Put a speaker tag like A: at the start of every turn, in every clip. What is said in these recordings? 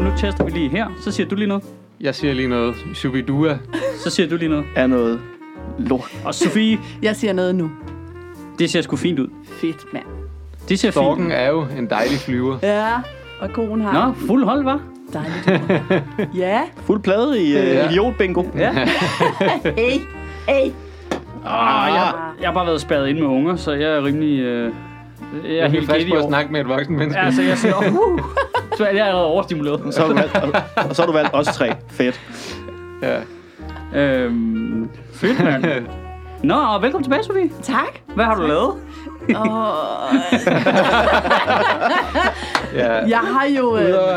A: nu tester vi lige her. Så siger du lige noget.
B: Jeg siger lige noget. Shubidua.
A: Så siger du lige noget.
C: Er noget lort.
A: Og Sofie,
D: Jeg siger noget nu.
A: det ser sgu fint ud.
D: Fedt, mand.
A: Det ser
B: Storken
A: fint
B: er jo en dejlig flyver.
D: Ja, og konen har
A: ud. Nå, fuld hold, var.
D: dejligt. ord. ja.
C: Fuld plade i øh,
B: Ja.
C: ja. idiotbingo.
A: Ja.
D: Hey, hey.
A: Ah, jeg, jeg har bare været spadet ind med unger, så jeg er rimelig... Øh, jeg er
B: Jeg er
A: helt
B: frisk
A: gæt i
B: på at
A: år.
B: snakke med et voksen menneske.
A: Ja, så jeg siger... Uh, så er jeg allerede overstimuleret.
C: Så har du valgt, og, og så har du valgt os tre. Fedt.
B: Ja.
A: Øhm, fedt, mand. Nå, og velkommen tilbage, Sofie.
D: Tak.
A: Hvad har du lavet?
D: Og
B: ja.
D: jeg har jo... Øh,
B: Udover,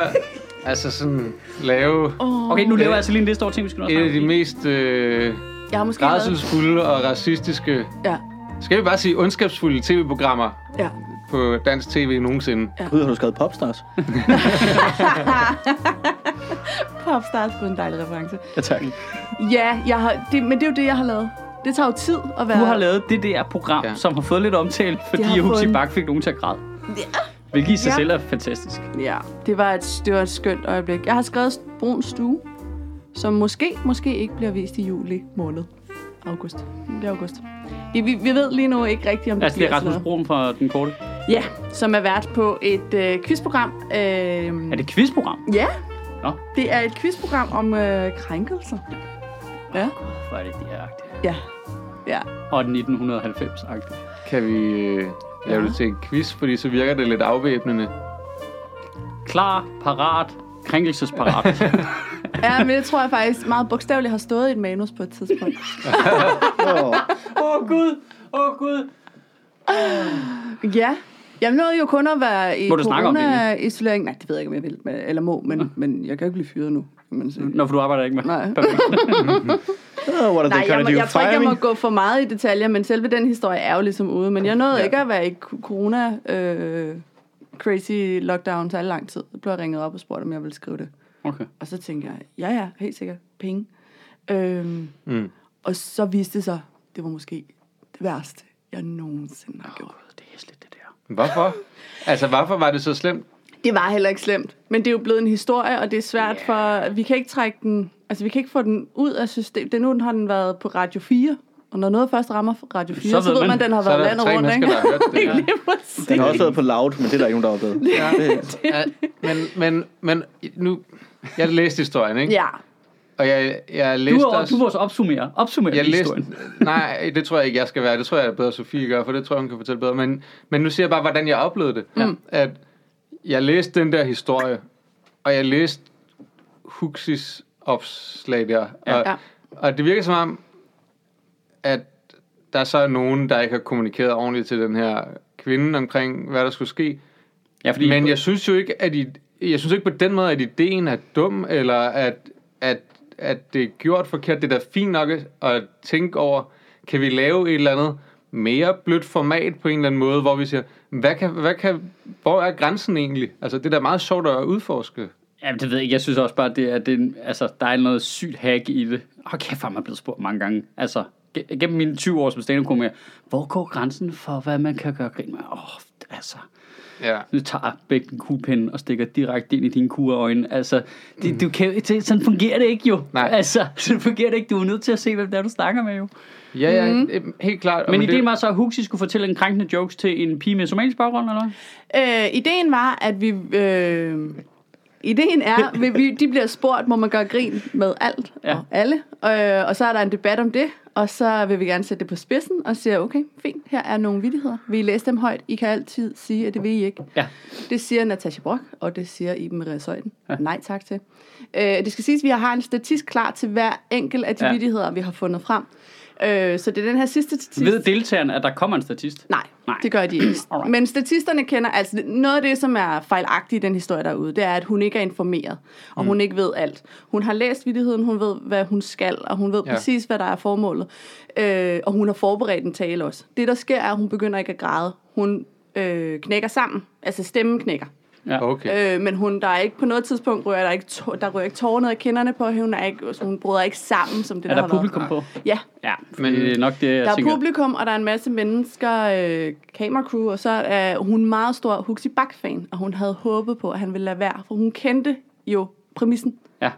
B: altså sådan lave
A: Okay, nu laver
B: Øh,
A: jeg altså lige en liste over ting, vi skal nå at
B: et af
A: snakke
B: de
A: om.
B: mest øh,
D: jeg har måske været...
B: rædselsfulde og racistiske,
D: Ja,
B: skal vi bare sige ondskabsfulde tv-programmer
D: ja.
B: på dansk tv nogensinde.
C: Gud, har du skrevet popstars?
D: Popstars på en dejlig reference.
C: Ja, tak.
D: Ja, jeg har, det, men det er jo det, jeg har lavet. Det tager jo tid at være...
A: Du har lavet det der program,
B: Ja.
A: ja. som har fået lidt omtale,
D: har
A: fordi
D: fået
A: Huxi
D: en-
A: Bak fik nogen til at græde.
D: Ja.
A: Hvilket i sig
D: Ja.
A: selv er fantastisk.
D: Ja, det var, et, det var et skønt øjeblik. Jeg har skrevet Brun Stue, som måske, måske ikke bliver vist i juli måned. August. Det er august. Vi, vi, vi ved lige nu ikke rigtigt, om det
A: Altså, det
D: bliver
A: er Rasmus
D: sådan
A: Broen
D: noget.
A: fra Den Korte.
D: Ja, som er vært på et øh, quizprogram. Øh,
A: Er det et quizprogram?
D: Ja.
A: Nå.
D: Det er et quizprogram om øh, krænkelser. Ja.
A: Hvor er det DR-agtigt?
D: Ja. Ja.
A: Og 1990-agtigt.
B: Kan vi øh, lave det til en quiz, fordi så virker det lidt afvæbnende.
A: Klar, parat, krænkelsesparat.
D: Ja, men det tror jeg faktisk meget bogstaveligt har stået i et manus på et tidspunkt.
C: Åh,
A: Åh oh, gud, åh oh, gud.
D: Ja. Jeg nåede jo kun at være i
A: Må du snakke om det egentlig?
D: corona-isolering. Nej, det ved jeg ikke, om jeg vil, men- eller må, men, men jeg kan jo ikke blive fyret nu. Kan man sige.
A: Nå, for du arbejder ikke med.
D: Nej.
A: Perfekt.
C: oh, what
D: Nej,
C: are they
D: jeg,
C: gonna
D: må,
C: do?
D: jeg tror ikke, jeg
C: Fire
D: må
C: me?
D: gå for meget i detaljer, men selve den historie er jo ligesom ude. Men jeg nåede ja. ikke at være i co- corona øh, crazy lockdown så lang tid. Så blev jeg ringet op og spurgt, om jeg ville skrive det.
A: Okay.
D: Og så tænkte jeg, ja ja, helt sikkert, penge. Øhm,
B: Mm.
D: og så viste det sig, det var måske det værste, jeg nogensinde har gjort.
A: Det er hæsligt, det der.
B: Hvorfor? Altså, hvorfor var det så slemt?
D: Det var heller ikke slemt, men det er jo blevet en historie, og det er svært yeah. for... Vi kan ikke trække den... Altså, vi kan ikke få den ud af systemet. Den, nu den har den været på Radio 4, og når noget først rammer Radio 4, så ved, så ved man, den har
B: Så
D: været
B: er der
D: landet
B: tre
D: rundt,
B: mennesker,
D: ikke?
B: der har hørt det. Ja.
D: Lige præcis.
C: Den har også været på loud, men det er der ikke nogen, der har opdaget.
B: Ja. Ja. Men, men, men nu... Jeg læste historien, ikke?
D: Ja,
B: Og jeg, jeg
A: Du
B: læste
A: er,
B: også...
A: du er vores opsummerer. Opsummerer
B: jeg læste,
A: historien.
B: nej, det tror jeg ikke, jeg skal være. Det tror jeg, bedre Sofie gør, for det tror jeg, hun kan fortælle bedre. Men, men nu siger jeg bare, hvordan jeg oplevede det. Ja. At jeg læste den der historie, og jeg læste Huxis opslag der. Og,
D: Ja.
B: og det virker som om, at der så er nogen, der ikke har kommunikeret ordentligt til den her kvinde omkring, hvad der skulle ske.
A: Ja, fordi
B: Men jeg synes jo ikke, at I, jeg synes ikke på den måde, at ideen er dum, eller at, at, at det er gjort forkert. Det er da fint nok at tænke over, kan vi lave et eller andet mere blødt format på en eller anden måde, hvor vi siger, hvad kan, hvad kan, hvor er grænsen egentlig? Altså, det er da meget sjovt at udforske.
A: Ja, det ved jeg ikke. Jeg synes også bare, at det, er- det er en- altså, der er noget sygt hack i det. Åh, kæft, hvor er man blevet spurgt mange gange. Altså, ge- gennem mine 20 år som stand up hvor går grænsen for, hvad man kan gøre grin med? Åh, altså,
B: Ja.
A: nu tager begge en kugepinde og stikker direkte ind i dine kugeøjne. Altså, det, du kan, det, sådan fungerer det ikke jo.
B: Nej.
A: Altså, sådan fungerer det ikke. Du er nødt til at se, hvem det er, du snakker med jo.
B: Ja, ja,
D: Mhm.
B: mm. helt klart.
A: Men, ideen var så, at Huxi skulle fortælle en krænkende jokes til en pige med somalisk baggrund, eller hvad?
D: Øh, ideen var, at vi... Øh, ideen er, vi, vi, de bliver spurgt, må man gøre grin med alt ja.
A: Ja.
D: og alle. Øh, og så er der en debat om det, og så vil vi gerne sætte det på spidsen og siger, okay, fint, her er nogle vittigheder. Vi læser dem højt. I kan altid sige, at det vil I ikke.
A: Ja.
D: Det siger Natasha Brock, og det siger Iben Maria Søjden. Ja. Nej tak til. Øh, det skal siges, at vi har en statist klar til hver enkelt af de ja.
A: Ja.
D: vittigheder, vi har fundet frem. Øh, så det er den her sidste statist.
A: Ved deltageren, at der kommer en statist?
D: Nej, Nej,
A: Nej.
D: det gør de ikke.
A: Alright.
D: Men statisterne kender, altså noget af det, som er fejlagtigt i den historie derude, det er, at hun ikke er informeret, og mm. hun ikke ved alt. Hun har læst vidtigheden, hun ved, hvad hun skal, og hun ved ja.
B: Ja.
D: præcis, hvad der er formålet. Øh, og hun har forberedt en tale også. Det, der sker, er, at hun begynder ikke at græde. Hun øh, knækker sammen, altså stemmen knækker.
A: Ja.
B: Okay.
D: Øh, men hun, der er ikke på noget tidspunkt, rører der, ikke tå- der rører ikke tårer ned af kinderne på hende, hun, er ikke, altså, hun bryder ikke sammen, som det
A: Er
D: der,
A: der
D: har
A: publikum
D: været.
A: på?
D: Ja,
A: Ja,
B: Men-
A: men det er nok det, jeg
D: der er
A: tænker.
D: publikum, og der er en masse mennesker, øh, kameracrew, og så er hun meget stor Huxi Bak-fan, og hun havde håbet på, at han ville lade være, for hun kendte jo præmissen.
A: Ja.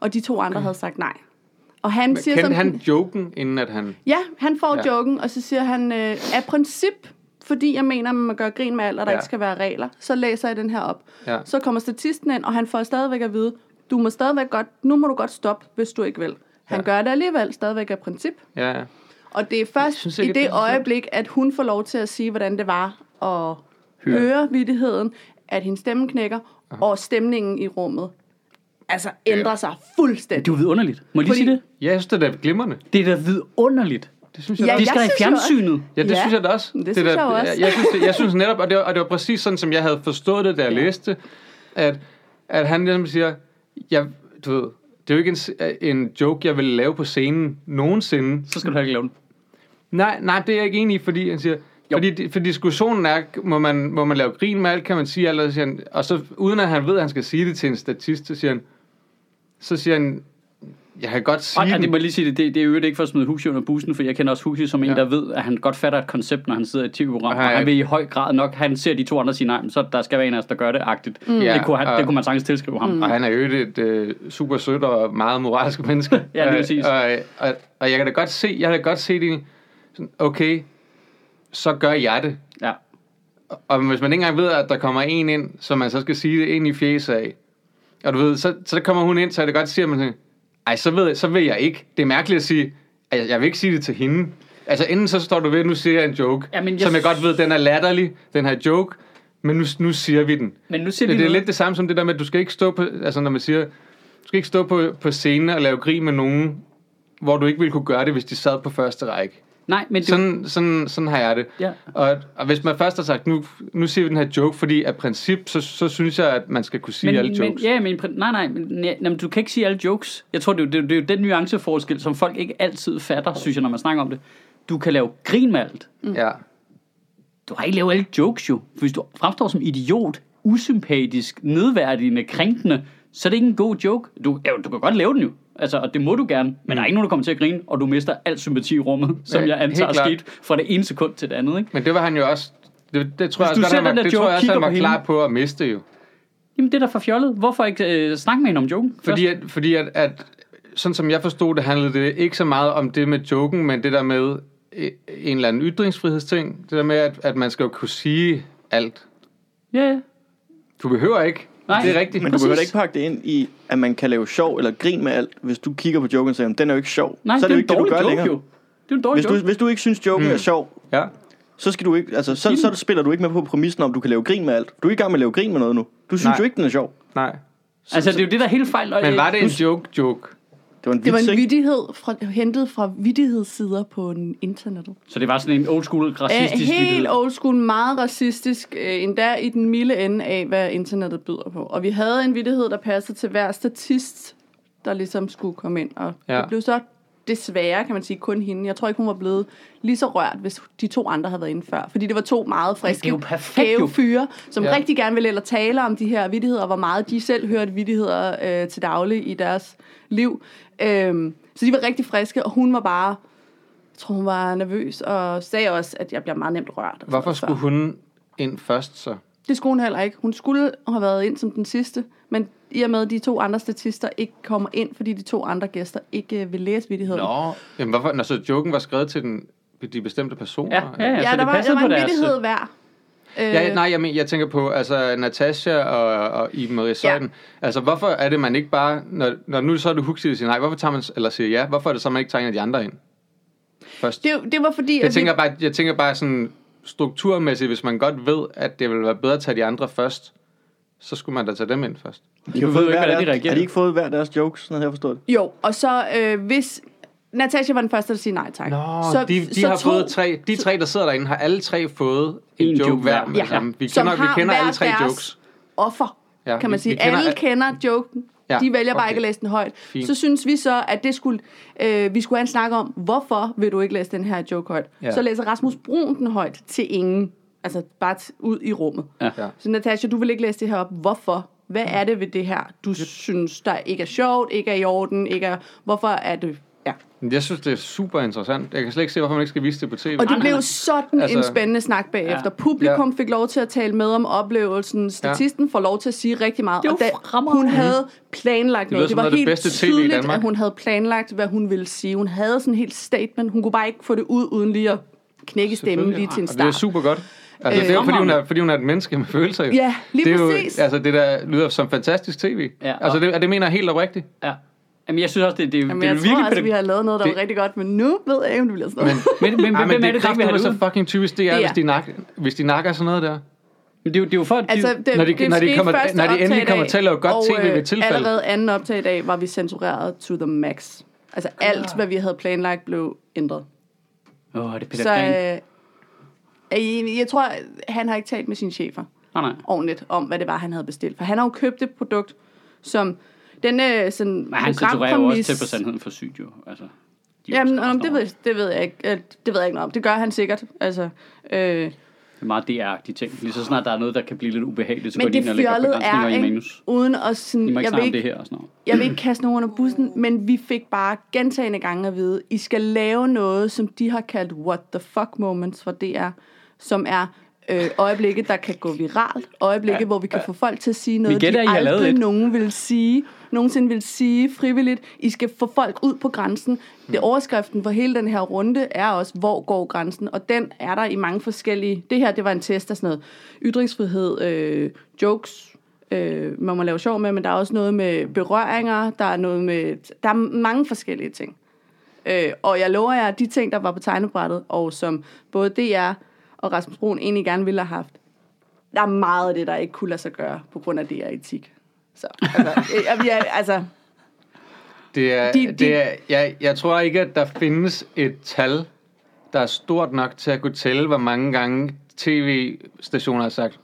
D: Og de to andre havde sagt nej. Og han Men siger
B: Kendte
D: sådan,
B: han joken, inden at han...
D: Ja, han får
B: Ja.
D: ja. joken, og så siger han, øh, af princip, fordi jeg mener, at man gør grin med alt, og der
B: Ja.
D: ja. ikke skal være regler, så læser jeg den her op.
B: Ja.
D: Så kommer statisten ind, og han får stadigvæk at vide, du må stadigvæk godt, nu må du godt stoppe, hvis du ikke vil. Han
B: Ja.
D: ja. gør det alligevel, stadigvæk af princip.
B: Ja, ja.
D: Og det er først
B: synes ikke,
D: synes, i
B: at det er
D: det
B: så sjovt.
D: øjeblik, at hun får lov til at sige, hvordan det var at høre, høre vidtigheden, at hendes stemme knækker, og stemningen i rummet altså ændrer sig fuldstændig.
A: Det er jo vidunderligt. Må jeg lige
D: Fordi-
A: sige det?
B: Ja, jeg synes, det er da glimrende.
A: Det er da vidunderligt.
B: Det synes jeg
D: Ja,
B: da
A: Det skal da
D: jeg
A: i
D: synes jo også-
A: fjernsynet.
B: Ja, det ja,
D: Ja,
B: synes jeg da også.
D: det
B: er
D: synes
B: da,
D: jeg også.
B: Jeg, synes, det, jeg synes netop, og det, var, og det var præcis sådan, som jeg havde forstået det, da jeg ja. læste, det, at, at han ligesom siger, jeg, du ved, det er jo ikke en, s- en joke, jeg vil lave på scenen nogensinde.
A: Så skal du heller ikke lave den.
B: Nej, nej, det er jeg ikke enig i, fordi han siger,
A: Jo.
B: fordi, for diskussionen er, må man, må man lave grin med alt, kan man sige alt, og så, siger han, og så uden at han ved, at han skal sige det til en statist, så siger han, så siger han, jeg kan godt sige
A: Og, og
B: den."
A: det må jeg lige sige, det, det, det er jo ikke for at smide Husi under bussen, for jeg kender også Husi som en,
B: Ja.
A: ja. der ved, at han godt fatter et koncept, når han sidder i et tv-program,
B: Og han
A: og
B: er
A: han
B: ikke-
A: vil i høj grad nok, han ser de to andre sige, nej, men så der skal være en af os, der gør det, agtigt. Mm.
B: Ja,
A: det, kunne han,
B: og-
A: det kunne man sagtens tilskrive ham.
B: Og han er jo et øh, super sødt og meget moralsk menneske. Øh,
A: Ja, lige præcis.
B: Og, og, og, og jeg kan da godt se, jeg kan da godt se det, sådan, okay, så gør jeg det.
A: Ja.
B: Og hvis man ikke engang ved, at der kommer en ind, som man så skal sige det ind i fjeset af, og du ved, så, så kommer hun ind, så jeg kan godt sige, at man siger, ej, så, ved, jeg- så vil jeg ikke. Det er mærkeligt at sige, at jeg, jeg vil ikke sige det til hende. Altså, enten så står du ved, nu siger jeg en joke,
A: Ja, men jeg
B: som jeg
A: s-
B: godt ved, den er latterlig, den her joke, men nu, nu siger vi den.
A: Men nu siger
B: Det,
A: de
B: det er
A: noget.
B: lidt det samme som det der med, at du skal ikke stå på, altså når man siger, du skal ikke stå på, på scenen og lave grin med nogen, hvor du ikke ville kunne gøre det, hvis de sad på første række.
A: Nej, men det,
B: Sådan, sådan, sådan har jeg det.
A: Ja.
B: Og, og hvis man først har sagt, nu, nu siger vi den her joke, fordi af princip, så, så synes jeg, at man skal kunne sige
A: men,
B: alle jokes.
A: Men, ja, men, pr- nej, nej, men, ja, jamen, du kan ikke sige alle jokes. Jeg tror, det er, jo- det, er, jo- det er jo den nuanceforskel, som folk ikke altid fatter, synes jeg, når man snakker om det. Du kan lave grin med alt.
B: ja.
A: Du har ikke lavet alle jokes jo. For hvis du fremstår som idiot, usympatisk, nedværdigende, krænkende, så er det ikke en god joke. Du, ja, du kan godt lave den jo. Altså, og det må du gerne, men der er ikke nogen, der kommer til at grine, og du mister al sympati i rummet, som
B: Ja,
A: jeg antager
B: helt
A: er
B: klart.
A: sket fra det ene sekund til det andet. Ikke?
B: Men det var han jo også, det, det tror jeg
A: du
B: også, godt,
A: ser
B: han var,
A: den der
B: det
A: joke,
B: tror jeg også,
A: kigger
B: han var
A: på
B: klar
A: hende.
B: på at miste jo.
A: Jamen, det er da for fjollet. Hvorfor ikke øh, snakke med hende om joken?
B: Fordi, at, fordi at, at, sådan som jeg forstod det, handlede det ikke så meget om det med joken, men det der med øh, en eller anden ytringsfrihedsting. Det der med, at, at man skal jo kunne sige alt.
A: Ja, ja.
B: Du behøver ikke.
A: Nej,
B: det er rigtigt.
A: men
C: Men du behøver da
A: Præcis.
C: ikke pakke det ind i, at man kan lave sjov eller grin med alt, hvis du kigger på joken og siger, "Jamen, den er jo ikke sjov.
A: Nej,
C: så er det,
A: det
C: jo
A: er
C: ikke
A: en
C: det, du
A: dårlig
C: gør
A: joke
C: længere.
A: jo. Det er en dårlig
C: Hvis
A: joke.
C: du, hvis du ikke synes, joken er sjov,
B: Ja.
C: så, skal du ikke, altså, så, så spiller du ikke med på præmissen om, du kan lave grin med alt. Du er i gang med at lave grin med noget nu. Du synes
B: Nej.
C: Nej. jo ikke, den er sjov.
B: Nej.
A: Altså, det er jo det, der er hele fejl. og-
B: Men var det en joke-joke?
C: Det var en
D: Det var
C: vits,
D: en
C: ikke?
D: vidighed fra, hentet fra vidighedssider på en- internettet.
A: Så det var sådan en old school racistisk
D: Æh, helt
A: vittighed.
D: old school, meget racistisk, øh, endda i den milde ende af, hvad internettet byder på. Og vi havde en vidighed, der passede til hver statist, der ligesom skulle komme ind. Og
B: Ja.
D: ja. det blev så desværre, kan man sige, kun hende. Jeg tror ikke, hun var blevet lige så rørt, hvis de to andre havde været inde før. Fordi det var to meget
A: det er
D: friske,
A: jo perfekt, jo.
D: gave fyre, som
B: Ja.
D: ja. rigtig gerne ville eller tale om de her vidtigheder, og hvor meget de selv hørte vidtigheder øh, til daglig i deres liv. Øhm, så de var rigtig friske, og hun var bare jeg tror, hun var nervøs, og sagde også, at jeg bliver meget nemt rørt. og
B: Hvorfor
D: sådan noget
B: skulle hun ind først så?
D: før. Det skulle hun heller ikke. Hun skulle have været ind som den sidste, men i og med, at de to andre statister ikke kommer ind, fordi de to andre gæster ikke øh, vil læse vittigheden.
B: Nå. Jamen, hvorfor? Når så joken var skrevet til den, de bestemte personer?
A: Ja, ja, ja.
D: ja,
A: så
D: der
A: det
D: var,
A: passede
D: der var
A: på
D: en
A: deres-
D: vittighed hver. Øh,
B: Ja, nej, jeg, men, jeg tænker på altså, Natasha og, og Iben Marie Søjden. Ja. Altså, hvorfor er det, man ikke bare... Når, når nu så er det Huxley, der siger nej, hvorfor tager man... Eller siger ja, hvorfor er det så, man ikke tager en af de andre ind? Først. Det,
D: det, det var fordi,
B: jeg,
D: at vi-
B: tænker bare, jeg tænker bare sådan strukturmæssigt, hvis man godt ved, at det ville være bedre at tage de andre først, så skulle man da tage dem ind først.
C: De har
A: ved
C: fået
A: jo ikke,
C: hver
A: hvordan de
C: deres-
A: reagerer.
C: Har de ikke fået hver deres jokes, sådan havde jeg forstået det?
D: Jo, og så øh, hvis... Natasha var den første, der siger nej tak.
B: så, de, de har
D: to-
B: fået tre, de tre, der sidder derinde, har alle tre fået en,
A: En
B: joke,
A: joke
B: hver.
A: hver.
B: med det
D: Ja.
B: samme. Vi
D: Som
B: kender, vi
D: har
B: kender
D: hver
B: alle tre
D: deres-
B: jokes.
D: offer,
B: Ja,
D: ja, kan
B: vi-
D: man
B: vi
D: sige.
B: kender
D: Kender, Alle
B: al-
D: kender joken.
B: Ja,
D: Ja, de vælger bare
B: okay.
D: ikke at læse den højt.
B: Fint.
D: Fint. Så synes vi så, at det skulle, øh, vi skulle have en snak om, hvorfor vil du ikke læse den her joke højt?
B: Ja.
D: Ja. Så læser Rasmus Brun den højt til ingen. Altså bare t- ud i rummet.
A: Ja.
B: Ja.
D: Så Natasha, du vil ikke læse det her op. Hvorfor? Hvad er det ved det her, du synes, der ikke er sjovt, ikke er i orden, ikke er... Hvorfor er det Ja.
B: Jeg synes, det er super interessant. Jeg kan slet ikke se, hvorfor man ikke skal vise det på tv.
D: Og det
A: nej.
D: blev sådan altså,
B: Altså-
D: en spændende snak bagefter.
A: Ja.
D: Publikum
B: Ja.
D: fik lov til at tale med om oplevelsen. Statisten får lov til at sige rigtig meget.
A: Det er
D: og
A: jo
D: da
A: fremragende.
D: hun havde planlagt
B: lyder
D: noget.
B: som
D: Det var
B: noget af Mhm. det
D: helt
B: bedste TV i
D: tydeligt,
B: Danmark.
D: at hun havde planlagt, hvad hun ville sige. Hun havde sådan en helt statement. Hun kunne bare ikke få det ud, uden lige at knække stemmen lige til en
B: Og det er
D: start.
B: super godt. Altså, øh, det er jo, fordi hun er, fordi hun er et menneske med følelser. Jo.
D: Ja, lige
B: det er
D: præcis.
B: Jo, altså, det der lyder som fantastisk tv.
A: Ja,
B: altså,
A: og-
B: det, og det mener jeg helt oprigtigt.
A: Ja. Jamen, jeg synes også, det, det,
D: Jamen,
A: det er
D: jeg
A: virkelig...
D: tror også,
A: pædagog-
D: vi har lavet noget, der
B: Det-
D: var rigtig godt, men nu ved jeg ikke, om det bliver sådan noget.
A: Men, men, men,
B: Ej,
A: hvem er
B: det
A: det, der ikke vil have det
B: så
A: ud?
B: fucking typisk, det er,
D: Det
B: hvis,
D: er.
B: de nak, hvis de nakker sådan noget der.
A: Men det, er jo- det er jo for, at de,
D: Altså, det,
B: Når de-
D: det
B: når de
D: skete
B: kommer-
D: første
B: når de endelig
D: optag i
B: kommer
D: dag,
B: til at lave godt
D: og,
B: tv ved
D: øh,
B: tilfælde.
D: Allerede anden optag i dag var vi censureret to the max. Altså
A: Ah.
D: alt, hvad vi havde planlagt, blev ændret.
A: Åh, oh, det er Peter
D: Så
A: Green.
D: øh, jeg, jeg tror, han har ikke talt med sine chefer
A: Nej, nej.
D: ordentligt om, hvad det var, han havde bestilt. For han har jo købt et produkt, som den øh, sådan
A: Men han censurerer jo også til på sandheden for sygt, jo. Altså, de er jo
D: Jamen,
A: også
D: om
A: ret
D: det,
A: over.
D: ved, det ved jeg ikke. øh, Det ved jeg ikke noget om. Det gør han sikkert. Altså, øh,
A: Det er meget DR-agtige ting. Lige så snart der er noget, der kan blive lidt ubehageligt, så går
D: men
A: de
D: det
A: ind og lægger
D: fjollede
A: begrænsninger
D: er,
A: i
D: ikke,
A: menus.
D: uden at sådan,
A: I må ikke
D: jeg vil
A: snakke om
D: ikke
A: det her og sådan noget.
D: jeg vil ikke kaste nogen under bussen, men vi fik bare gentagende gange at vide, I skal lave noget, som de har kaldt what the fuck moments for DR, som er øh, øjeblikke, der kan gå viralt, øjeblikke, ja, hvor vi kan få folk til at sige noget,
A: gætter, I
D: de
A: har lavet
D: aldrig
A: et.
D: nogen vil sige, nogensinde vil sige frivilligt. I skal få folk ud på grænsen. Det overskriften for hele den her runde er også, hvor går grænsen? Og den er der i mange forskellige... Det her, det var en test af sådan noget ytringsfrihed, øh, jokes, øh, man må lave sjov med, men der er også noget med berøringer, der er noget med... Der er mange forskellige ting. Øh, og jeg lover jer, at de ting, der var på tegnebrættet, og som både DR og Rasmus Broen egentlig gerne ville have haft, der er meget af det, der ikke kunne lade sig gøre på grund af DR-etik. Så, altså, jeg, jeg, altså,
B: Det er,
D: De-
B: de,
D: de-
B: de, det er, jeg, jeg tror ikke, at der findes et tal, der er stort nok til at kunne tælle, hvor mange gange tv-stationer har sagt,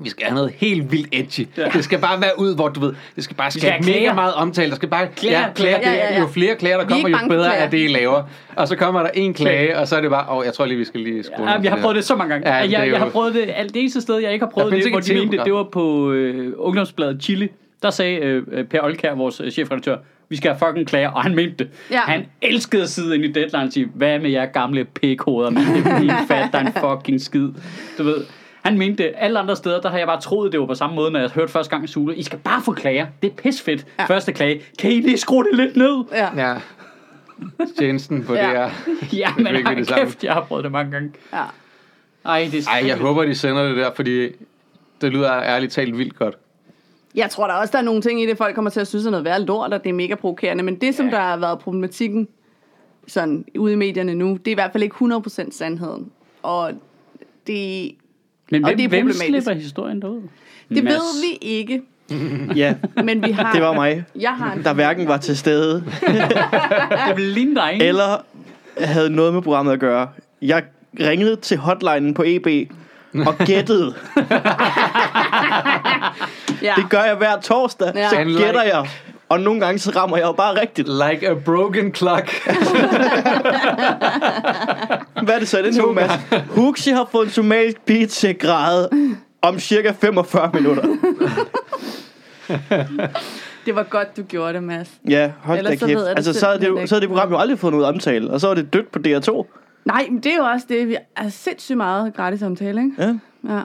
B: vi skal have noget helt vildt edgy. Ja. Det skal bare være ud, hvor du ved, det skal bare
A: have
B: skabe mega
A: klager.
B: meget omtale. Der skal bare
A: Klager,
B: ja, klager.
D: klager.
B: Det,
D: Ja, ja, ja.
B: Jo flere klager, der
D: Vi er
B: kommer,
D: ikke
B: jo
D: bange for
B: bedre
D: klager.
B: er det, I laver. Og så kommer der en klage, og så er det bare, åh, oh, jeg tror lige, vi skal lige skrue ned
A: Ja,
B: for
A: jeg har
B: her."
A: prøvet det så mange gange.
B: Ja,
A: Ja, jeg,
B: det er
A: jeg
B: jo-
A: har prøvet det. Alt det eneste sted, jeg ikke har prøvet
B: Der findes
A: det, hvor
B: ikke et
A: de mente,
B: tv-program.
A: det var på øh, Ungdomsbladet Chile. Der sagde øh, Per Olkær, vores øh, chefredaktør, vi skal have fucking klager, og han mente det.
D: Ja.
A: Han elskede at sidde inde i deadline og sige, hvad med jer gamle pikhoveder, man det er helt fat, der er en fucking skid. Du ved, han mente det. Alle andre steder, der har jeg bare troet, det var på samme måde, når jeg hørte første gang Sule. I skal bare få klager. Det er pisfedt. Ja. Første klage. Kan I lige skrue det lidt ned?
D: ja.
B: Ja. Tjenesten på
D: Ja.
B: ja. det her.
A: Ja,
B: Det er
A: men
B: ikke
A: hold
B: det samme.
A: kæft, jeg har prøvet det mange gange.
D: ja.
A: Ej, det er så-
B: Ej, jeg håber, de sender det der, fordi det lyder ærligt talt vildt godt.
D: Jeg tror der også, der er nogle ting i det, folk kommer til at synes er noget værd lort, og det er mega provokerende. Men det, som ja. der har været problematikken sådan, ude i medierne nu, det er i hvert fald ikke 100% sandheden. Og det,
A: Men
D: Og
A: hvem,
D: det er
A: hvem
D: problematisk.
A: slipper historien derud?
D: det ved vi ikke,
C: Ja,
D: men vi har...
C: det var mig,
D: Jeg har en,
C: der hverken var til stede
A: Jeg vil ligne dig, ikke?
C: eller havde noget med programmet at gøre. Jeg ringede til hotlinen på EB og gættede.
D: ja.
C: Det gør jeg hver torsdag,
D: Ja.
C: så
B: Han like-
C: gætter jeg. Og nogle gange så rammer jeg jo bare rigtigt.
B: Like a broken clock.
C: Hvad er det så i den her uge, Mads? Huxi har fået en somalisk pige til at græde om cirka 45 minutter.
D: det var godt, du gjorde det, Mads.
C: Ja, hold da
D: Ellers så
C: kæft.
D: ved jeg det
C: Altså, så havde, det,
D: simpelthen
C: jo-
D: ikke.
C: så havde det program jo aldrig fået noget omtale, og så var det dødt på DR2.
D: Nej, men det er jo også det. Vi er sindssygt meget gratis omtale, ikke?
C: Ja,
D: Ja.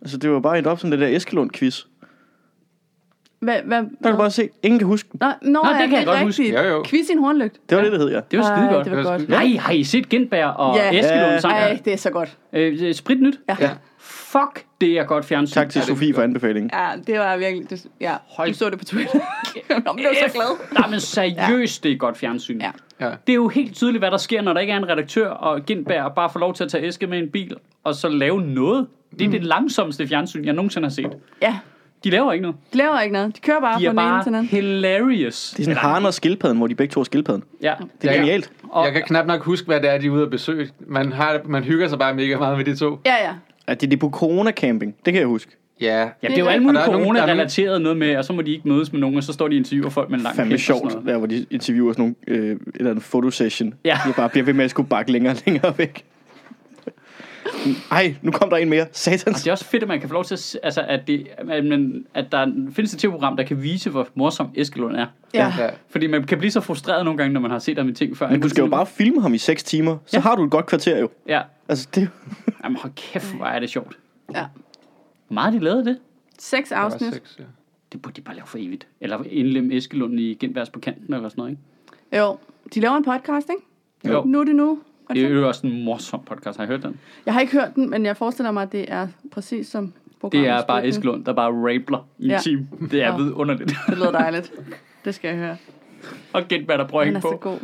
C: altså det var bare et op som det der Eskelund-quiz.
D: Hvad, hvad,
C: Der kan du bare se, ingen kan huske den.
D: Nå, nå,
A: det
D: ja,
A: kan jeg
D: det er
A: godt huske.
D: rigtigt.
B: Jo, jo.
D: Quiz i en hornlygt.
C: Det var det, det hed, ja.
A: Det var
D: Ej,
A: skide godt.
D: Det var
B: Det var
D: godt.
B: skide
A: Nej, har I set Gindberg og
D: Ja.
A: yeah. Eskelund
C: Ja.
A: sammen?
D: Ej, det er så godt.
A: Øh, sprit nyt.
D: Ja.
B: Ja.
A: Fuck, det er godt fjernsyn.
C: Tak til
B: Ja, det er
C: Sofie for anbefalingen.
D: Ja, det var virkelig... Det, ja, Hold.
A: Hold
D: du så det på Twitter. Nå, men jeg var så glad.
A: Nej, men seriøst, det er godt fjernsyn.
D: Ja.
B: Ja.
A: Det er jo helt tydeligt, hvad der sker, når der ikke er en redaktør, og Gindberg bare får lov til at tage æske med en bil, og så lave noget. Det
C: Mm.
A: er det langsomste fjernsyn, jeg nogensinde har set.
D: Ja,
A: De laver ikke noget.
D: de laver ikke noget. De kører bare
A: De
D: fra
A: er
D: den ene til den
A: bare
D: anden.
A: hilarious.
C: Det er sådan haren og skildpadden, hvor de begge to er skildpadden.
A: Ja.
C: Det er
B: Ja.
C: genialt.
A: Og,
B: Jeg kan knap nok huske, hvad det er, de er ude at besøge. Man, har, man hygger sig bare mega meget med de to.
D: Ja, ja.
C: At det, det er på corona-camping, det kan jeg huske.
B: Ja.
A: Ja, det er jo alt
D: Og
A: muligt
B: der er nogen-
A: corona-relateret noget med, og så må de ikke mødes med nogen, og så står de og interviewer folk med en lang
C: Fandme
A: kæft og sådan
C: sjovt,
A: noget.
C: der hvor de interviewer sådan nogle, øh, et eller andet fotosession.
A: Ja.
C: De bare bliver ved med at skulle bakke længere og længere væk. Ej, nu kom der en mere.
A: Og
C: Satans.
A: Altså, det er også fedt, at man kan få lov til at, s- altså, at, det, at, man, at der findes et tv-program, der kan vise, hvor morsom Eskelund er.
D: Ja.
B: Ja.
A: Fordi man kan blive så frustreret nogle gange, når man har set ham i ting før.
C: Men du skal jo bare filme ham i 6 timer. Så
A: Ja.
C: har du et godt kvarter jo.
A: Ja.
C: Altså, det er jo-
A: Jamen, hold kæft, hvor er det sjovt.
D: ja.
A: Hvor meget har de lavet af det?
D: Seks
B: Der var
D: afsnit.
B: seks, ja.
A: Det burde de bare lave for evigt. Eller indlemme Eskelund i genværs på kanten eller sådan noget, ikke?
D: Jo, de laver en podcast, ikke?
A: Jo.
D: Nu er det nu.
A: Det er jo også en morsom podcast, har I hørt den?
D: Jeg har ikke hørt den, men jeg forestiller mig, at det er præcis som programmet.
A: Det er bare Eskelund, der bare rabler i en
D: Ja.
A: time. Det er
D: Nå.
A: vidunderligt.
D: Det lyder dejligt. Det skal jeg høre.
A: og gæt, hvad der prøver at
D: Den
A: hænge
D: er så
A: på.
D: god.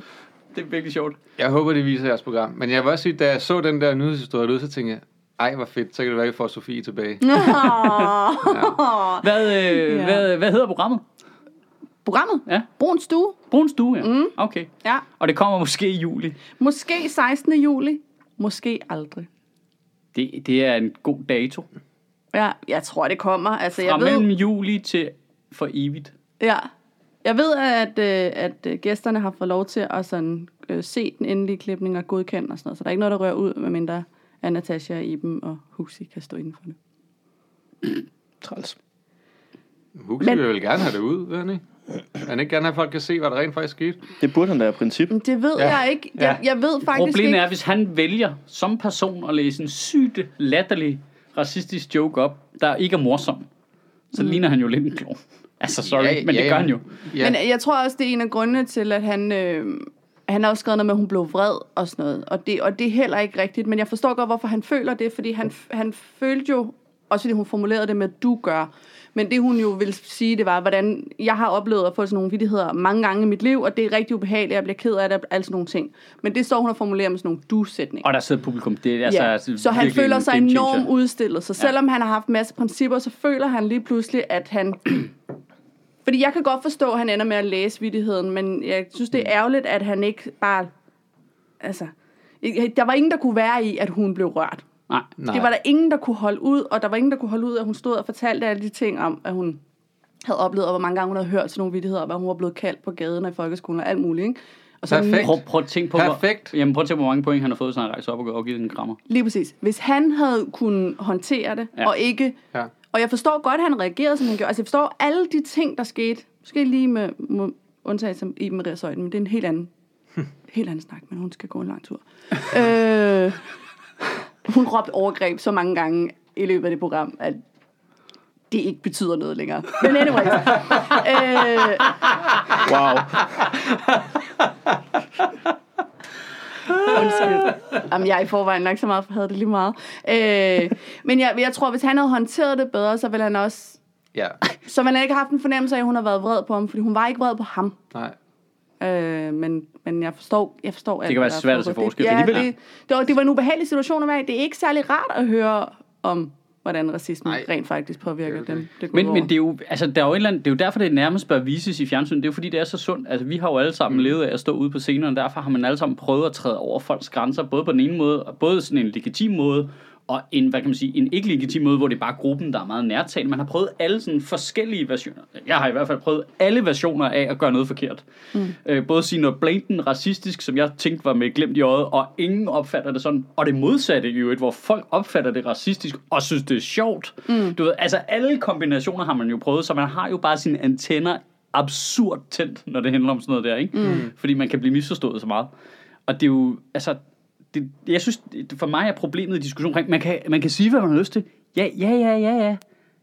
A: Det er virkelig sjovt.
B: Jeg håber, det viser jeres program. Men jeg vil også sige, da jeg så den der nyhedshistorie ud, så tænkte jeg, ej, hvor fedt, så kan det være, at jeg får Sofie tilbage.
A: Hvad, øh,
D: Ja.
A: hvad, hvad hedder programmet?
D: Programmet?
A: Ja.
D: Brun Stue?
A: Brun stue, ja. Mm. Okay.
D: Ja.
A: Og det kommer måske i juli.
D: Måske 16. juli. Måske aldrig.
A: Det, det er en god dato.
D: Ja, jeg tror, det kommer. Altså,
A: Fra
D: jeg
A: mellem
D: ved,
A: juli til for evigt.
D: ja. jeg ved at, øh, at øh, gæsterne har fået lov til at sådan, øh, se den endelige klipning og godkende og sådan noget. Så der er ikke noget, der rører ud, medmindre at Natasha, Iben og Husi kan stå inden for det.
C: Træls.
B: Huxi
D: Mm. Men-
B: vil vel gerne have det ud, vil han ikke? Vil Han ikke gerne have, at folk kan se, hvad der rent faktisk skete.
C: Det burde han da i princippet.
D: Det ved
B: Ja.
D: ja. jeg ikke. Jeg,
B: Ja.
D: jeg ved faktisk
A: Problemet
D: ikke.
A: er, hvis han vælger som person at læse en sygt latterlig racistisk joke op, der ikke er morsom, så mm. ligner han jo lidt en klon. Altså, sorry, ja, men ja, det gør han jo.
B: Ja,
D: Men jeg tror også, det er en af grundene til, at han... Øh, han har også skrevet noget med, at hun blev vred og sådan noget. Og det, og det er heller ikke rigtigt. Men jeg forstår godt, hvorfor han føler det. Fordi han, han følte jo... Også fordi hun formulerede det med, du gør. Men det hun jo ville sige, det var, hvordan jeg har oplevet at få sådan nogle vidtigheder mange gange i mit liv, og det er rigtig ubehageligt, jeg bliver ked af det, alle sådan nogle ting. Men det står hun og formulerer med sådan nogle du-sætninger.
A: Og der sidder publikum. Det er
D: Ja,
A: altså
D: så han
A: virkelig
D: føler
A: en
D: sig
A: game changer.
D: enormt udstillet. Så
A: Ja.
D: selvom han har haft en masse principper, så føler han lige pludselig, at han... Fordi jeg kan godt forstå, at han ender med at læse vidtigheden, men jeg synes, det
A: Mm.
D: er ærgerligt, at han ikke bare... Altså, ikke- der var ingen, der kunne være i, at hun blev rørt.
A: Nej.
B: nej.
D: Det var der ingen, der kunne holde ud, og der var ingen, der kunne holde ud, at hun stod og fortalte alle de ting om, at hun havde oplevet, og hvor mange gange hun havde hørt sådan nogle vidtigheder, og hvad hun var blevet kaldt på gaden og i folkeskolen og alt muligt, ikke? Og så
B: Perfekt.
A: Prøv, prøv at tænke på,
B: Perfekt.
A: Hvor, jamen, prøv at tænke på, hvor mange point han har fået, så han rejser op og går og givet en krammer.
D: Lige præcis. Hvis han havde kunnet håndtere det,
A: Ja.
D: ja. og ikke...
B: Ja.
D: Og jeg forstår godt, at han reagerede, som han gjorde. Altså, jeg forstår alle de ting, der skete. Måske lige med, med undtagelse af Iben Maria Søjden, men det er en helt anden, helt anden snak, men hun skal gå en lang tur. øh, hun råbte overgreb så mange gange i løbet af det program, at det ikke betyder noget længere. Men anyway. øh,
C: Wow.
D: Undskyld. Jamen, jeg er i forvejen nok så meget, for havde det lige meget. Øh, men jeg, jeg tror, hvis han havde håndteret det bedre, så ville han også...
B: Ja,
D: Så ville han ikke have haft en fornemmelse af, at hun har været vred på ham, fordi hun var ikke vred på ham.
B: nej.
D: Øh, men, men jeg forstår, jeg forstår alt,
A: kan være
D: hvad der er
A: svært at se
D: foregået.
A: forskel.
D: Det, ja,
A: Alligevel.
D: det, det, var, det var en ubehagelig situation at være i. Det er ikke særlig rart at høre om, hvordan racismen
B: Nej.
D: Nej. rent faktisk påvirker
B: Det er jo det.
D: det dem. Det går
A: Men,
D: ud
A: men
D: over.
A: det, er jo, altså, der er jo en eller anden, det er jo derfor, det nærmest bør vises i fjernsynet. Det er jo fordi, det er så sundt. Altså, vi har jo alle sammen mm. levet af at stå ude på scenerne, og derfor har man alle sammen prøvet at træde over folks grænser, både på den ene måde, og både sådan en legitim måde, og en, hvad kan man sige, en ikke legitim måde, hvor det er bare gruppen, der er meget nærtagende. Man har prøvet alle sådan forskellige versioner. Jeg har i hvert fald prøvet alle versioner af at gøre noget forkert. Mm. Øh, både at sige noget blatant racistisk, som jeg tænkte var med glemt i øjet, og ingen opfatter det sådan. Og det modsatte i øvrigt, hvor folk opfatter det racistisk og synes, det er sjovt. Mm. Du ved, altså alle kombinationer har man jo prøvet, så man har jo bare sine antenner absurd tændt, når det handler om sådan noget der, ikke? Mm. Fordi man kan blive misforstået så meget. Og det er jo, altså, det, jeg synes, det- for mig er problemet i diskussionen omkring, man kan, man kan sige, hvad man har lyst til. Ja, ja, ja, ja, ja.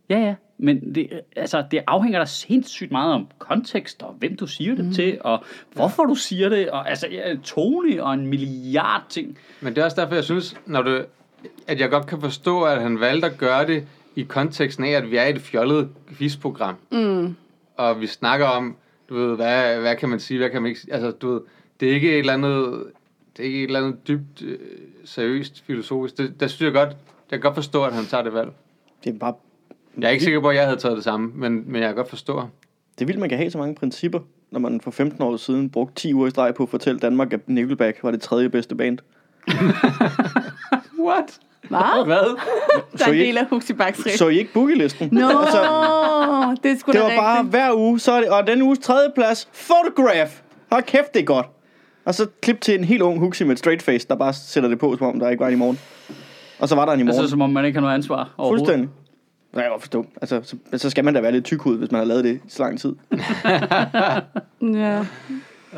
A: Ja, ja. Men det, altså, det afhænger da sindssygt meget om kontekst, og hvem du siger det mm. til, og hvorfor du siger det, og altså, ja, tone og en milliard ting.
B: Men det er også derfor, jeg synes, når du, at jeg godt kan forstå, at han valgte at gøre det i konteksten af, at vi er i et fjollet quizprogram. Mm. Og vi snakker om, du ved, hvad, hvad kan man sige, hvad kan man ikke sige. Altså, du ved, det er ikke et eller andet, det er ikke et eller andet dybt, øh, seriøst, filosofisk. Det, der synes jeg godt, jeg kan godt forstå, at han tager det valg.
C: Det er bare...
B: Jeg er ikke sikker på, at jeg havde taget det samme, men, men jeg kan godt forstå ham.
C: Det er vildt, man kan have så mange principper, når man for 15 år siden brugte 10 uger i streg på at fortælle Danmark, at Nickelback var det tredje bedste band.
B: What?
D: Hvad?
B: Hvad?
D: Der er
C: Så
D: en
C: I-
D: del af Huxi Baksri.
C: Så I ikke boogielisten?
D: Nå,
C: Altså,
D: det er sgu
C: det
D: da
C: var bare
D: rigtigt.
C: hver uge, så er det, og den uges tredje plads, Photograph. Hold kæft, det er godt. Og så klip til en helt ung Huxi med et straight face, der bare sætter det på, som om der ikke var en i morgen. og så var der en i morgen.
A: Altså, som om man ikke har noget ansvar overhovedet.
C: Fuldstændig. Nej, jeg kan godt forstå. Altså, så, så skal man da være lidt tykhud, hvis man har lavet det i så lang tid.
D: Ja.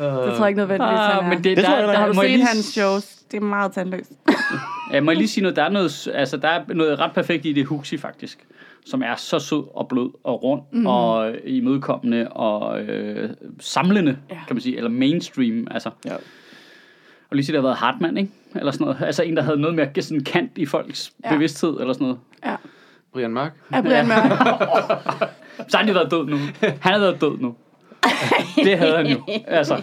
D: Det tror jeg ikke nødvendigvis, han
A: Ah,
D: er.
A: men det,
C: Det
A: der,
C: tror jeg,
A: der,
C: han er.
D: Har du
A: må jeg
D: set
A: lige-
D: hans shows? Det er meget tandløst.
A: Ja, må jeg lige sige noget, der er noget, altså, der er noget ret perfekt i det Huxi faktisk, som er så sød og blød og rund mm. og imødekommende og øh, samlende, ja. kan man sige, eller mainstream, altså.
C: Ja.
A: Og lige sige, der har været Hartmann, ikke? Eller sådan noget. Altså en, der havde noget mere sådan kant i folks ja.
D: Ja.
A: bevidsthed, eller sådan noget.
D: Ja.
B: Brian Mørk.
D: Er Brian Mørk?
A: Så har de været død nu. Han har været død nu. Det havde han jo. Altså,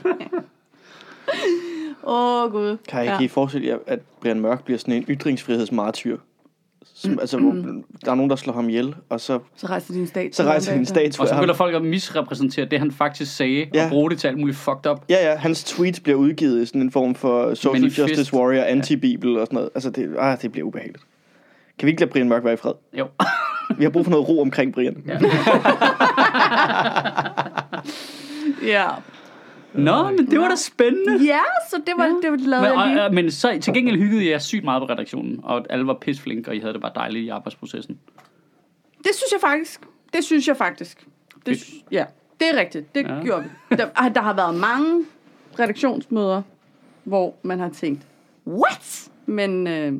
D: Åh, oh, Gud.
C: Kan jeg ikke
D: ja.
C: ja. forestille jer, at Brian Mørk bliver sådan en ytringsfrihedsmartyr? Som, altså, hvor, der er nogen, der slår ham ihjel, og så,
D: Så rejser din stat.
C: så rejser han en statue
A: og så
C: af ham.
A: begynder folk at misrepræsentere det, han faktisk sagde, ja.
C: Ja.
A: og bruge det til alt muligt fucked up.
C: Ja, ja, hans tweets bliver udgivet i sådan en form for social
A: Manifest.
C: Manifest. justice warrior, anti-bibel og sådan noget. Altså, det, ah, det bliver ubehageligt. Kan vi ikke lade Brian Mørk være i fred?
A: Jo.
C: Vi har brug for noget ro omkring Brian. Ja.
D: Ja.
A: Nå, men det var da spændende.
D: Ja, så det var det, var lavede
A: Men,
D: jeg
A: og,
D: lige.
A: og, men så til gengæld hyggede jeg sygt meget på redaktionen, og alle var pissflinke, og I havde det bare dejligt i arbejdsprocessen.
D: Det synes jeg faktisk. Det synes jeg faktisk. Det,
A: Fedt.
D: sy- ja, det er rigtigt. Det
A: Ja.
D: ja. gjorde vi. Der, ah, der har været mange redaktionsmøder, hvor man har tænkt, what? Men øh, jeg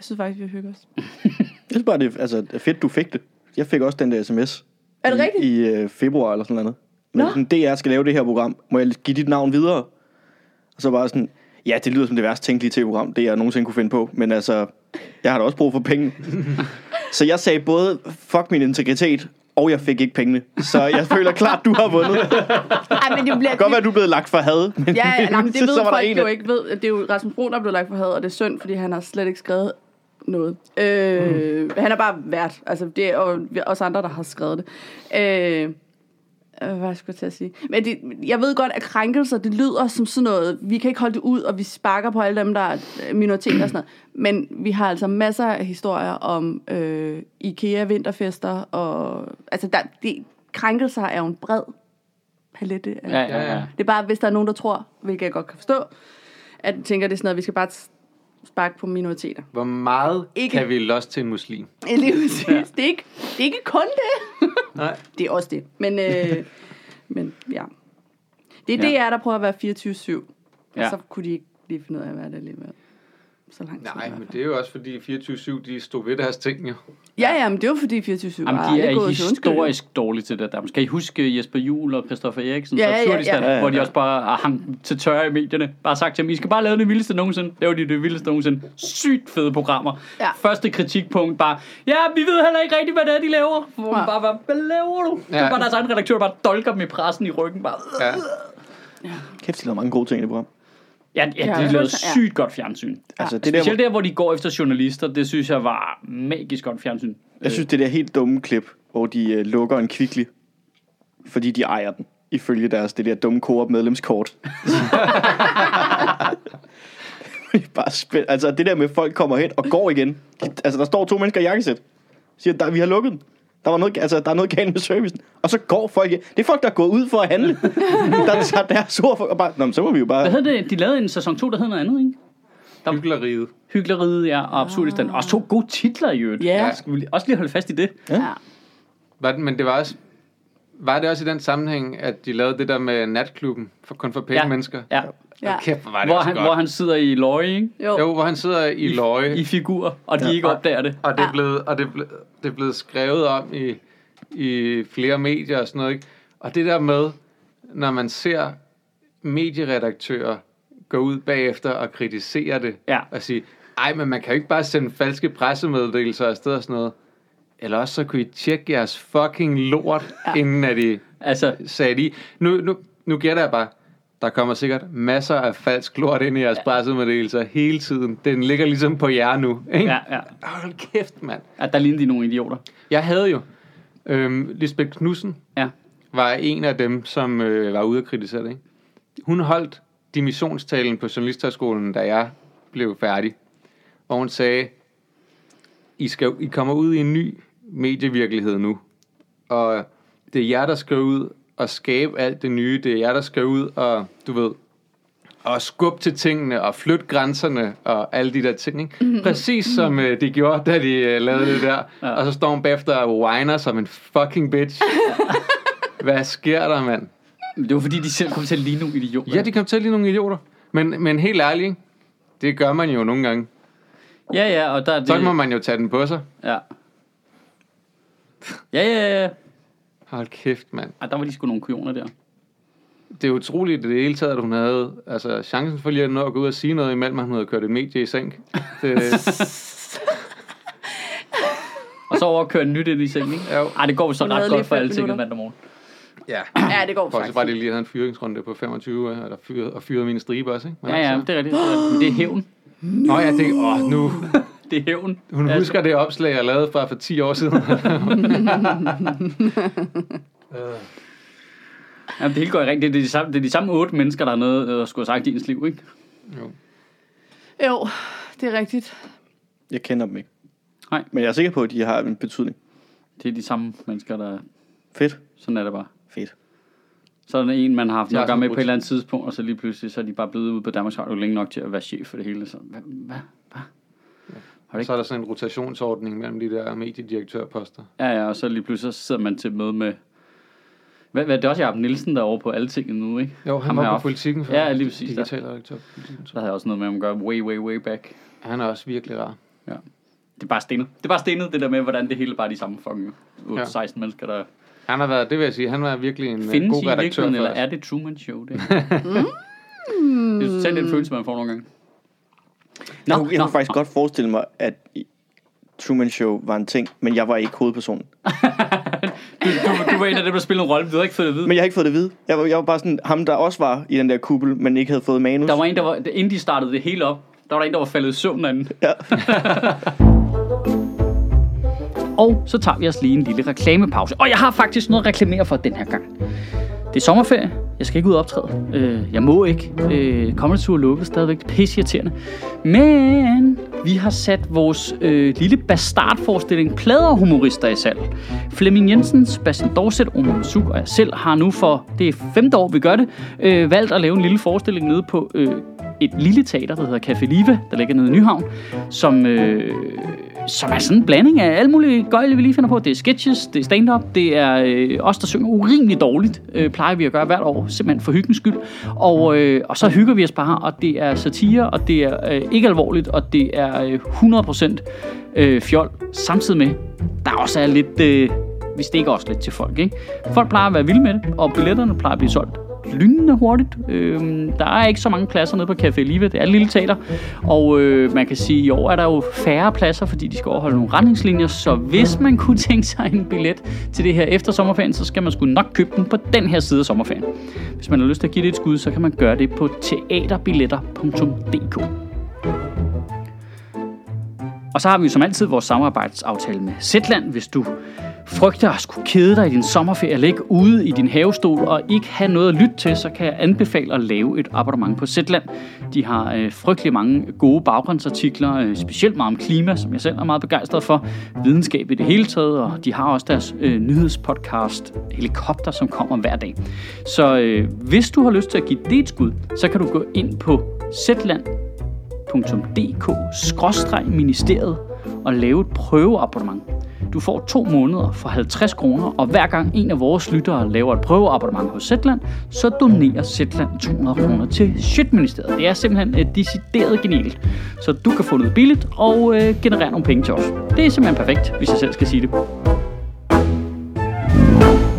D: synes faktisk, vi hygger os.
C: Jeg synes bare, det er altså, det er fedt, du fik det. Jeg fik også den der sms.
D: Er det
C: i,
D: rigtigt?
C: I øh, februar eller sådan noget. Men
D: Nå.
C: sådan, DR skal lave det her program. Må jeg give dit navn videre? Og så bare sådan, ja, det lyder som det værst tænkelige tv-program, det jeg nogensinde kunne finde på. Men altså, jeg har da også brug for penge. så jeg sagde både, fuck min integritet, og jeg fik ikke pengene. Så jeg føler klart, du har vundet. Det
D: Ej, men det bliver...
C: kan godt være, du er blevet lagt for had. Men
D: Ja, ja, nej, men det
C: så
D: ved
C: var der
D: folk
C: en,
D: jo
C: der-
D: ikke. Ved, at det er jo Rasmus Brun, der er blevet lagt for had, og det er synd, fordi han har slet ikke skrevet noget. Øh,
C: Mm.
D: Han er bare vært. Altså, det er og vi- os andre, der har skrevet det. Øh, øh, hvad skulle jeg til at sige? Men det, jeg ved godt, at krænkelser, det lyder som sådan noget, vi kan ikke holde det ud, og vi sparker på alle dem, der er øh, minoriteter og sådan noget. Men vi har altså masser af historier om øh, IKEA-vinterfester, og altså, der, det, krænkelser er jo en bred palette af
A: Ja, ja,
B: Ja,
A: ja.
B: ja.
D: det er bare, hvis der er nogen, der tror, hvilket jeg godt kan forstå, at de tænker, det er sådan noget, vi skal bare sparke på minoriteter.
B: Hvor meget
D: Ikke-
B: ikke. kan vi losse til en muslim?
D: Ja, Lige præcis. Ja. Det, er ikke, det er ikke kun det.
B: Nej.
D: Det er også det. Men, øh, men ja. Det er
A: Ja.
D: det, jeg er, der prøver at være 24-7. Ja.
A: Ja.
D: Og så kunne de ikke lige finde ud af at være det alligevel. Så langt
B: Nej, men det er jo også fordi 24-7, de stod ved deres ting jo.
D: Ja, ja, men det var fordi 24-7
A: Jamen,
D: aldrig
A: de er
D: gået til undskyldning.
A: historisk dårlige til det der. Kan I huske Jesper Juhl og Christoffer Eriksen
D: Ja,
A: ja,
D: ja, ja,
A: fra Kurdistan, ja, ja,
D: ja.
A: ja. hvor de også bare hang til tørre i medierne? Bare sagt til dem, I skal bare lave det vildeste nogensinde. Laver de det vildeste nogensinde. Sygt fede programmer.
D: Ja.
A: Første kritikpunkt bare, ja, vi ved heller ikke rigtigt, hvad det er, de laver. Hvor man
D: Ja.
A: bare, hvad, hvad laver du? Ja. Det
B: Ja.
A: er bare deres egen redaktør, der bare dolker dem i pressen i ryggen. Bare,
B: Ja.
C: Kæft, de lavede mange gode ting i det program.
A: ja, ja,
D: Ja,
A: ja, de lavede
D: ja.
A: sygt godt fjernsyn.
C: Altså, det der,
A: Specielt der, hvor de går efter journalister, det synes jeg var magisk godt fjernsyn.
C: Jeg synes, det der helt dumme klip, hvor de øh, lukker en kvikli, fordi de ejer den, ifølge deres det der dumme Coop medlemskort. Det er bare spænd. Altså det der med, at folk kommer hen og går igen. Altså der står to mennesker i jakkesæt. Siger, der, vi har lukket den. Der, var noget, altså, der er noget galt med servicen. Og så går folk igen. Det er folk, der er gået ud for at handle. der tager deres ord for, og bare, Nå, men så må vi jo bare...
A: Hvad hed det? De lavede en sæson 2, der hed noget andet, ikke?
B: Hygleriet.
A: Hygleriet, ja, og Absurdistan. Også to gode titler i øvrigt.
D: Ja.
A: Skal vi lige- også lige holde fast i det?
D: Ja.
B: Var den, men det var også... Var det også i den sammenhæng, at de lavede det der med natklubben, for, kun for pæne
A: Ja.
B: mennesker?
A: Ja.
D: ja.
B: Kæft, hvor var det
A: Hvor,
B: også
A: han,
B: godt.
A: hvor han sidder i løje, ikke?
D: Jo.
B: Jo, hvor han sidder i,
A: I-
B: løje.
A: I figur, og de ikke opdager det.
B: Og det
D: Ja.
B: er blevet, og det er blevet, det er blevet skrevet om i, i flere medier og sådan noget. Ikke? Og det der med, når man ser medieredaktører gå ud bagefter og kritisere det,
A: Ja.
B: og sige, ej, men man kan jo ikke bare sende falske pressemeddelelser afsted og sådan noget. Eller også så kunne I tjekke jeres fucking lort, ja. inden at I
A: Altså,
B: sagde de. Nu, nu, nu gætter jeg bare. Der kommer sikkert masser af falsk lort ind i jeres pressemeddelelser hele tiden. Den ligger ligesom på jer nu. Ikke?
A: ja, ja.
B: Hold kæft, mand.
A: At der lignede de nogle idioter.
B: Jeg havde jo... Øhm, Lisbeth Knudsen
A: Ja.
B: var en af dem, som øh, var ude og kritisere det. Ikke? Hun holdt dimissionstalen på Journalisthøjskolen, da jeg blev færdig. Og hun sagde, I, skal, I kommer ud i en ny medievirkelighed nu. Og det er jer, der skal ud og skabe alt det nye. Det er jer, der skal ud og, du ved, at skubbe til tingene og flytte grænserne og alle de der ting. Ikke? Præcis som øh, de gjorde, da de øh, lavede det der. Ja. Og så står hun bagefter og whiner som en fucking bitch. Hvad sker der, mand?
A: Men det var fordi, de selv kom til at ligne nogle idioter.
B: Ja, de kom til lige nogle idioter. Men, men helt ærligt, ikke? det gør man jo nogle gange.
A: ja, ja, og der er det...
B: Så må man jo tage den på sig.
A: Ja. Ja, ja, ja.
B: Hold kæft, mand.
A: Ej, der var de sgu nogle kujoner der.
B: Det er utroligt i det hele taget, at hun havde altså, chancen for lige at nå at gå ud og sige noget, imellem han havde kørt et medie i seng. Det,
A: Og så over at køre nyt ind i sengen, ikke?
B: Jo.
A: Ej, det går jo så
D: Hun havde
A: ret godt
D: lige
A: for
D: fem
A: alle ting
D: minutter.
A: mandag morgen.
B: ja.
D: Ja, det går
B: Bortset
D: faktisk.
B: fra, at de lige havde en fyringsrunde på 25, øh, eller fyret, og fyrede mine striber også, ikke? Men
A: Ja, ja,
B: altså-
A: det er rigtigt. Det er rigtigt. Men det er hævn.
B: Nå ja, det, åh, nu,
A: Det er hævn.
B: hun
A: Ja,
B: husker det opslag, jeg lavede fra for 10 år siden.
A: Jamen, det hele går i ring. Det er de samme, det er de samme otte mennesker, der er noget, der skulle have sagt i ens liv, ikke?
D: Jo, det er rigtigt.
C: Jeg kender dem ikke.
A: Nej.
C: Men jeg er sikker på, at de har en betydning.
A: Det er de samme mennesker, der...
C: Fedt.
A: Sådan er det bare.
C: Fedt.
A: Så er der en, man har haft
B: Jeg er
A: nok gang med
B: sådan
A: på et eller andet tidspunkt, og så lige pludselig, så er de bare blevet ude på Danmarks Radio længe nok til at være chef for det hele. Så, hvad? Hvad? Hva? Har det ikke?
B: så er der sådan en rotationsordning mellem de der mediedirektørposter.
A: Ja, ja, og så lige pludselig, så sidder man til et møde med... Hvad, hvad det er også Jacob Nielsen, der er over på alle tingene nu, ikke?
B: Jo, han
A: Ham
B: var på
A: heroppe.
B: politikken før.
A: Ja, lige præcis. Der,
B: Digital redaktør på Politiken, tror
A: der havde jeg også noget med, at man gør way, way, way back.
B: jeg. Han er også virkelig rar.
A: Det er bare stenet. Det er bare stenet, det der med, hvordan det hele bare er de samme fucking
B: Ja.
A: 8-16 mennesker, der
B: Han har været, det vil jeg sige, han var virkelig en øh,
A: findes
B: god
A: i
B: redaktør
A: virkeligheden,
B: for
A: eller
B: os.
A: er det Truman Show, det? mm. Det er totalt den følelse, man får nogle gange.
C: Nå, jeg kunne, jeg kunne faktisk godt forestille mig, at i- Truman Show var en ting, men jeg var ikke hovedpersonen.
A: Du, du, du var en af dem, der spillede en rolle, men du havde ikke fået det at vide.
C: Men jeg har ikke fået det at vide. Jeg var, jeg var bare sådan ham, der også var i den der kuppel, men ikke havde fået manus.
A: Der var en, der var, inden de startede det hele op, der var der en, der var faldet i søvn anden.
C: Ja.
A: Og så tager vi os lige en lille reklamepause. Og jeg har faktisk noget at reklamere for den her gang. Det er sommerferie. Jeg skal ikke ud og optræde. Øh, jeg må ikke. Øh, Comedy Tour er lukket stadigvæk. Det er pisseirriterende. Men vi har sat vores øh, lille bastardforestilling Pladerhumorister i salg. Flemming Jensen, Sebastian Dorset, Ono Masuk og jeg selv har nu for det er femte år, vi gør det, øh, valgt at lave en lille forestilling nede på øh, et lille teater, der hedder Café Live, der ligger nede i Nyhavn, som... Øh, som er sådan en blanding af alle mulige gøjle, vi lige finder på. Det er sketches, det er stand-up, det er øh, os, der synger urimelig dårligt, øh, plejer vi at gøre hvert år, simpelthen for hyggens skyld. Og, øh, og så hygger vi os bare, og det er satire, og det er øh, ikke alvorligt, og det er øh, 100% øh, fjol, samtidig med, der også er lidt... Øh, vi stikker også lidt til folk, ikke? Folk plejer at være vilde med det, og billetterne plejer at blive solgt lynende hurtigt. Øhm, der er ikke så mange pladser nede på Café Live. Det er et lille teater. Og øh, man kan sige, at i år er der jo færre pladser, fordi de skal overholde nogle retningslinjer. Så hvis man kunne tænke sig en billet til det her efter sommerferien, så skal man sgu nok købe den på den her side af sommerferien. Hvis man har lyst til at give det et skud, så kan man gøre det på teaterbilletter.dk. Og så har vi jo som altid vores samarbejdsaftale med Zetland. Hvis du frygter at skulle kede dig i din sommerferie, ligge ude i din havestol og ikke have noget at lytte til, så kan jeg anbefale at lave et abonnement på Zetland. De har øh, frygtelig mange gode baggrundsartikler, øh, specielt meget om klima, som jeg selv er meget begejstret for, videnskab i det hele taget, og de har også deres øh, nyhedspodcast Helikopter, som kommer hver dag. Så øh, hvis du har lyst til at give det et skud, så kan du gå ind på Zetland dk-ministeriet og lave et prøveabonnement. Du får to måneder for 50 kroner, og hver gang en af vores lyttere laver et prøveabonnement hos Zetland, så donerer Zetland 200 kroner til Shitministeriet. Det er simpelthen øh, decideret genialt. Så du kan få noget billigt og øh, generere nogle penge til os. Det er simpelthen perfekt, hvis jeg selv skal sige det.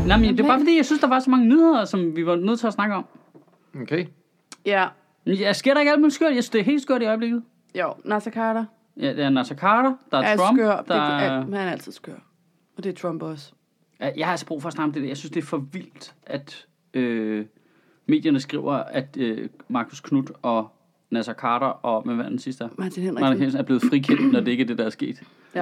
A: Nej, men det er bare fordi, jeg synes, der var så mange nyheder, som vi var nødt til at snakke om.
B: Okay.
D: Ja,
A: Men Jeg sker der ikke alt muligt skørt. Jeg synes, det er helt skørt i øjeblikket.
D: jo. Nasser Carter
A: Ja, der er Nasser Carter, der er,
D: er
A: Trump,
D: skør.
A: der
D: Det, er,
A: er...
D: han er altid skør. Og det er Trump også.
A: Ja, Jeg har altså brug for at snakke om det der. Jeg synes, det er for vildt, at øh, medierne skriver, at øh, Markus Knudt og Nasser Carter og... Hvad var den sidste? der? Martin
D: Martin Henriksen.
A: Henriksen er blevet frikendt, når det ikke er det, der er sket.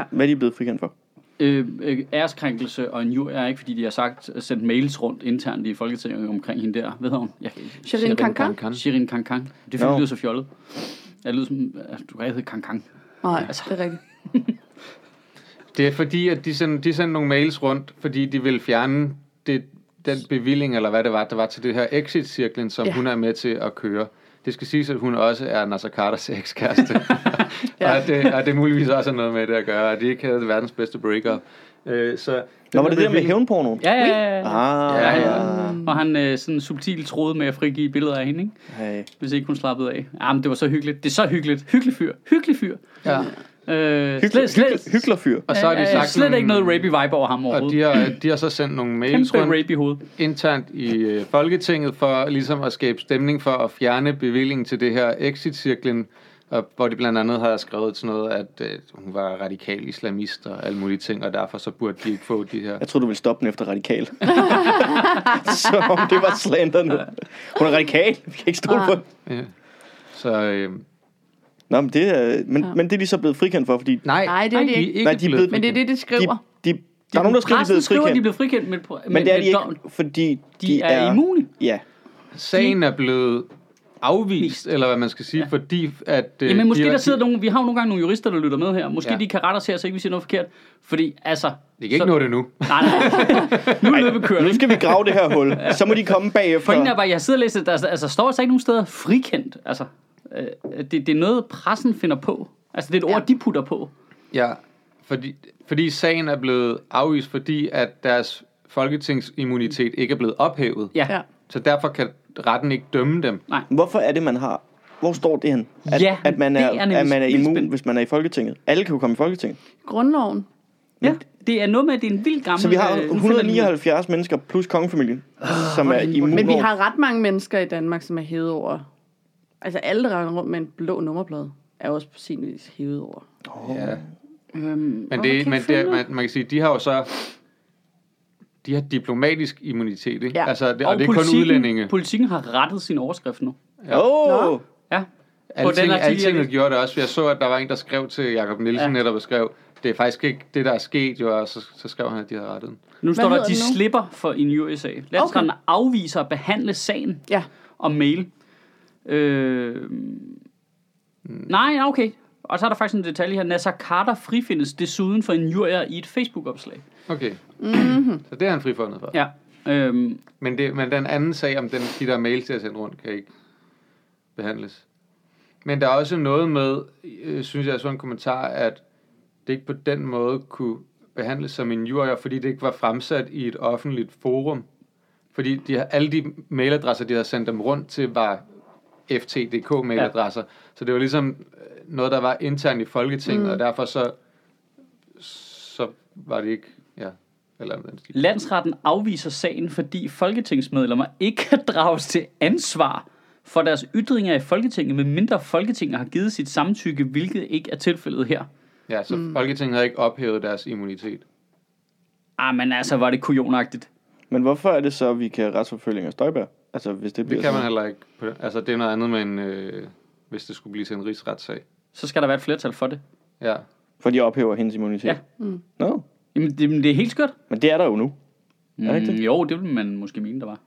C: Hvad er de blevet frikendt for?
A: Øh, øh, æreskrænkelse og en jur er ikke, fordi de har sagt, sendt mails rundt internt i Folketinget omkring hende der. Hvad hedder hun? Jeg, kan ikke-
D: Shirin Kankan?
B: Kankan.
A: Shirin Kankan. Det er fordi,
C: Nå.
A: det lyder så fjollet. Jeg lyder som... Altså, du kan ikke hedde Kankan.
D: Nej,
A: Altså.
D: det er rigtigt.
B: Det er fordi, at de sendte, de sendte nogle mails rundt, fordi de ville fjerne det, den bevilling, eller hvad det var, der var til det her exit-cirklen, som
D: Ja.
B: ja. hun er med til at køre. Det skal siges, at hun også er Nasser Carters ekskæreste. ja. og, det, og det muligvis også har noget med det at gøre, og de ikke havde verdens bedste break-up. Øh, så
C: Nå, var det det der med hævnporno?
A: Ja, ja, ja. ja.
C: Ah,
B: Ja, ja.
A: Og han øh, sådan subtilt troede med at frigive billeder af hende, ikke?
C: Hey.
A: hvis ikke hun slappede af. Jamen, det var så hyggeligt. Det er så hyggeligt. Hyggelig fyr. Hyggelig fyr.
B: Ja.
A: Øh,
C: Hyggelig,
A: slet, slet,
C: hyggelig, hyggelig
B: Og så har de sagt
A: slet ikke noget
B: nogle-
A: rapey vibe over ham
B: Og
A: overhovedet.
B: de har, de har så sendt nogle mails
A: Kæmpe
B: rundt
A: rapey hoved.
B: internt i øh, Folketinget for ligesom at skabe stemning for at fjerne bevillingen til det her exit-cirklen, og hvor de blandt andet har skrevet sådan noget, at øh, hun var radikal islamist og alle mulige ting, og derfor så burde de ikke få de her.
C: Jeg tror du ville stoppe den efter radikal. så om det var slander nu. Hun er radikal. Vi kan ikke stole på det.
B: Ja. Så øh,
C: Nå, men det er, men, men det er de så blevet frikendt for, fordi
B: nej,
D: Nej, det er de ikke.
B: ikke
C: Nej, de er blevet-
D: Men det er det, de
C: de,
D: skriver.
C: de, der er nogen, der skriver, de er
A: Pressen
C: blevet
A: skriver, de er
C: frikendt.
A: blevet frikendt, men, men,
C: Men det er de
A: dom-
C: ikke, fordi de,
A: de er immune.
C: Ja,
B: Sagen er blevet afvist, eller hvad man skal sige, ja. fordi at... Øh,
A: Jamen måske
B: de har-
A: der sidder nogen, vi har jo nogle gange nogle jurister, der lytter med her. Måske
B: Ja.
A: ja. de kan rette os her, så ikke vi siger noget forkert. Fordi altså...
B: De kan ikke nå det nu.
A: Nej, nej. nu er løbet kørt.
C: nu skal vi grave det her hul. Så må de komme bagefter.
A: Pointen er bare, jeg sidder og læser, der altså, altså, står altså ikke nogen steder frikendt. Altså, øh, det, det er noget, pressen finder på. Altså, det er et ord, de putter på.
B: Ja, fordi, fordi sagen er blevet afvist, fordi at deres folketingsimmunitet ikke er blevet ophævet.
A: Ja.
D: Ja.
A: ja.
B: Så derfor kan retten ikke dømme dem.
C: Hvorfor er det, man har... Hvor står det hen? At,
A: Ja,
C: at man
A: det
C: er,
A: er nemlig
C: at man er immun,
A: spændende.
C: hvis man er i Folketinget. Alle kan jo komme i Folketinget.
D: Grundloven.
A: ja. Det er noget med, at det er en vild gammel...
C: Så vi har
A: øh, nu finder de-
C: 179 mennesker plus kongefamilien, som er immun.
D: Men vi har ret mange mennesker i Danmark, som er hævet over. Altså alle, der render rundt med en blå nummerplade, er også på sin vis hævet over.
B: Ja.
A: Øhm,
B: Men,
D: kan
B: det,
D: jeg
B: men det,
D: følge?
B: man, man kan sige, de har jo så... De har diplomatisk immunitet, ikke?
D: Ja.
B: Altså, det, og,
A: og,
B: og det er kun udlændinge.
A: Politikken har rettet sin overskrift nu.
C: Åh! Oh,
A: Ja.
B: Alting,
A: artikel, jeg
B: alting
A: læste.
B: gjorde det også. Jeg så, at der var en, der skrev til Jacob Nielsen
A: Ja.
B: ja. netop og skrev, det er faktisk ikke det, der er sket, jo, og så, så skrev han, at de havde rettet den.
A: Nu står der,
D: hedder
A: at de
D: den nu?
A: slipper for en USA. Landsretten okay. afviser at behandle sagen
D: Ja.
A: om mail. Øh, nej, okay. Og så er der faktisk en detalje her. Nasser Carter frifindes desuden for en jurier i et Facebook-opslag.
B: Okay.
D: Mhm.
B: Så det er han frifundet for.
A: Ja. Øhm,
B: Men, det, men den anden sag om den, de der mails, jeg har sendt rundt, kan ikke behandles. Men der er også noget med, øh, synes jeg, så en kommentar, at det ikke på den måde kunne behandles som en jurier, fordi det ikke var fremsat i et offentligt forum. Fordi de, har- alle de mailadresser, de havde sendt dem rundt til, var FTDK-mailadresser. Så det var ligesom øh, noget, der var internt i Folketinget, mm. og derfor så, så var det ikke... Ja, eller den stil.
A: Landsretten afviser sagen, fordi folketingsmedlemmer ikke kan drages til ansvar for deres ytringer i Folketinget, medmindre Folketinget har givet sit samtykke, hvilket ikke er tilfældet her.
B: Ja, så mm. Folketinget havde ikke ophævet deres immunitet.
A: Ah, men altså, var det kujonagtigt.
C: Men hvorfor er det så, at vi kan retsforfølge af Støjberg? Altså, hvis det bliver
B: Det kan man
C: sådan-
B: heller ikke. på den- Altså, det er noget andet med en, øh, hvis det skulle blive til en rigsretssag.
A: Så skal der være et flertal for det.
B: Ja.
C: For de ophæver hendes immunitet.
A: Ja.
C: Mm. No.
A: Jamen, det, men det er helt skørt.
C: Men det er der jo nu. Er det ikke
A: Mm,
C: det?
A: jo, det ville man måske mene, der var.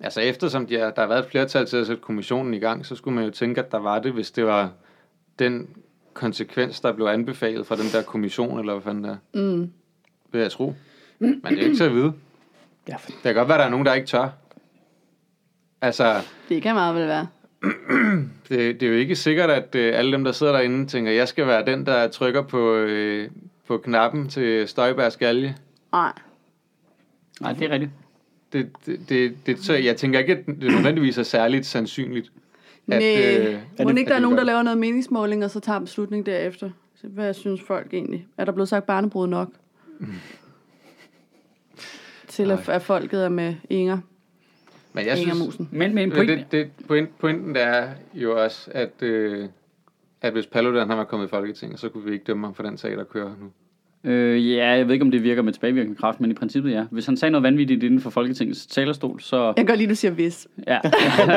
B: Altså, eftersom de er, der har været et flertal til at sætte kommissionen i gang, så skulle man jo tænke, at der var det, hvis det var den konsekvens, der blev anbefalet fra den der kommission, eller hvad fanden der. Mm. Vil jeg tro. Men det er jo ikke til at vide.
C: Ja, for...
B: Det kan godt være, at der er nogen, der ikke tør. Altså,
D: Det kan meget vel være.
B: det, det er jo ikke sikkert, at øh, alle dem, der sidder derinde, tænker, jeg skal være den, der trykker på, øh, på knappen til Støjbergs galge.
D: Nej.
A: Nej, det er rigtigt.
B: det, det, det, det, så jeg tænker ikke, at det nødvendigvis er særligt sandsynligt. At, øh,
D: Næh, må
B: at-
D: ikke der er
B: at-
D: nogen, der laver noget meningsmåling, og så tager beslutning derefter? Så Hvad synes folk egentlig? Er der blevet sagt barnebrud nok? Mm. Til at, at folket er med Inger,
B: Men jeg
D: Inger
B: synes,
D: Musen.
A: Men, men
B: det,
A: pointen,
B: det, det, point, pointen der er jo også, at, øh, at hvis Paludan han var kommet i Folketinget, så kunne vi ikke dømme ham for den sag, der kører nu.
A: Øh, ja, jeg ved ikke, om det virker med tilbagevirkende kraft, men i princippet ja. Hvis han sagde noget vanvittigt inden for Folketingets talerstol, så...
D: Jeg går lige, du siger hvis.
A: Ja,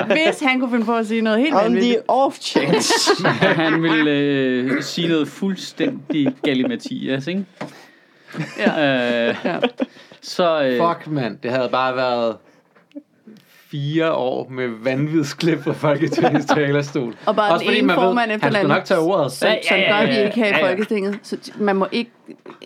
D: Hvis han kunne finde på at sige noget helt
C: On
D: vanvittigt.
C: the off chance.
A: han ville øh, sige noget fuldstændig galimatias, ikke?
D: Ja.
A: Øh,
D: Ja.
A: så... Øh,
B: Fuck, mand. Det havde bare været fire år med vanvidsklip fra Folketingets talerstol.
D: Og bare den ene formand efter
B: han skulle
D: den
B: nok tage ordet.
D: Som, ja, ja, ja, ja, som gør vi ikke her
A: ja,
D: i
A: ja.
D: Folketinget. Så man må ikke,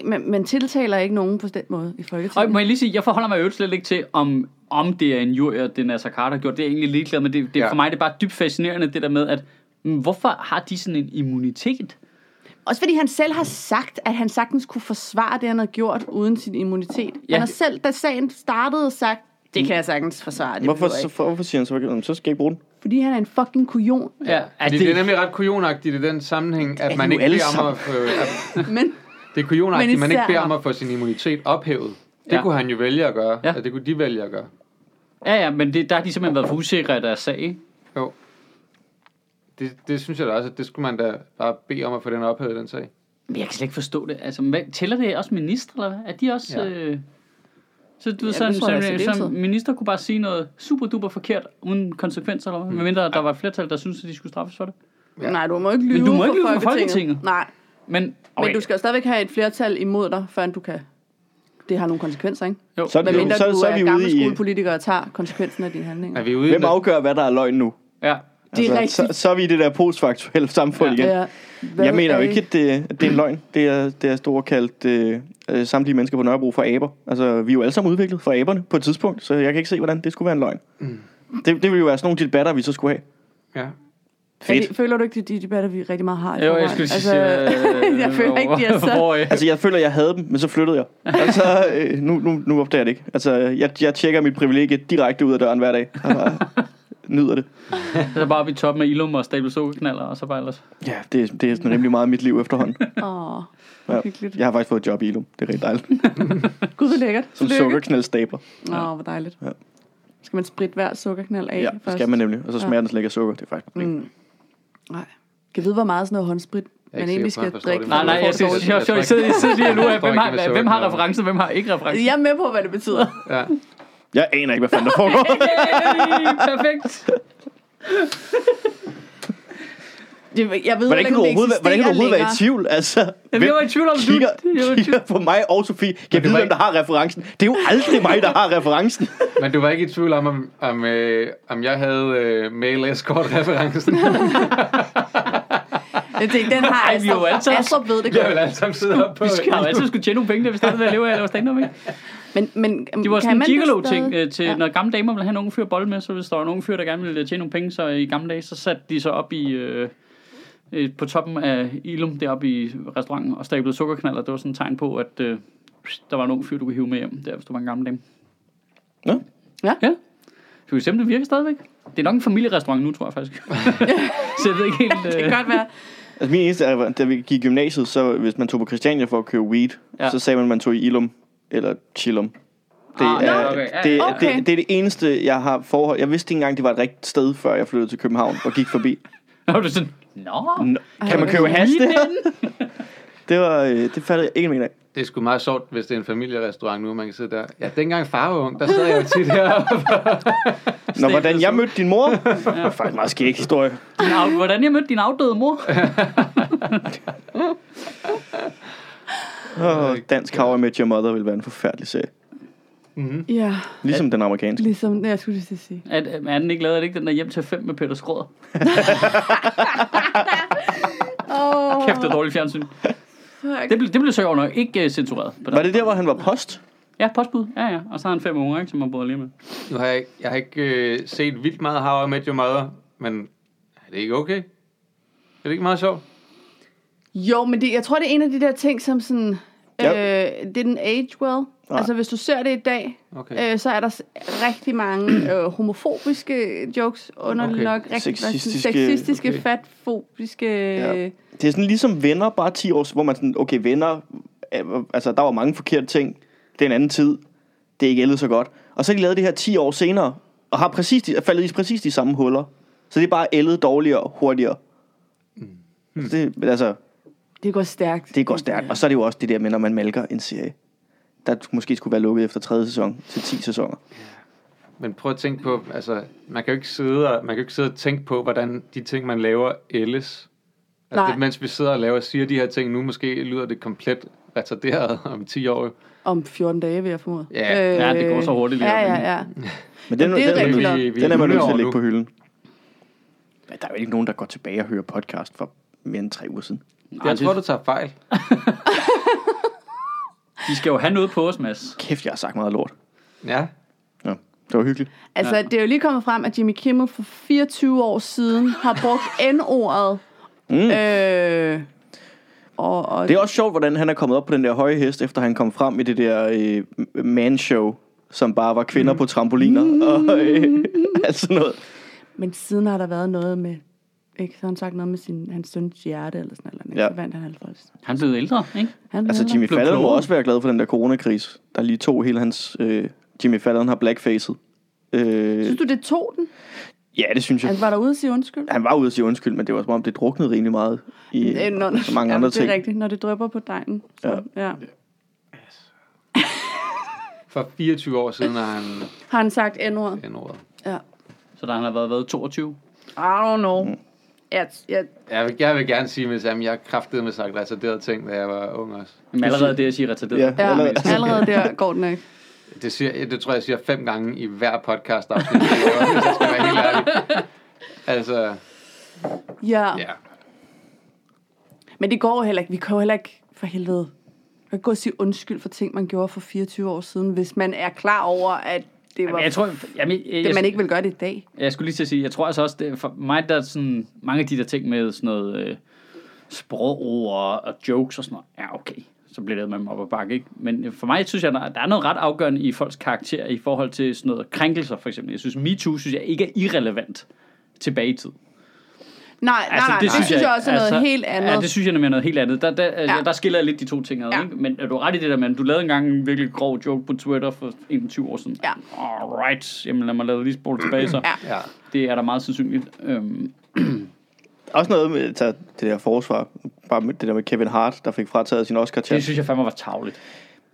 D: man, man tiltaler ikke nogen på den måde i
A: Og
D: Folketinget.
A: må jeg lige sige, jeg forholder mig jo slet ikke til, om, om det er en jurier, det Nasser Carter har gjort. Det er jeg egentlig ligeglad med. Det, det,
B: Ja.
A: For mig det er bare dybt fascinerende, det der med, at mm, hvorfor har de sådan en immunitet?
D: Også fordi han selv har sagt, at han sagtens kunne forsvare det, han havde gjort uden sin immunitet. Ja.
A: Ja.
D: Han har selv, da sagen startede, sagt, det kan jeg sagtens forsvare. Det
C: Hvorfor,
D: behøver jeg
C: så,
D: ikke."
C: for, hvorfor siger han så ikke, "Jamen, så skal jeg ikke bruge den?
D: Fordi han er en fucking kujon.
A: Ja, at
B: Fordi
A: det,
B: det er nemlig ret kujonagtigt i den sammenhæng, at
C: de
B: man
C: jo
B: ikke
C: alle
B: beder om at, få- at
D: Men
B: det er kujonagtigt,
D: Men
B: man ikke
D: især
B: beder om
D: ham.
B: at få sin immunitet ophævet. Det
A: Ja.
B: kunne han jo vælge at gøre.
A: Ja.
B: Ja. Det kunne de vælge at gøre.
A: ja, ja, men det, der har de simpelthen været for usikre af deres sag. ikke?
B: Jo. Det, det synes jeg da også, at det skulle man da bare bede om at få den ophævet, den sag.
A: Men jeg kan slet ikke forstå det. Altså, hvad, tæller det også minister, eller hvad? Er de også...
B: Ja.
A: Ja. Øh, så du ved,
D: det
A: sådan,
D: tror jeg,
A: sådan,
D: altså, det er
A: sådan, minister kunne bare sige noget super duper forkert, uden konsekvenser,
D: Mm.
A: eller hvad? Medmindre der var et flertal, der syntes, at de skulle straffes for det.
B: Ja.
D: ja. nej, du må ikke lyve,
A: du må
D: for
A: ikke lyve for Folketinget.
D: Nej,
A: Men,
D: men du skal jo stadigvæk have et flertal imod dig, før du kan. Det har nogle konsekvenser, ikke?
A: Jo.
C: Så er
D: Hvad
C: det jo-
D: mindre
C: så,
D: du
C: så
D: er,
C: er vi
D: gammel
C: ude i...
D: skolepolitiker og tager konsekvensen af dine handlinger.
B: Er vi ude i
C: Hvem
B: noget-
C: afgør, hvad der er løgn nu?
A: Ja.
D: Det er
C: Altså, så,
D: rigtigt.
C: så er vi i det der postfaktuelle samfund igen.
D: Ja. Hvad øh,
C: Jeg mener
D: er
C: jo ikke, at det, at det er en løgn. Det er, det er stort kaldt øh, øh, samtlige mennesker på Nørrebro for aber. Altså, vi er jo alle sammen udviklet for aberne på et tidspunkt, så jeg kan ikke se, hvordan det skulle være en løgn. Mm. Det, det ville jo være sådan nogle debatter, vi så skulle have.
B: Ja.
D: Er
C: Fedt.
D: det, føler du ikke, det er de debatter, vi rigtig meget har? i
A: Jo, jeg
D: forvejen?
A: skulle lige
D: altså,
A: sige... øh,
D: jeg føler ikke, de er så...
A: hvor, øh,
C: Altså, jeg føler, jeg havde dem, men så flyttede jeg. Altså, øh, nu, nu, nu opdager jeg det ikke. Altså, jeg, jeg tjekker mit privilegie direkte ud af døren hver dag. Og bare nyder det.
A: Så bare vi toppen af Ilum og Stabel Sokkeknaller, og så bare ellers.
C: Ja, det, det er sådan rimelig meget mit liv efterhånden.
D: Åh,
C: Ja.
D: hyggeligt.
C: Jeg har faktisk fået et job i Ilum. Det er rigtig dejligt.
D: Gud, hvor lækkert.
C: Som
D: Tillykke.
C: sukkerknældstabler.
D: Åh, hvor dejligt.
C: Ja.
D: Skal man spritte hver sukkerknald af
C: Ja, det
D: først?
C: skal man nemlig. Og så smager den slet ikke af sukker. Det er faktisk et problem.
D: Mm. Nej. Kan vide, hvor meget sådan noget håndsprit, man
B: ikke
D: egentlig
B: sikker på,
D: skal
B: at jeg forstår
D: drikke?
B: det,
D: for
A: Nej, nej,
D: at få
A: jeg
D: det dårligt?
A: synes, jeg sidder, jeg sidder, jeg sidder lige nu af, hvem har, hvem har referencen, hvem har ikke referencen.
D: Jeg er med på, hvad det betyder.
B: ja.
C: Jeg aner ikke, hvad fanden der foregår.
A: Yay, Perfekt.
D: Det, jeg ved
C: Hvordan kan
D: ikke,
C: du
D: om det
C: overhovedet, hvordan kan du overhovedet være i
D: eksisterer
C: tvivl? Altså,
A: Jamen, jeg var i tvivl om, du...
C: kigger,
A: jeg var i tvivl.
C: kigger på mig og Sofie? Kan jeg
B: det
C: vide,
B: var
C: hvem
B: ikke-
C: der har referencen? Det er jo aldrig mig, der har referencen.
B: Men du var ikke i tvivl om, om, om, øh, om jeg havde øh, mail escort-referencen.
D: længere. Det, den har
A: Ej, vi er jo alle
D: Astrup.
A: sammen-
D: Astrup ved det
B: jeg vil
D: godt.
B: alle sammen sidde op på.
A: Vi skal jo altid skulle tjene nogle penge, da vi startede med at leve af at lave stand-up, ikke?
D: Men, men
A: Det var
D: kan
A: sådan en
D: man det
A: gigolo-ting,
D: stadig?
A: øh, til,
D: Ja.
A: når gamle damer ville have en unge fyr at bolle med, så hvis der var en unge fyr, der gerne ville øh, tjene nogle penge, så i gamle dage, så satte de sig op i... Øh, øh, på toppen af Ilum, deroppe i restauranten, og stablede sukkerknaller. Det var sådan et tegn på, at øh, der var en ung fyr, du kunne hive med hjem, der, hvis du var en gammel dame.
C: Nå?
A: Ja. Du kan simpelthen virker stadigvæk. Det er nok en familierestaurant nu, tror jeg faktisk. så jeg ved ikke helt... Øh...
D: Det kan godt være.
C: Altså, min eneste er, da vi gik i gymnasiet, så hvis man tog på Christiania for at købe weed,
A: Ja.
C: ja. så sagde man, at man tog i Ilum eller Chillum. Det,
A: Ah,
C: er,
A: nå, okay. Ja,
C: det,
A: ja, ja.
C: det, det, det er det eneste, jeg har forhold. Jeg vidste ikke engang, det var et rigtigt sted, før jeg flyttede til København og gik forbi.
A: Nå, du er sådan... Nå,
C: Nå, kan man
D: hvor
C: købe hash
A: lige
C: det?
A: den.
C: Det, var, øh, det fattede jeg ikke en af.
B: Det er sgu meget sjovt, hvis det er en familierestaurant nu, man kan sidde der. Ja, dengang far var ung, der sad jeg jo tit heroppe.
C: Nå, hvordan jeg mødte din mor? Det var faktisk en meget skæg historie.
A: Din af, hvordan jeg mødte din afdøde mor.
C: Oh, dansk How I Met Your Mother ville være en forfærdelig serie.
D: Ja,
C: Ligesom den amerikanske.
D: ligesom jeg skulle lige til at sige.
A: At, øh, er den ikke lavet, er det ikke den der hjem til 5 med Peter Skrøder?
D: Åh,
A: Kæft, det er dårligt fjernsyn. Det blev, det blev sjovt nok ikke uh, censureret. På den.
C: Var det der, hvor han var post?
A: Ja, postbud. Ja, ja. Og så har han fem unger, ikke, som han boede lige med.
B: Nu har jeg, ikke- jeg har ikke øh, set vildt meget How I Met Your Mother, men er det ikke okay? Er det ikke meget sjovt?
D: Jo, men det, jeg tror, det er en af de der ting, som sådan...
C: Ja.
D: Øh, det er den age well.
C: Nej.
D: Altså, hvis du ser det i dag,
B: Okay.
D: øh, så er der s- rigtig mange øh, homofobiske jokes, underligt
B: Okay.
D: nok. Rigtig,
C: Sexistiske-
D: sexistiske
B: okay.
D: okay. fatfobiske...
C: Ja.
D: Ja.
C: Det er sådan ligesom venner, bare 10 år, hvor man sådan, okay, venner, øh, altså der var mange forkerte ting, det er en anden tid, det er ikke ældet så godt. Og så har de lavet det her 10 år senere, og har præcis de, er faldet i præcis de samme huller. Så det er bare ældet dårligere, hurtigere. Mm. Det, men altså,
D: Det går stærkt.
C: det går stærkt. Og så er det jo også det der med, når man malker en serie, der måske skulle være lukket efter tredje sæson til 10 sæsoner.
B: Men prøv at tænke på, altså, man kan jo ikke sidde og, man kan jo ikke sidde og tænke på, hvordan de ting, man laver, ældes. Altså,
D: Nej.
B: det, mens vi sidder og laver og siger de her ting nu, måske lyder det komplet retarderet om 10 år. jo.
D: Om 14 dage, vil jeg formode.
B: Ja.
A: Ja, det går så hurtigt lige
D: Ja,
A: om
D: ja,
A: lidt.
D: ja.
C: Men den,
D: Men det er
C: den,
D: rigtigt
C: den,
D: nok.
B: Vi- vi
C: den er man nødt
B: hundrede
C: til
B: år
C: at lægge
B: nu.
C: på hylden. Men der er jo ikke nogen, der går tilbage og hører podcast for mere end tre uger siden.
B: Jeg tror, du tager fejl.
A: De skal jo have noget på os, Mads.
C: Kæft, jeg har sagt meget lort.
B: Ja.
C: Ja, det var hyggeligt.
D: Altså, det er jo lige kommet frem, at Jimmy Kimmel for 24 år siden har brugt N-ordet. Mm. Øh, og, og
C: Det er også sjovt, hvordan han er kommet op på den der høje hest, efter han kom frem i det der øh, man-show, som bare var kvinder mm. på trampoliner og øh, alt sådan noget.
D: Men siden har der været noget med... Ikke, så har han sagt noget med sin, hans søns hjerte eller sådan noget. Ja.
C: Ja.
D: Så vandt han halvfrost.
A: Han blev ældre, ikke?
D: Han
C: Altså,
D: vinder.
C: Jimmy
A: Blev
C: Fallon må
A: klogere.
C: også være glad for den der coronakrise, der lige tog hele hans... Øh, Jimmy Fallon har blackfacet. Øh,
D: Synes du, Altså- det tog den?
C: ja, det synes jeg.
D: Han var derude og sige undskyld?
C: Han var ude at sige undskyld, men det var som om, det druknede rimelig meget i
D: Øh,
C: øh,
D: når,
C: så mange andre
D: ja,
C: ting.
D: Det er rigtigt, når det drøber på dejen. Så, ja. ja.
B: For 24 år siden har han
D: Har han sagt N-ordet?
B: den ordet.
D: Ja.
A: Så der han har været, været 22.
D: I don't know. Mm. Jeg, jeg,
B: Jeg vil, jeg vil gerne sige, med det samme, jeg kraftede med sagt retarderet ting, da jeg var ung også.
A: Men allerede det, jeg siger retarderet.
C: Ja.
D: ja,
C: Allerede-
D: allerede der går den ikke.
B: Det, siger, det tror jeg, jeg siger fem gange i hver podcast afsnit, hvis jeg skal være helt ærlig. Altså,
D: Ja.
B: ja.
D: Men det går jo heller ikke. Vi kan jo heller ikke for helvede. Man kan ikke gå og sige undskyld for ting, man gjorde for 24 år siden, hvis man er klar over, at det var...
A: Jamen, jeg tror, jamen, jeg, jeg,
D: det, man
A: jeg,
D: ikke vil gøre det i dag.
A: jeg, skulle lige til at sige, jeg tror altså også, det, for mig der er sådan, mange af de der ting med sådan noget øh, sprogord og, og jokes og sådan noget, ja okay, så bliver det med op og bakke, ikke? Men øh, for mig synes jeg, der, der er noget ret afgørende i folks karakter i forhold til sådan noget krænkelser for eksempel. Jeg synes, MeToo synes jeg ikke er irrelevant tilbage i tid.
D: Nej, altså, nej, nej, det, synes, jeg, også er noget helt andet.
A: altså, Ja, det synes jeg nemlig er noget helt andet. Der, der,
D: Ja.
A: ja. der skiller jeg lidt de to ting ad.
D: Ja.
A: Ja. Ikke? Men er du ret i det der med, at du lavede engang en virkelig grov joke på Twitter for 21 år siden?
D: Ja.
A: Alright. Jamen lad mig lade lige spole tilbage så.
D: Ja.
B: ja.
A: Det er da meget sandsynligt. Øhm,
C: Også noget med altså, det der forsvar, bare med det der med Kevin Hart, der fik frataget sin oscar
A: det
C: til.
A: synes jeg fandme var tavligt.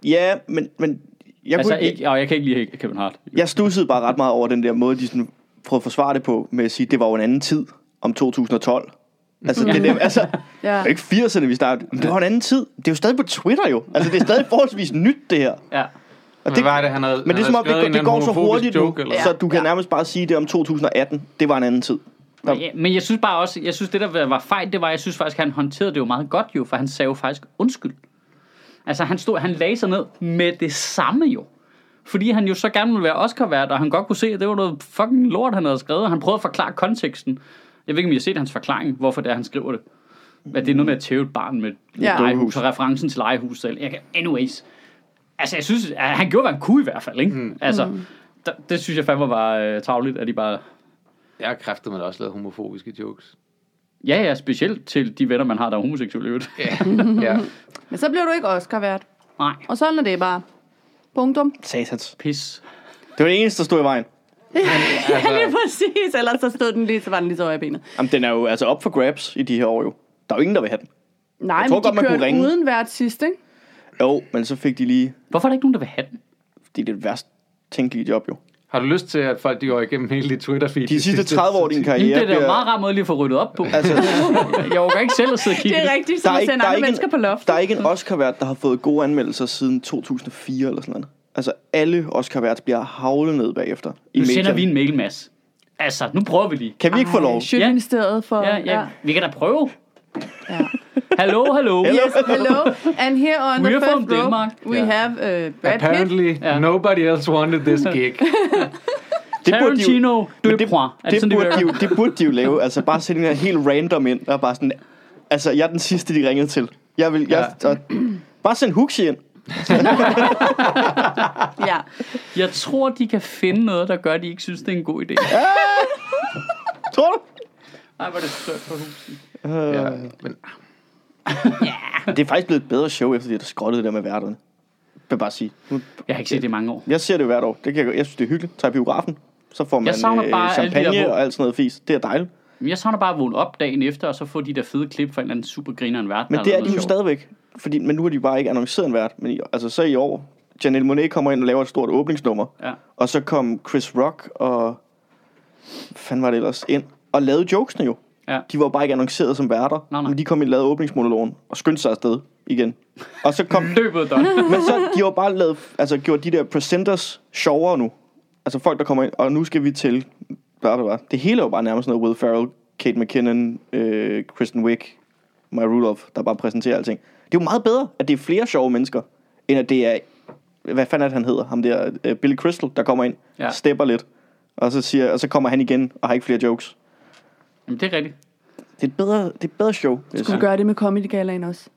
C: Ja, men, men jeg,
A: Altså,
C: kunne,
A: ikke, og jeg kan ikke lide Kevin Hart.
C: jeg stussede bare ret meget over den der måde, de sådan prøvede at forsvare det på, med at sige, det var jo en anden tid om 2012. Altså, det, er dem, altså, det
D: Ja.
C: er jo ikke 80'erne, vi startede. Men det var en anden tid. Det er jo stadig på Twitter jo. Altså, det er stadig forholdsvis nyt, det her.
A: Ja.
C: Og
B: Men hvad er det, han havde,
C: Men det
B: han
C: er som om,
B: havde skrevet
C: det,
B: en
C: det
B: eller
C: går
B: anden
C: så
B: homofobisk
C: hurtigt nu,
B: joke, eller
D: Ja.
C: så du kan nærmest bare sige det om 2018. Det var en anden tid. Der,
A: Men, ja, men jeg synes bare også, jeg synes det der var fejl, det var, jeg synes faktisk, han håndterede det jo meget godt jo, for han sagde jo faktisk undskyld. Altså han stod, han lagde sig ned med det samme jo. Fordi han jo så gerne ville være Oscar-vært, og han godt kunne se, at det var noget fucking lort, han havde skrevet, og han prøvede at forklare konteksten. Jeg ved ikke, om I har set hans forklaring, hvorfor det er, han skriver det. At det er noget med at tæve et barn med et
D: Ja.
A: legehus, og referencen til legehus selv. Jeg kan, anyways. Altså, jeg synes, at han gjorde, hvad han kunne i hvert fald, ikke? Mm. Altså, der, det synes jeg fandme var øh, tavligt, at de bare
B: Jeg har kræftet med også lavet homofobiske jokes.
A: Ja, ja, specielt til de venner, man har, der er homoseksuelle i øvrigt.
B: Ja. ja.
D: Men så bliver du ikke Oscar-vært.
A: Nej.
D: Og sådan er det bare. Punktum.
C: satans.
A: Pis.
C: Det var det eneste, der stod i vejen.
D: Ja, lige præcis. Ellers så stod den lige, så var den lige så over i benet.
C: Jamen, den er jo altså op for grabs i de her år jo. Der er jo ingen, der vil have den.
D: Nej,
C: tror
D: men
C: godt,
D: de
C: man kunne
D: kørte
C: ringe.
D: uden vært sidst, ikke?
C: Jo, men så fik de lige...
A: Hvorfor er der ikke nogen, der vil have den?
C: Det er det værst tænkelige job jo.
B: Har du lyst til, at folk de går igennem hele dit Twitter-feed?
C: De sidste 30 år af din
A: Jamen,
C: karriere
A: det er da en
C: bliver...
A: meget rar måde lige at få ryddet op på.
C: Altså,
A: Jeg overgår ikke selv at sidde og kigge.
D: Det er
A: i
D: rigtigt, så
C: der er,
D: vi
C: ikke,
D: sender
C: der, er
D: andre
C: ikke
D: mennesker på
C: en,
D: loftet.
C: der er ikke en Oscar-vært, der har fået gode anmeldelser siden 2004 eller sådan noget. Altså, alle Oscar-værts bliver havlet ned bagefter. I
A: Nu sender vi
C: medierne.
A: en mail, Mads. Altså, nu prøver vi lige.
C: Kan vi ikke få lov?
D: Ej, i stedet for...
A: Ja, ja. Vi kan da prøve.
D: ja.
A: Hallo, hallo.
D: Yes, hello. And here on
A: We
D: the
A: are
D: first
A: from
D: row,
A: Denmark.
D: we
B: Ja.
D: have uh, Brad Pitt.
B: Apparently,
A: Ja.
B: nobody else wanted this gig.
C: burde de jo-
A: Tarantino, du
C: Men
A: er point. Er det
C: det,
A: sådan, det
C: burde de
A: virker?
C: jo, det burde de jo lave. Altså bare sætte en her helt random ind, der er bare sådan... Altså, jeg er den sidste, de ringede til. Jeg vil... Jeg,
B: Ja.
C: og, bare send Huxi ind.
D: Ja.
A: Jeg tror, de kan finde noget, der gør, at de ikke synes, det er en god idé.
C: Tror du?
A: Nej, hvor er det sødt for huset.
B: ja. Men
C: Det er faktisk blevet et bedre show, efter de har skrottet det der med værterne. Jeg vil bare sige. Nu-
A: Jeg har ikke set det i mange år.
C: Jeg ser det jo hvert år. Det kan jeg, jeg synes, det er hyggeligt. Tager i biografen. Så får man
A: savner
C: øh,
A: bare alle de der
C: champagne
A: hvor-
C: og alt sådan noget fis. Det er dejligt.
A: Men jeg savner bare at vågne op dagen efter, og så få de der fede klip fra en eller anden supergrineren verden.
C: Men det er de jo stadigvæk. Fordi, men nu har de bare ikke annonceret en vært. Men i, altså så i år, Janelle Monet kommer ind og laver et stort åbningsnummer.
A: Ja.
C: Og så kom Chris Rock og... Hvad fanden var det ellers? Ind og lavede jokesene jo.
A: Ja.
C: De var bare ikke annonceret som værter.
A: Nej, nej.
C: Men de kom ind og lavede åbningsmonologen og skyndte sig afsted. igen. Og så kom...
A: Løbet der.
C: Men så de har jo bare lavet, altså, gjort de der presenters sjovere nu. Altså folk, der kommer ind, og nu skal vi til... Bla, bla, bla. Det hele er jo bare nærmest noget Will Ferrell, Kate McKinnon, øh, Kristen Wiig, Maya Rudolph, der bare præsenterer alting. Det er jo meget bedre, at det er flere sjove mennesker, end at det er... Hvad fanden er det, han hedder? Ham der, øh, Billy Crystal, der kommer ind,
A: Ja.
C: ja. stepper lidt, og så, siger, og så kommer han igen og har ikke flere jokes.
A: Jamen, det er rigtigt.
C: Det er et bedre, det er et bedre show. vil jeg
D: Skulle vi gøre det med Comedy Galaen også?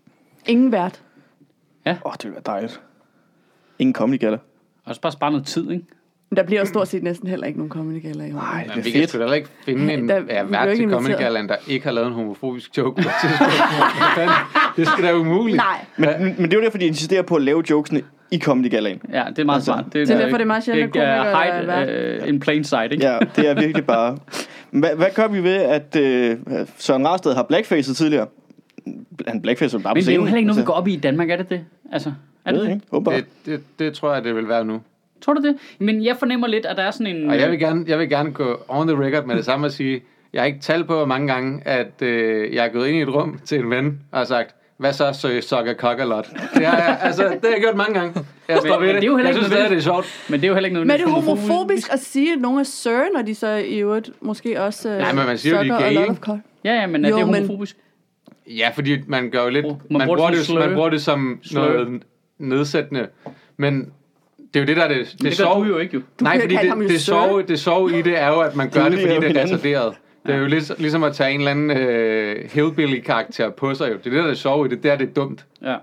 D: Ingen vært.
C: Åh, oh, det ville være dejligt. Ingen comedy gala.
A: Og så bare spare noget tid, ikke?
D: Men der bliver jo stort set næsten heller ikke nogen Comedy Gala i år.
C: Nej, det
B: Men vi
C: bliver
B: kan
C: fedt.
B: sgu da heller ikke finde en
D: Der-
B: ja,
D: vi
B: ja,
D: bliver
B: vært
D: ikke
B: til Comedy
D: inviteret.
B: Galand, der ikke har lavet en homofobisk joke. på et tidspunkt. Hvad fanden? det skal da være umuligt.
D: Nej.
C: Men, men det er jo derfor, de insisterer på at lave jokesene i Comedy Galaen.
A: Ja, det er meget
C: Altså,
A: smart. Det,
D: Så derfor er det meget sjældent,
A: det
D: at
A: er
D: komikere er
A: hide, øh, in plain sight, ikke?
C: Ja, det er virkelig bare... Hvad, hvad gør vi ved, at øh, Søren Rarsted har blackfacet tidligere? Han blackfacer bare på
A: Men det er jo
C: scenen.
A: heller ikke noget, vi
B: Altså-
A: går op i i Danmark, er det det? Altså, er det
C: altså,
A: det?
C: ikke? Åbenbart.
B: Det, det, det tror jeg, det vil være nu.
A: Tror du det? Men jeg fornemmer lidt, at der er sådan en...
B: Og jeg vil gerne, jeg vil gerne gå on the record med det samme og sige, jeg har ikke talt på hvor mange gange, at øh, jeg er gået ind i et rum til en ven og har sagt, hvad så, så sucker cock a lot. Det har jeg, altså, det har jeg gjort mange gange. Jeg står
A: Men- men
B: ved det.
A: det er jo heller
B: jeg
A: ikke
B: synes stadig, det er
A: nødvendigt.
B: sjovt.
A: Men det er jo heller ikke noget...
D: Men er det homofobisk at sige, at nogen er sir, når de så i øvrigt måske også... øh,
B: Nej, men man siger jo, de er gay, ikke?
A: Ja, ja, men er
D: Jo,
A: det
D: men-
A: homofobisk?
B: Ja, fordi man gør jo lidt...
A: Man bruger det
B: Man, bruger, det,
A: som
B: jo- man
A: slør.
B: bruger det som
A: Slør.
B: noget nedsættende. Men det er jo det, der er det, det,
A: Det, gør
B: sjove.
A: du jo ikke, jo.
B: Nej,
D: kan
B: fordi
D: kalde
B: det,
D: ham jo
B: det,
D: sir.
B: sjove, det sjove i det er jo, at man gør det, fordi
C: udlever
B: det er
C: hinanden.
B: retarderet. Det er jo lig, ligesom at tage en eller anden øh, hillbilly-karakter på sig. Jo. Det er det, der er det sjove i det. Det er det er dumt.
A: Ja.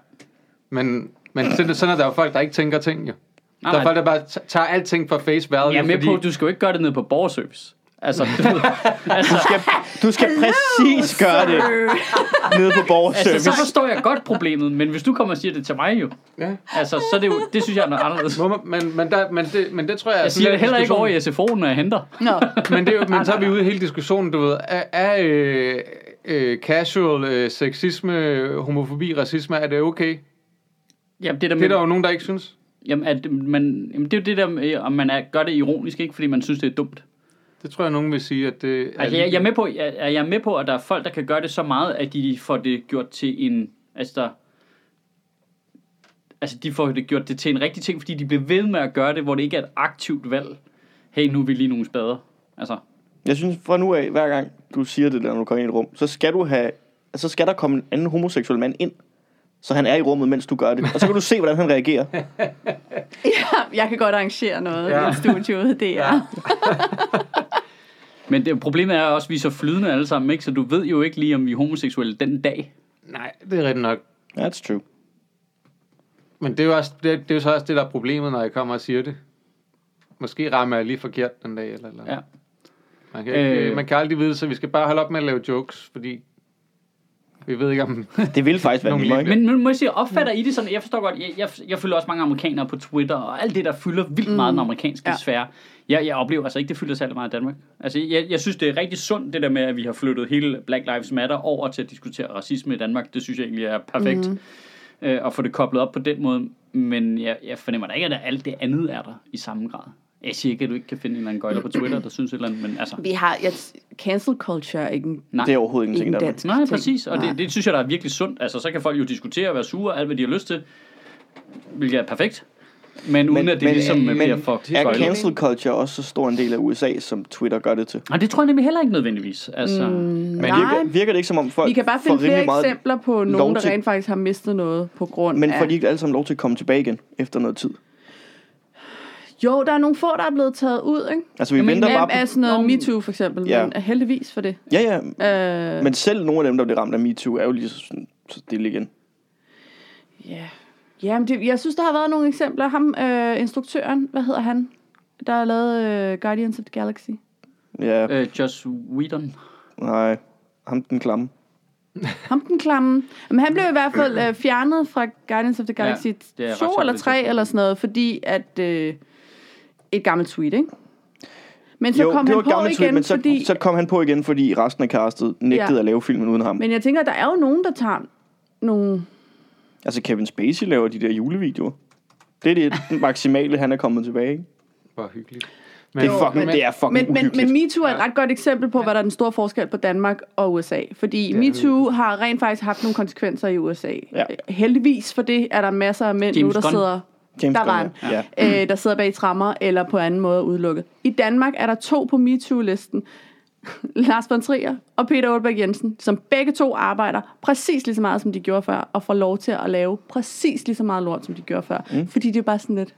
B: Men, men sådan, sådan er der jo folk, der ikke tænker ting, jo.
A: Nej,
B: der
A: nej.
B: er folk, der bare t- tager alting for face value.
A: Jeg er med
B: fordi,
A: på, at du skal jo ikke gøre det nede på borgerservice. Altså, du ved, altså,
C: Du skal, du skal præcis gøre det nede på
A: altså, så
C: borgerservice.
A: forstår jeg godt problemet, men hvis du kommer og siger det til mig jo,
B: Ja.
A: altså, så er det jo, det synes jeg er noget anderledes.
B: Må man- Men, men, der, men, det, men det tror jeg... er
A: Jeg
B: sådan
A: siger det
B: lidt
A: heller ikke
B: diskussion.
A: over i SFO'en, når jeg henter.
D: Nå,
B: men, det er jo, men så er vi ude i hele diskussionen, du ved. Er, er øh, øh, casual øh, sexisme, øh, homofobi, racisme, er det okay?
A: Jamen, det der
B: Det er
A: med,
B: der jo nogen, der ikke synes.
A: jamen, at man, jamen, det er jo det der, med, om man er, gør det ironisk, ikke fordi man synes, det er dumt.
B: Det tror jeg, nogen vil sige, at det er...
A: Altså, jeg, jeg, er med på, jeg, jeg er med på, at der er folk, der kan gøre det så meget, at de får det gjort til en... Altså, der, altså de får det gjort det til en rigtig ting, fordi de bliver ved med at gøre det, hvor det ikke er et aktivt valg. Hey, nu er vi lige nogle spader. Altså,
C: Jeg synes fra nu af, hver gang du siger det der, når du kommer ind i et rum, så skal du have, så skal der komme en anden homoseksuel mand ind, så han er i rummet, mens du gør det. Og så kan du se, hvordan han reagerer.
D: jeg kan godt arrangere noget
B: Ja.
D: ja. i studiet, det er...
A: men det, problemet er også, at vi er så flydende alle sammen, ikke? Så du ved jo ikke lige, om vi er homoseksuelle den dag.
B: Nej, det er rigtigt nok.
C: That's true.
B: Men det er, jo også, det, det er jo så også det, der er problemet, når jeg kommer og siger det. Måske rammer jeg lige forkert den dag, eller... eller.
A: Ja.
B: Man, kan ikke,
A: Øh.
B: øh. man kan aldrig vide, så vi skal bare holde op med at lave jokes, fordi... Vi ved ikke om...
C: Det vil faktisk være
B: Nogle
C: nemmere, ikke?
A: Men nu må jeg sige, opfatter I det sådan, jeg forstår godt, jeg, jeg, jeg følger også mange amerikanere på Twitter, og alt det, der fylder vildt meget mm. den amerikanske ja.
D: Ja.
A: sfære. Jeg, jeg oplever altså ikke, det fylder særlig meget i Danmark. Altså, jeg, jeg synes, det er rigtig sundt, det der med, at vi har flyttet hele Black Lives Matter over til at diskutere racisme i Danmark. Det synes jeg egentlig er perfekt, mm. øh, at få det koblet op på den måde. Men jeg, jeg fornemmer da ikke, at der- alt det andet er der i samme grad. Jeg siger ikke, at du ikke kan finde en eller anden gøjler på Twitter, der synes et eller andet, men altså...
D: Vi har... Jeg, cancel culture er ikke en,
A: Nej.
C: Det er overhovedet
D: ikke
C: ingenting,
D: en
C: der er med.
D: dansk
A: Nej,
D: ting.
A: præcis. Og
D: Nej.
A: det, det synes jeg, der er virkelig sundt. Altså, så kan folk jo diskutere og være sure og alt, hvad de har lyst til. Hvilket er perfekt. Men uden at det ligesom men, bliver for
C: Er
A: gøjlet.
C: cancel culture også så stor en del af USA, som Twitter gør det til?
A: Nej, det tror jeg nemlig heller ikke nødvendigvis. Altså, mm.
B: Men
D: Nej,
C: Virker, virker det ikke som om folk
D: vi kan bare
C: får
D: finde flere
C: rimelig meget,
D: eksempler på
C: lov
D: nogen, der
C: til-
D: rent faktisk har mistet noget på grund
C: Men
D: af...
C: får de ikke alle sammen lov til at komme tilbage igen efter noget tid?
D: Jo, der er nogle få, der er blevet taget ud, ikke?
C: Altså vi
A: Jamen,
C: venter
D: Af,
C: bare
D: af
C: på...
D: sådan noget
A: Nå, men-
D: MeToo for eksempel,
C: Ja.
D: ja. men heldigvis for det.
C: Ja, ja.
D: Øh,
C: Men selv nogle af dem, der bliver ramt af MeToo, er jo lige så, sådan- så stille igen.
D: Ja. Ja, men det, jeg synes, der har været nogle eksempler. Ham, øh, instruktøren, hvad hedder han? Der har lavet øh, Guardians of the Galaxy.
C: Ja, øh.
A: øh, Joss Whedon.
C: nej. Ham den klamme.
D: Ham den klamme. Men han blev i hvert fald øh, fjernet fra Guardians of the Galaxy
A: det er
D: ja,
A: ret
D: 2
A: sjovt,
D: eller
A: det
D: 3
A: tidspunkt.
D: eller sådan noget, fordi at... Øh, et gammelt tweet, ikke? Men så
C: jo,
D: kom
C: det
D: han
C: var et
D: på
C: gammelt
D: igen,
C: tweet, men så,
D: fordi...
C: så kom han på igen, fordi resten af castet nægtede
D: Ja.
C: at lave filmen uden ham. Men...
D: Men jeg tænker, der er jo nogen, der tager nogle...
C: Altså Kevin Spacey laver de der julevideoer. Det er det maksimale, han er kommet tilbage. ikke?
B: Hvor hyggeligt. Men,
C: Det er fucking,
D: men-
C: det er fucking
D: men, men, men
C: uhyggeligt.
D: MeToo er et ret godt eksempel på, hvad der er den store forskel på Danmark og USA. Fordi
B: er
D: MeToo har rent faktisk haft nogle konsekvenser i USA.
C: Ja.
D: Heldigvis for det er der masser af mænd
A: James
D: nu, der
A: Gunn.
D: sidder...
C: James
D: der
C: Gunn,
D: var en,
C: ja.
D: øh, der sidder bag trammer eller på anden måde udelukket. I Danmark er der to på MeToo-listen. Lars von Trier og Peter Olberg Jensen, som begge to arbejder præcis lige så meget, som de gjorde før, og får lov til at lave præcis lige så meget lort, som de gjorde før. Mm. Fordi det er bare sådan lidt...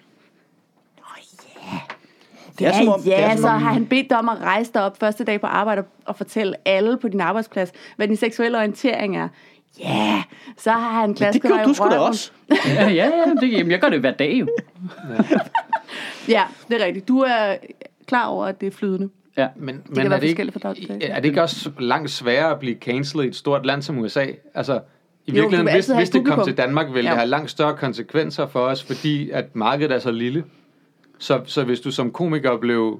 C: Det er som om, det er
D: ja, altså,
C: som
D: så
C: om,
D: har han bedt dig om at rejse dig op første dag på arbejde og fortælle alle på din arbejdsplads, hvad din seksuelle orientering er. Ja, yeah. så har han
C: det
D: klasket dig
C: gjorde
D: i
C: du sgu da
D: røven.
C: også.
A: Ja, ja, ja, det, jamen, jeg gør det hver dag jo.
D: Ja, det er rigtigt. Du er klar over, at det er flydende.
A: Ja.
B: Men,
D: kan
B: men er,
D: være
B: det ikke,
D: forskelligt fra dag til dag.
B: er det ikke også langt sværere at blive cancelled i et stort land som USA? Altså, i
D: du vil
B: virkeligheden, hvis,
D: altid have
B: hvis
D: et
B: det kom
D: publikum.
B: til Danmark, ville det
D: Ja.
B: have langt større konsekvenser for os, fordi at markedet er så lille. Så, så hvis du som komiker blev,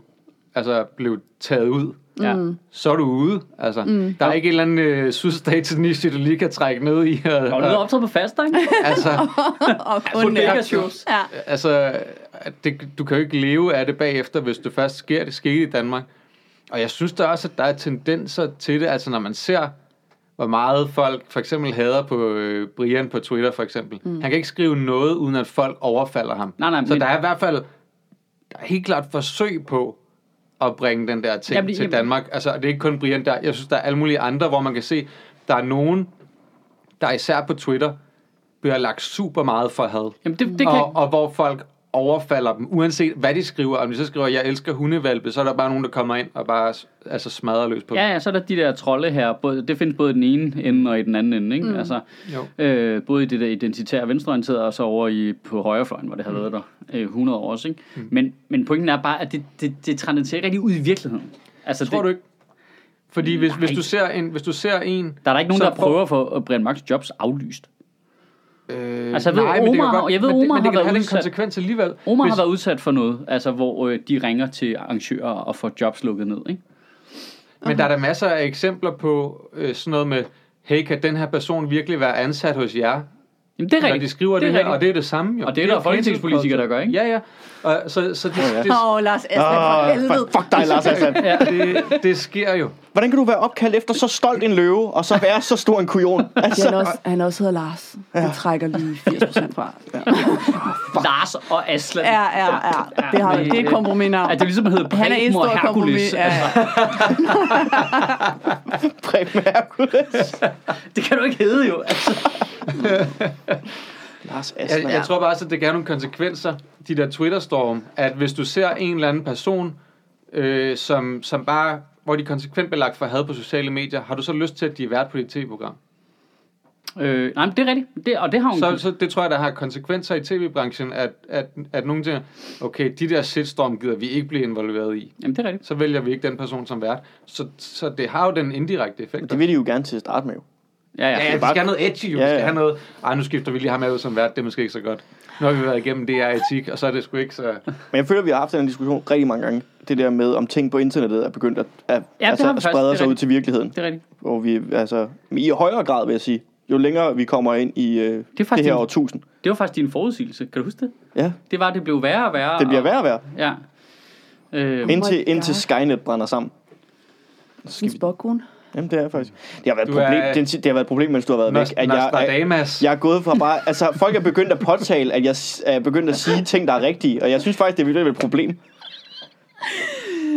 B: altså, blev taget ud,
A: Ja.
B: så er du ude. Altså, mm. Der er ikke en eller anden øh, sydstatsniche, du lige kan trække ned i. Og,
A: Og du er
B: og,
A: optaget på fast, ikke?
B: altså,
D: Og kun
A: Bodega
D: ja,
A: shows.
D: ja.
B: altså, at det, du kan jo ikke leve af det bagefter, hvis du først sker det skete i Danmark. Og jeg synes der også, at der er tendenser til det. Altså når man ser, hvor meget folk for eksempel hader på øh, Brian på Twitter for eksempel. Mm. Han kan ikke skrive noget, uden at folk overfalder ham.
A: Nej, nej,
B: Så
A: men-
B: der er i hvert fald der er helt klart forsøg på at bringe den der ting
A: Jamen, det-
B: til
A: jamen-
B: Danmark. Altså det er ikke kun Brian der. Jeg synes, der er alle mulige andre, hvor man kan se, der er nogen, der især på Twitter, bliver lagt super meget for had.
A: Jamen, det, det kan...
B: Og, og hvor folk overfalder dem, uanset hvad de skriver. Om de så skriver, jeg elsker hundevalpe, så er der bare nogen, der kommer ind og bare altså, smadrer løs på dem.
A: Ja, ja, så er der de der trolde her. Både, det findes både i den ene ende og i den anden ende, ikke? Mm. Altså,
B: Jo.
A: øh, både i det der identitære venstreorienterede, og så over i, på højrefløjen, hvor det
B: Mm.
A: har været der øh, 100 år også, ikke? Mm. Men, men pointen er bare, at det, det, det trænder til rigtig ud i virkeligheden. Altså,
B: Tror
A: det, Mm,
B: du ikke? Fordi hvis, hvis,
A: Nej. Altså,
B: du ser en, hvis du ser en... øh,
A: Der er der ikke nogen,
B: så
A: der prøver at få øh, Brian Mørks jobs aflyst.
B: Øh,
A: Altså, jeg ved,
B: men det kan
A: Omar-
B: godt-
A: jeg ved,
B: men det,
A: Omar har
B: men det kan
A: været
B: have en
A: udsat.
B: konsekvens alligevel.
A: Omar
B: hvis,
A: har været udsat for noget, altså hvor øh, de ringer til arrangører og får jobs lukket ned, ikke?
B: Men der er der masser af eksempler på øh, sådan noget med, hey, kan den her person virkelig være ansat hos jer?
A: Jamen, det er
B: Når
A: rigtigt.
B: de skriver det,
A: det
B: det
A: er
B: her,
A: rigtigt.
B: og det er det samme. Jo.
A: Og det er der
B: jo
A: folketingspolitikere, der gør, ikke?
B: Ja, ja. Og, så, så det, det,
D: Åh, oh, Lars Aslan, for
C: Åh,
D: helvede.
C: Ah, fuck, fuck dig, Lars Aslan.
B: det, det sker jo.
C: Hvordan kan du være opkaldt efter så stolt en løve, og så være så stor en kujon?
D: Ja, Han
C: Altså,
D: også, han også hedder Lars. Ja. Det trækker lige 80% fra. Ja,
A: Lars og Aslan.
D: ja, ja. ja. Det, har, det er et
A: Ja,
D: kompromisnavn.
A: det er ligesom at hedde
D: Han er en
A: Preben og
D: stor
A: Hercules.
D: kompromis. Ja,
A: Altså,
D: ja.
C: Preben Hercules.
A: det kan du ikke hedde jo. Altså.
C: Lars
B: Jeg,
C: Aslan.
B: jeg tror bare også, at det kan have nogle konsekvenser, de der Twitter-storm, at hvis du ser en eller anden person, øh, som, som bare, hvor de er konsekvent belagt for had på sociale medier, har du så lyst til, at de er vært på dit tv-program?
A: Øh, nej, men det er rigtigt. Det, og det har hun.
B: Så, så det tror jeg, der har konsekvenser i tv-branchen, at, at, at nogen tænker, okay, de der shitstorm gider vi ikke blive involveret i.
A: Jamen, det er rigtigt.
B: Så vælger vi ikke den person som vært. Så, så det har jo den indirekte effekt.
C: Det vil de jo gerne til at starte med. jo.
A: Ja, ja.
B: Ja, ja, vi skal have noget edgy, jo.
C: Ja,
B: Ja, ja. Vi
C: ja.
B: skal have noget, ej, nu skifter vi lige ham her ud som vært, det er måske ikke så godt. Nu har vi været igennem det her etik, og så er det sgu ikke så...
C: Men jeg føler, at vi har haft den her diskussion rigtig mange gange. Det der med, om ting på internettet er begyndt at, at,
A: det
C: altså,
A: har vi
C: at
A: faktisk. Det
C: sprede
A: er
C: sig ud
A: rigtigt.
C: til virkeligheden.
A: Det er rigtigt.
C: Hvor vi, altså, i højere grad, vil jeg sige, jo længere vi kommer ind i øh, det,
A: faktisk
C: det her
A: en-
C: årtusind.
A: Det var faktisk din forudsigelse. Kan du huske det?
C: Ja,
A: Det var, at det blev værre og værre.
C: det bliver værre og værre.
A: Ja. Øh,
C: Indtil,
D: my
C: indtil
D: God.
C: Skynet brænder sammen.
D: Min spokkone.
C: Jamen, det er faktisk. Det har været et
B: Du er-
C: problem, det, det har været et problem mens du har været væk. At jeg, jeg,
B: Nostradamus.
C: jeg er gået fra bare... Altså, folk er begyndt at påtale, at jeg s- er begyndt at sige ting, der er rigtige. Og jeg synes faktisk, det er virkelig et problem.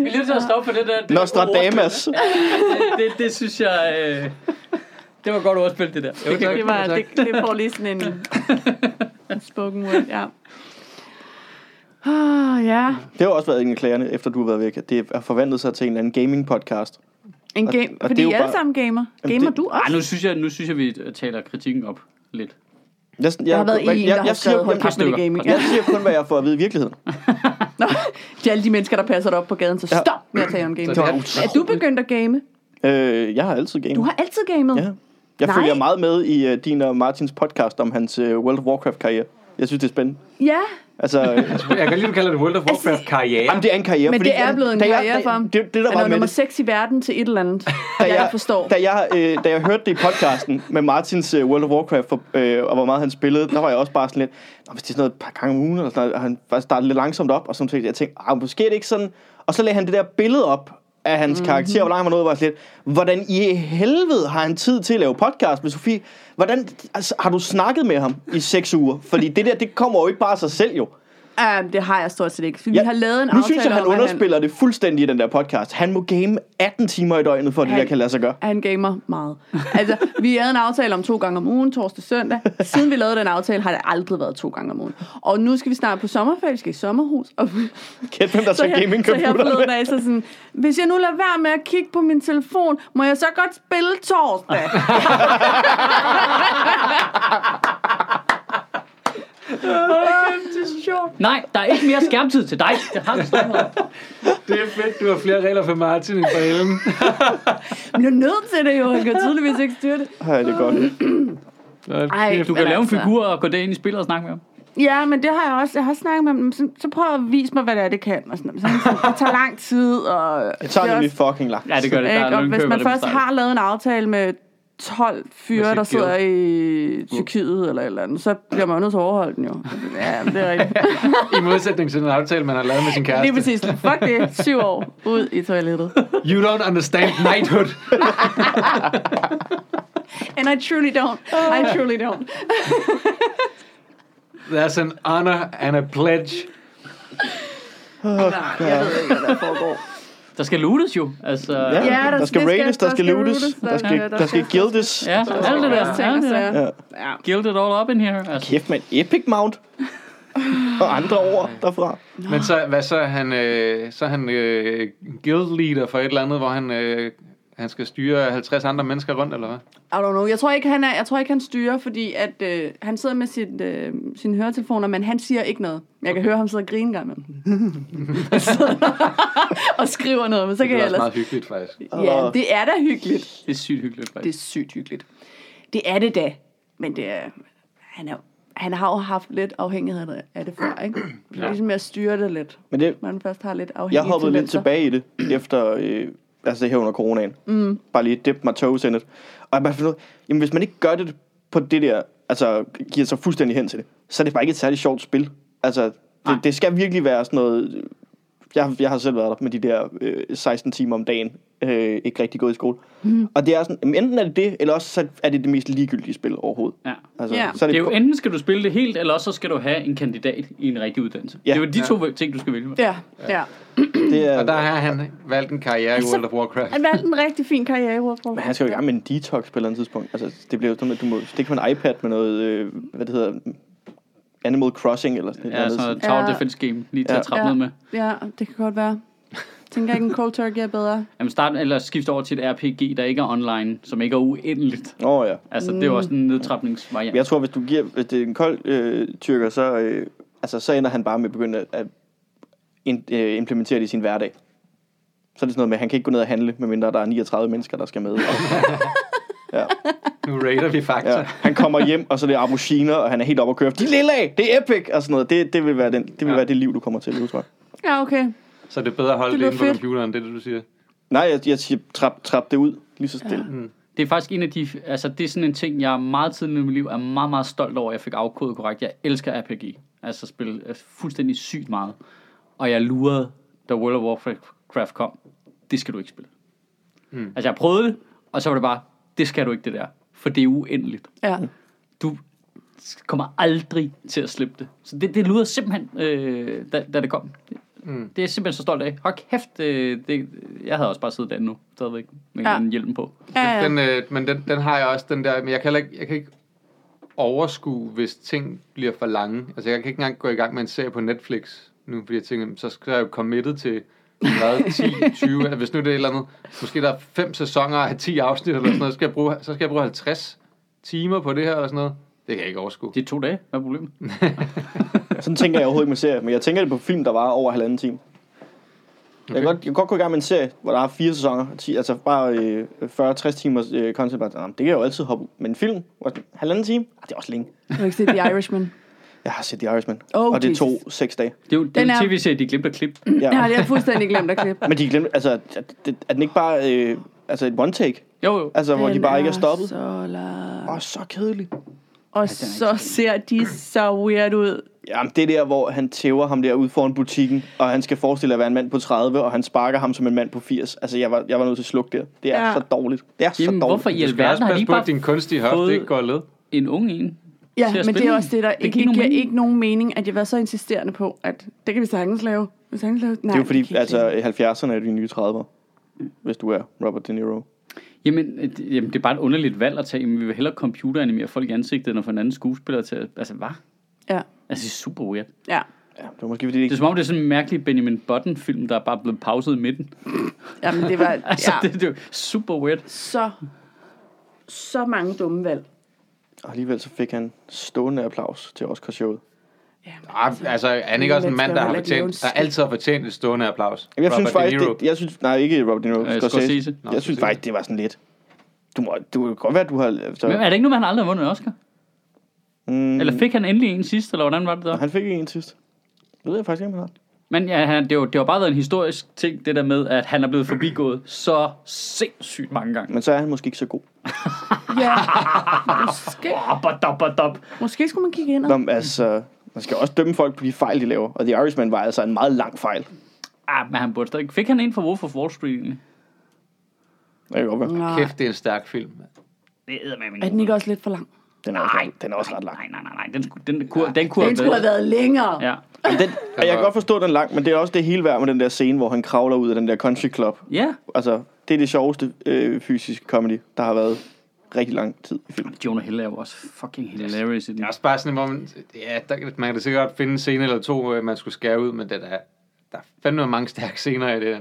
A: vi er lidt til at stoppe for det der. Det der
C: Nostradamus.
A: ordspil. Det, det synes jeg... Øh, det var godt ordspil, det der. Jo,
B: tak.
D: Det, var, det, det får lige sådan en, en spoken word, ja. Oh, ja.
C: Det har jo også været en af klagerne, efter du har været væk, at det har forvandlet sig til en eller anden gaming-podcast.
D: En
C: Og-
D: game,
C: og
D: fordi
C: det er jo
D: I alle
C: bare-
D: sammen gamer. Gamer
C: det-
D: du
A: Ej,
D: også?
A: nu synes jeg, nu synes jeg, vi taler kritikken op lidt.
C: Jeg, jeg,
D: Der har været
C: jeg,
D: en, der har skrevet hold
C: jeg,
D: kæft med det
A: stykker.
D: gaming. Ja.
C: jeg, jeg siger kun, hvad jeg får at vide i virkeligheden.
D: Nå, det er alle de mennesker, der passer dig op på gaden, så
C: Ja.
D: stop med at tale om gaming.
B: Så det er-
D: Er du begyndt at game?
C: Øh, jeg har altid gamet.
D: Du har altid gamet?
C: Ja. Jeg
D: Nej.
C: følger øh, meget med i uh, din og Martins podcast om hans uh, World of Warcraft-karriere. Jeg synes, det er spændende.
D: Ja,
C: Altså, øh,
B: Jeg kan lige du kalder det World of Warcraft karriere.
C: jamen, det er en karriere.
D: Men
C: fordi-
D: det er blevet en
C: da jeg-
D: karriere for ham.
C: Det, det, der
D: Han
C: var
D: er
C: med
D: nummer
C: det,
D: 6 i verden til et eller andet, jeg, jeg forstår.
C: Da jeg, øh, da jeg hørte det i podcasten med Martins øh, World of Warcraft, for, øh, og hvor meget han spillede, der var jeg også bare sådan lidt, Nå, hvis det er sådan noget et par gange om ugen, eller sådan noget, og han faktisk startede lidt langsomt op, og så tænkte jeg, jeg tænkte, ah, måske er det ikke sådan. Og så lagde han det der billede op af hans
D: Mhm.
C: mm-hmm. karakter, hvor langt han var nået, var sådan lidt, hvordan i helvede har han tid til at lave podcast med Sofie? Hvordan altså, har du snakket med ham i seks uger? Fordi det der, det kommer jo ikke bare af sig selv jo.
D: Um, det har jeg stort set ikke. Vi har lavet en
C: nu
D: aftale
C: synes jeg, han
D: om, at
C: underspiller det fuldstændig i den der podcast. Han må game 18 timer i døgnet, for at det
D: Han-
C: der kan lade sig gøre.
D: Han gamer meget. Altså, vi havde en aftale om to gange om ugen, torsdag og søndag. Siden vi lavede den aftale, har det aldrig været to gange om ugen. Og nu skal vi snart på sommerferie, vi skal i sommerhus. Og
C: Kæft, hvem der tager
D: så her
C: gamingcomputeren
D: forleden
C: med.
D: af, så sådan, hvis jeg nu lader være med at kigge på min telefon, må jeg så godt spille torsdag?
A: Nej, der er ikke mere skærmtid til dig. Det har vi snakket om.
B: Det er fedt, du har flere regler for Martin end for Ellen.
D: Men jeg er nødt til det jo, jeg kan tydeligvis ikke styre det.
C: Ej, det er godt.
D: Ej,
A: Du kan lave en
D: men altså.
A: figur og gå derind i spillet og snakke med ham.
D: Ja, men det har jeg også. Jeg har snakket med dem. Så, så prøv at vise mig, hvad det er, det kan. Og sådan, noget. Men sådan, det tager lang tid. Og
C: Det tager
D: er
C: nemlig
D: også-
C: fucking langt.
A: Ja, det gør det. Der
D: Ikke?
A: er
D: Og
A: nogle
D: hvis
A: køber,
D: man
A: der
D: først
A: betaler.
D: har lavet en aftale med 12 fyre,
B: sit
D: der sidder
B: guild.
D: i Tyrkiet eller et eller andet, så bliver man jo nødt til at overholde den jo. Ja, det er rigtigt.
B: I modsætning til den aftale, man har lavet med sin kæreste.
D: Lige præcis. Fuck det. Syv år ud i toilettet.
B: You don't understand knighthood.
D: And I truly don't. I truly don't.
B: There's an honor and a pledge.
D: Nej, jeg ved ikke, hvad der foregår.
A: Der skal lootes jo. Altså, ja,
C: Ja,
A: ja.
D: der-
C: der, der skal
D: det skal-
C: rates, der skal lootes, der skal,
D: der
C: der skal
D: skal-
C: guildes.
A: ja alt det der.
D: Også ting
A: Alt
D: og
A: det der.
D: sager.
C: Ja.
D: Ja.
A: Guild it all up in here. Altså.
C: Kæft, man. Epic Mount. Og andre ord derfra.
B: Men så, hvad så er han, øh, så er han øh, guild leader for et eller andet, hvor han, øh, han skal styre 50 andre mennesker rundt, eller hvad?
D: I don't know. Jeg tror ikke, han, er, jeg tror ikke, han styrer, fordi at, øh, han sidder med sit, øh, sine høretelefoner, men han siger ikke noget. Jeg kan høre ham sidde og grine en gang med og skriver noget, men så kan
B: Det
D: jeg
B: er også meget
D: ellers...
B: hyggeligt, faktisk.
D: Ja, det er da hyggeligt.
A: Det er sygt hyggeligt, faktisk.
D: Det er sygt hyggeligt. Det er det da, men det er, han, er, han har jo haft lidt afhængighed af det før, ikke? Det er ligesom at styre det lidt.
C: Men det,
D: Man først har lidt
C: jeg
D: afhængighed.
C: hoppede lidt tilbage i det, efter, øh, altså her under coronaen. Mm. Bare lige dip mig toes in it. Og jeg bare finder ud, jamen hvis man ikke gør det på det der, altså giver sig fuldstændig hen til det, så er det bare ikke et særligt sjovt spil. Altså, det, det skal virkelig være sådan noget, øh, jeg, jeg har selv været der med de der øh, 16 timer om dagen, øh, ikke rigtig gået i skole. Mm. Og det er sådan, jamen, enten er det det, eller også så er det det mest ligegyldige spil overhovedet.
A: Ja.
C: Altså,
D: Ja.
C: så er
A: Det
C: det,
A: er jo enten skal du spille det helt, eller også så skal du have en kandidat i en rigtig uddannelse.
C: Ja.
A: Ja. Det er jo de to ting, du skal vælge. Ja.
D: Ja, ja.
C: det er,
B: Og der har han valgt en karriere i
D: Altså,
B: World of Warcraft.
D: Han valgte en rigtig fin karriere i World
C: Men han skal jo i gang med en detox på et eller andet tidspunkt. Altså, det bliver jo sådan, at du må stikke med en iPad med noget, øh, hvad det hedder, Animal Crossing eller sådan
A: Ja,
C: noget.
A: sådan noget
D: Ja.
A: tower defense game, lige til
C: Ja.
A: at trappe ned med.
D: Ja, det kan godt være. Tænker ikke, en cold turkey er bedre.
A: Jamen start, eller skift over til et RPG, der ikke er online, som ikke er uendeligt.
C: Åh oh, ja.
A: Altså, det er jo også en nedtrapningsvariant.
C: Men jeg tror, hvis du giver, hvis det er en kold øh, tyrker, så, øh, altså, så ender han bare med at begynde at, at in, øh, implementere det i sin hverdag. Så er det sådan noget med, at han kan ikke gå ned og handle, medmindre der er 39 mennesker, der skal med. ja.
B: Nu raider vi faktisk.
C: Ja.
B: Ja.
C: Han kommer hjem, og så er det auberginer, og han er helt oppe at køre. De lille af, det er epic, og sådan noget. Det, det vil, være, den, det vil
B: Ja.
C: være det liv, du kommer til, at leve, tror jeg.
D: Ja, okay.
B: Så det er bedre at holde
D: Det
B: det,
D: lyder
B: inde på
D: fedt.
B: computeren, det er det, du siger.
C: Nej, jeg, jeg siger, trap, trap det ud lige så stille. Ja.
A: Det er faktisk en af de, altså det er sådan en ting, jeg meget tidligt i mit liv er meget, meget stolt over, at jeg fik afkodet korrekt. Jeg elsker RPG, altså spil øh, fuldstændig sygt meget. Og jeg lurede, da World of Warcraft kom, det skal du ikke spille. Mm. Altså jeg prøvede det, og så var det bare, det skal du ikke det der, for det er uendeligt.
D: Ja.
A: Du kommer aldrig til at slippe det. Så det, det luder simpelthen, øh, da, da det kom. Mm. Det er jeg simpelthen så stolt af. Hold kæft, øh, det, jeg havde også bare siddet derinde nu, stadigvæk, med
D: Ja.
A: ja. hjelm på.
D: Ja, ja.
B: Den, øh, men den, den har jeg også, den der, men jeg kan, heller ikke, jeg kan ikke overskue, hvis ting bliver for lange. Altså, jeg kan ikke engang gå i gang med en serie på Netflix nu, fordi jeg tænker, jamen, så skal jeg jo committed til hvad, 10, 20, eller hvis nu det er et eller andet, måske der er fem sæsoner af 10 afsnit, eller sådan noget, så skal jeg bruge, så skal jeg bruge 50 timer på det her, eller sådan noget. Det kan jeg ikke overskue.
A: Det er to dage, hvad er problemet?
C: Sådan tænker jeg overhovedet ikke med serier, men jeg tænker det på film, der var over halvanden time. Okay. Jeg, kan godt, jeg kan godt gå i gang med en serie, hvor der er fire sæsoner, 10, altså bare øh, 40-60 timers øh, content. Bare, "Nå, men det kan jeg jo altid hoppe ud. Men en film, hvor sådan, halvanden time, ah, det er også længe.
D: Du har ikke set The Irishman.
C: Jeg har set The Irishman.
D: Oh,
C: og det
D: Jesus.
C: tog seks dage.
A: Det er jo, det er
D: Den
A: jo
D: er-
A: en tv-serie, de glemte at klippe.
C: Ja.
D: Ja, det har jeg fuldstændig glemt at klippe.
C: Men de glemte, altså, at- at- at- er den ikke bare øh, altså et one take?
A: Jo, jo.
C: Altså, hvor de
D: Den
C: bare ikke er stoppet?
D: Så lang.
C: Åh, så kedeligt.
D: Og så ser de så weird ud.
C: Jamen, det der, hvor han tæver ham der ude foran butikken, og han skal forestille at være en mand på 30, og han sparker ham som en mand på 80. Altså, jeg var, jeg var nødt til at slukke det. Det er
D: Ja.
C: ja. så dårligt. Det er
A: Jamen,
C: så dårligt.
A: hvorfor i
B: Du skal
A: alverden
B: også
A: har de
B: passe
A: ikke
B: på, at
A: bare
B: din kunstige hofte
A: fået-
B: ikke går led.
A: en ung en?
D: Ja,
A: til at
D: men det er
A: spille
D: også det, der
A: den?
D: ikke,
A: giver ikke
D: det giver
A: nogen
D: ikke nogen mening, at jeg var så insisterende på, at det kan vi sagtens lave. Vi sagtens lave. Nej,
C: Det er jo
D: kan
C: fordi,
D: vi
C: altså,
D: ikke.
C: 70'erne er de nye 30'ere. Hvis du er Robert De Niro.
A: Jamen, øh, det- jamen, det er bare et underligt valg at tage. Jamen, vi vil hellere computeranimere folk i ansigtet, end at få en anden skuespiller til at... Altså, hvad?
D: Ja,
A: Altså, det er super weird.
D: ja.
C: Ja, det var måske fordi, det
A: Det er
C: ikke...
A: som om, det er sådan en mærkelig Benjamin Button-film, der er bare blevet pauset i midten.
D: ja men det var
A: Altså,
D: ja.
A: det, det er jo super weird.
D: så, så mange dumme valg.
C: Og alligevel så fik han stående applaus til Oscarshowet.
B: Ah, altså, er han ikke
D: Lille
B: også en
D: mennesker
B: mand, der, har
D: vil ikke lave en
B: fortjent, der
D: skid.
B: altid har fortjent et stående applaus?
C: Jamen, jeg
B: Robert
C: synes faktisk,
B: De Niro.
C: det, jeg synes, nej, ikke Robert De Niro,
A: Øh,
C: øh, Scorsese.
A: Scorsese.
B: Nå,
C: jeg synes
B: Scorsese.
C: faktisk, det var sådan lidt. Du må, du kan godt være, at du har... Så,
A: Men er det ikke nu, han aldrig har vundet en Oscar?
C: mm,
A: Eller fik han endelig en sidst, eller hvordan var det der?
C: han fik ikke en sidst. Det ved jeg faktisk ikke, om han har.
A: Men ja, han, det, var, det var bare været en historisk ting, det der med, at han er blevet forbigået så sindssygt mange gange.
C: Men så er han måske ikke så god.
D: Ja. Måske,
A: Op, op, op, op.
D: måske skulle man kigge ind.
C: Nå, men altså, man skal også dømme folk på de fejl, de laver. Og The Irishman var altså en meget lang fejl.
A: Ah, men han burde stadig... Fik han en for Wolf of Wall Street egentlig?
C: Det kan godt være.
D: Mm.
B: Kæft, det er en stærk film.
A: Det er med min
D: Er den ikke også lidt for lang?
C: Den er, også, lang. den er også ret lang.
A: Nej, nej, nej, nej. Den skulle, den, kunne, den kunne
D: Den skulle have været længere.
A: Ja.
C: Jamen, Den, og jeg kan godt forstå, at den er lang, men det er også det hele værd med den der scene, hvor han kravler ud af den der country club.
A: Ja.
C: Altså, det er det sjoveste øh, fysisk comedy, der har været rigtig lang tid i film.
A: Jonah Hill er jo også fucking hilarious i den.
B: Det er også bare sådan, hvor man, ja, der, kan- man kan da sikkert godt finde en scene eller to, øh, man skulle skære ud, men den er, der er fandme mange stærke scener i det.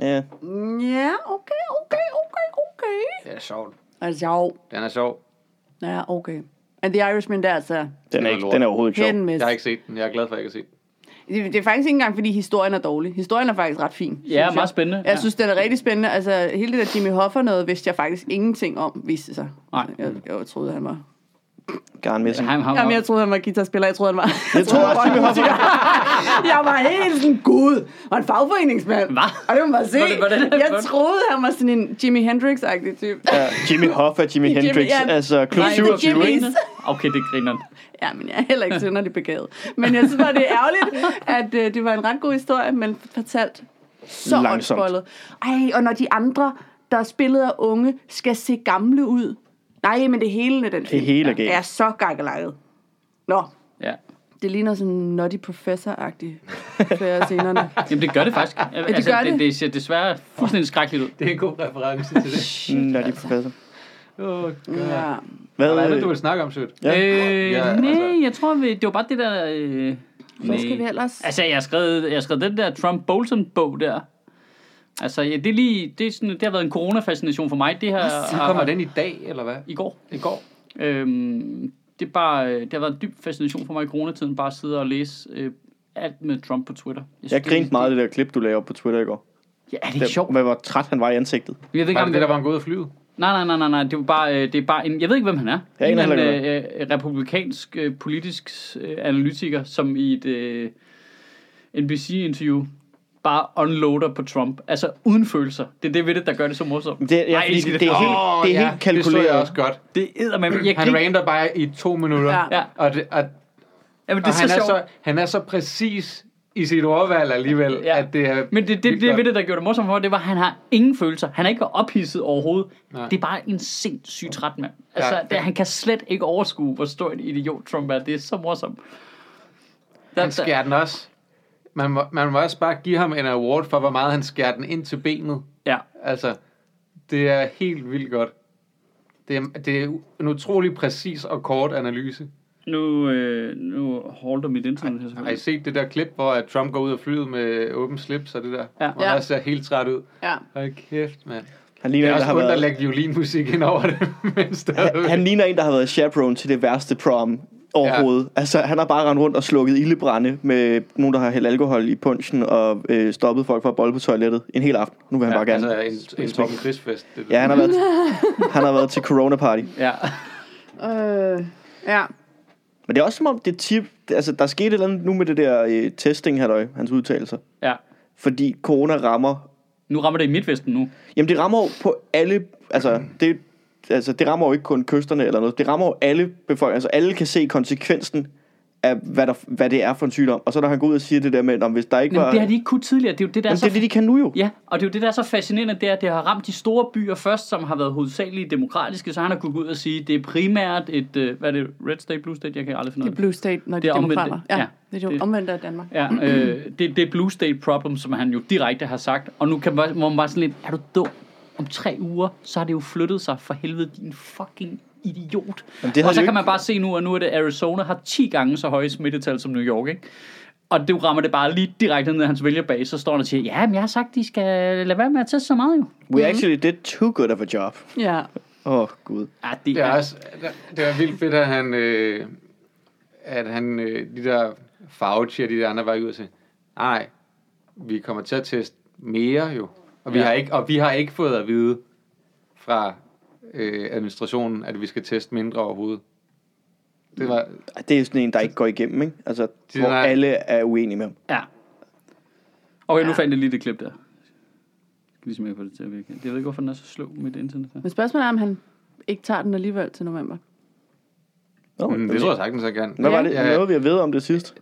C: Ja,
D: Ja, okay, okay, okay, okay.
B: Det er sjovt.
D: Altså, jo.
B: Den er sjov.
D: Ja, okay. And the Irishman, det er altså
C: den er, ikke, den er overhovedet ikke
D: hit and
C: sjov.
D: miss.
B: Jeg har ikke set den. Jeg er glad for, at jeg kan se den.
D: Det, det er faktisk ikke engang, fordi historien er dårlig. Historien er faktisk ret fin. synes
A: Ja,
D: jeg.
A: meget spændende.
D: Jeg
A: Ja.
D: synes, den er rigtig spændende. Altså, hele det der Jimmy Hoffa noget, vidste jeg faktisk ingenting om, viste det sig.
A: Nej.
D: Jeg, jeg troede, han var...
C: Garn Messing.
A: Han, han,
D: Jamen, jeg
A: jeg...
D: troede, han var guitarspiller. Jeg troede, han var...
C: Jeg tror også, Jimmy Hoffa.
D: jeg var helt sådan, gud, og en fagforeningsmand.
A: Hvad?
D: Og det må man se.
A: Var det- var det-
D: jeg troede, han var sådan en Jimi Hendrix-agtig type.
C: Ja, Jimmy Hoffa, Jimi
D: Jimmy-
C: Hendrix,
D: ja.
C: altså klub
D: Nej, det er
C: 27.
D: Jimmy.
C: ikke?
A: Okay, det griner han.
D: Ja, men jeg er heller ikke synderlig begavet. Men jeg synes bare, det er ærgerligt, at øh, det var en ret god historie, men fortalt så
C: Langsomt.
D: håndbollet. Ej, og når de andre, der er spillet af unge, skal se gamle ud. Nej, men det hele i den film
C: hele er galt.
D: er så gakkelejret. Nå,
A: Ja.
D: det ligner sådan en nutty professor-agtig flere af scenerne.
A: Jamen, det gør det faktisk. Ja, det,
D: gør det.
A: det. det ser desværre fuldstændig skrækkeligt ud.
B: Det er en god reference til det.
C: Nå, Mm, de er professor.
B: Oh, ja.
D: Ja.
C: Hvad
B: Hvad er det, du
C: er
B: vil snakke om, sødt?
C: Ja.
A: Ja. Øh,
B: Ja,
A: ja,
B: altså.
A: nej, altså. jeg tror, vi, det var bare det der... Øh,
D: Hvad skal vi ellers?
A: Altså, jeg har skrevet, jeg har skrevet den der Trump Bolton-bog der. Altså, ja, det, er lige, det, er sådan, det har været en corona-fascination for mig. Det her,
B: Så kommer den i dag, eller hvad?
A: I går.
B: I går.
A: Øhm, det, er bare, øh, det har været en dyb fascination for mig i coronatiden, bare at sidde og læse øh, alt med Trump på Twitter.
C: Jeg
A: synes,
C: grinte
A: det-
C: meget af det der klip, du lagde op på Twitter i går.
A: Ja, er det ikke
C: Der,
A: sjovt?
C: med hvor træt han var i ansigtet.
A: Jeg ved ikke,
B: Var
A: om
B: det det, der var en god af flyet?
A: Nej, nej, nej, nej, nej. Det, var bare, øh, det er bare en, jeg ved ikke, hvem han er.
C: Jeg
A: en
C: aner
A: eller
C: heller
A: anden øh, øh, republikansk øh, politisk øh, analytiker, som i et øh, NBC-interview bare unloader på Trump. Altså uden følelser. Det er det ved det, der gør det så morsomt.
C: Det, ja,
A: Ej,
C: fordi
A: skal
C: det, det, er helt, det er
B: Det
C: helt
B: så jeg
C: kalkuleret.
B: også godt.
A: Det æder med Jeg
B: Han
A: griner-
B: rander bare i to minutter.
D: Ja.
A: Ja.
B: Og, det, og,
A: Jamen, det
B: og
A: er
B: han,
A: så
B: er
A: sjovt.
B: så, han er så præcis i sit ordvalg alligevel,
A: Ja.
B: at det er...
A: Men det, det,
B: vildt
A: det
B: godt.
A: ved det, der gjorde det morsomt for mig, det var, at han har ingen følelser. Han er ikke ophidset overhovedet.
B: Nej.
A: Nej. Det er bare en sindssygt træt mand. Altså,
B: Ja.
A: ja, det, han kan slet ikke overskue, hvor stor en idiot Trump er. Det er så morsomt. Der,
B: Han skærer den også. Man må, man må også bare give ham en award for, hvor meget han skærer den ind til benet.
A: ja.
B: Altså, det er helt vildt godt. Det er, det er en utrolig præcis og kort analyse.
A: Nu, øh, nu holder mit internet her
B: Har I
A: selvfølgelig.
B: set det der klip, hvor at Trump går ud af flyet med åben slips og det der?
A: Ja.
B: Hvor
D: Ja.
B: han også ser helt træt ud.
D: Ja.
B: Hold kæft, mand. Det
C: Han
B: er
C: ligner, en, der
B: også
C: har
B: ondt at
C: været,
B: lægge violinmusik ind over det, men stadigvæk.
C: han, han ligner en, der har været chaperone til det værste prom overhovedet. Ja. Altså, han har bare rendt rundt og slukket ildebrænde med nogen, der har hældt alkohol i punchen og øh, stoppet folk fra at bolle på toilettet en hel aften. Nu vil han ja, bare gerne.
B: altså en, en Torben Chris-fest. Det,
C: Ja, han har været, han har været til corona party.
A: Ja.
D: Øh, ja.
C: Men det er også som om, det tip, altså der skete et eller andet nu med det der øh, testing, halløj, hans udtalelser.
A: Ja.
C: Fordi corona rammer,
A: Nu rammer det i Midtvesten nu.
C: jamen det rammer jo på alle, altså det, altså det rammer jo ikke kun kysterne eller noget, det rammer jo alle befolkninger, altså alle kan se konsekvensen af, hvad, der, hvad det er for en sygdom. Og så når han går ud og siger det der med, om hvis der ikke var...
A: Jamen, det har de ikke kunnet tidligere. Det er jo det, der er
C: Jamen,
A: så
C: det er det, de kan nu jo.
A: Ja, og det er jo det, der er så fascinerende, det er, at det har ramt de store byer først, som har været hovedsageligt demokratiske, så han har kunnet gå ud og sige, det er primært et, øh, hvad er det, Red State, Blue State, jeg kan aldrig finde
D: Det er
A: ud af
D: Blue State, når
A: Det
D: det
A: er
D: de er
A: omvendt,
D: demokrater.
A: ja.
D: Ja, ja, det er
A: Det-
D: jo omvendt af Danmark.
A: Ja, øh, det, det er Blue State Problem, som han jo direkte har sagt, og nu kan man, må man bare sådan lidt, er du dum? Om tre uger, så har det jo flyttet sig for helvede, din fucking idiot.
C: Jamen, det har
A: og så
C: det jo
A: kan man
C: ikke-
A: bare se nu, at nu er det Arizona har 10 gange så høje smittetal som New York, ikke? Og det rammer det bare lige direkte ned i hans vælgerbase, så står han og siger, ja, men jeg har sagt, de skal lade være med at teste så meget jo.
C: We actually did too good of a job.
D: Ja.
C: Åh, oh, gud.
A: Ja, det
B: Det
A: er,
B: er, også, det er vildt fedt, at han, øh, at han øh, de der Fauci og de der andre var ud til. Nej, vi kommer til at teste mere jo. Og vi,
A: Ja.
B: ja. har, ikke, og vi har ikke fået at vide fra øh, administrationen, at vi skal teste mindre overhovedet. Det var,
A: Mm.
C: Ej, Det er sådan en, der ikke går igennem, ikke? Altså,
B: Det
C: hvor
B: er-
C: alle er uenige med ham.
A: Ja. Okay, nu fandt jeg lige det klip der. Jeg skal Ligesom jeg får det til at virke. Jeg ved ikke, hvorfor den er så slå mit internet her.
D: Men spørgsmålet er, om han ikke tager den alligevel til november.
C: Nå,
B: mm, det tror jeg sagtens, jeg kan.
C: Hvad var det?
B: Ja.
C: Noget, vi har ved om det sidst?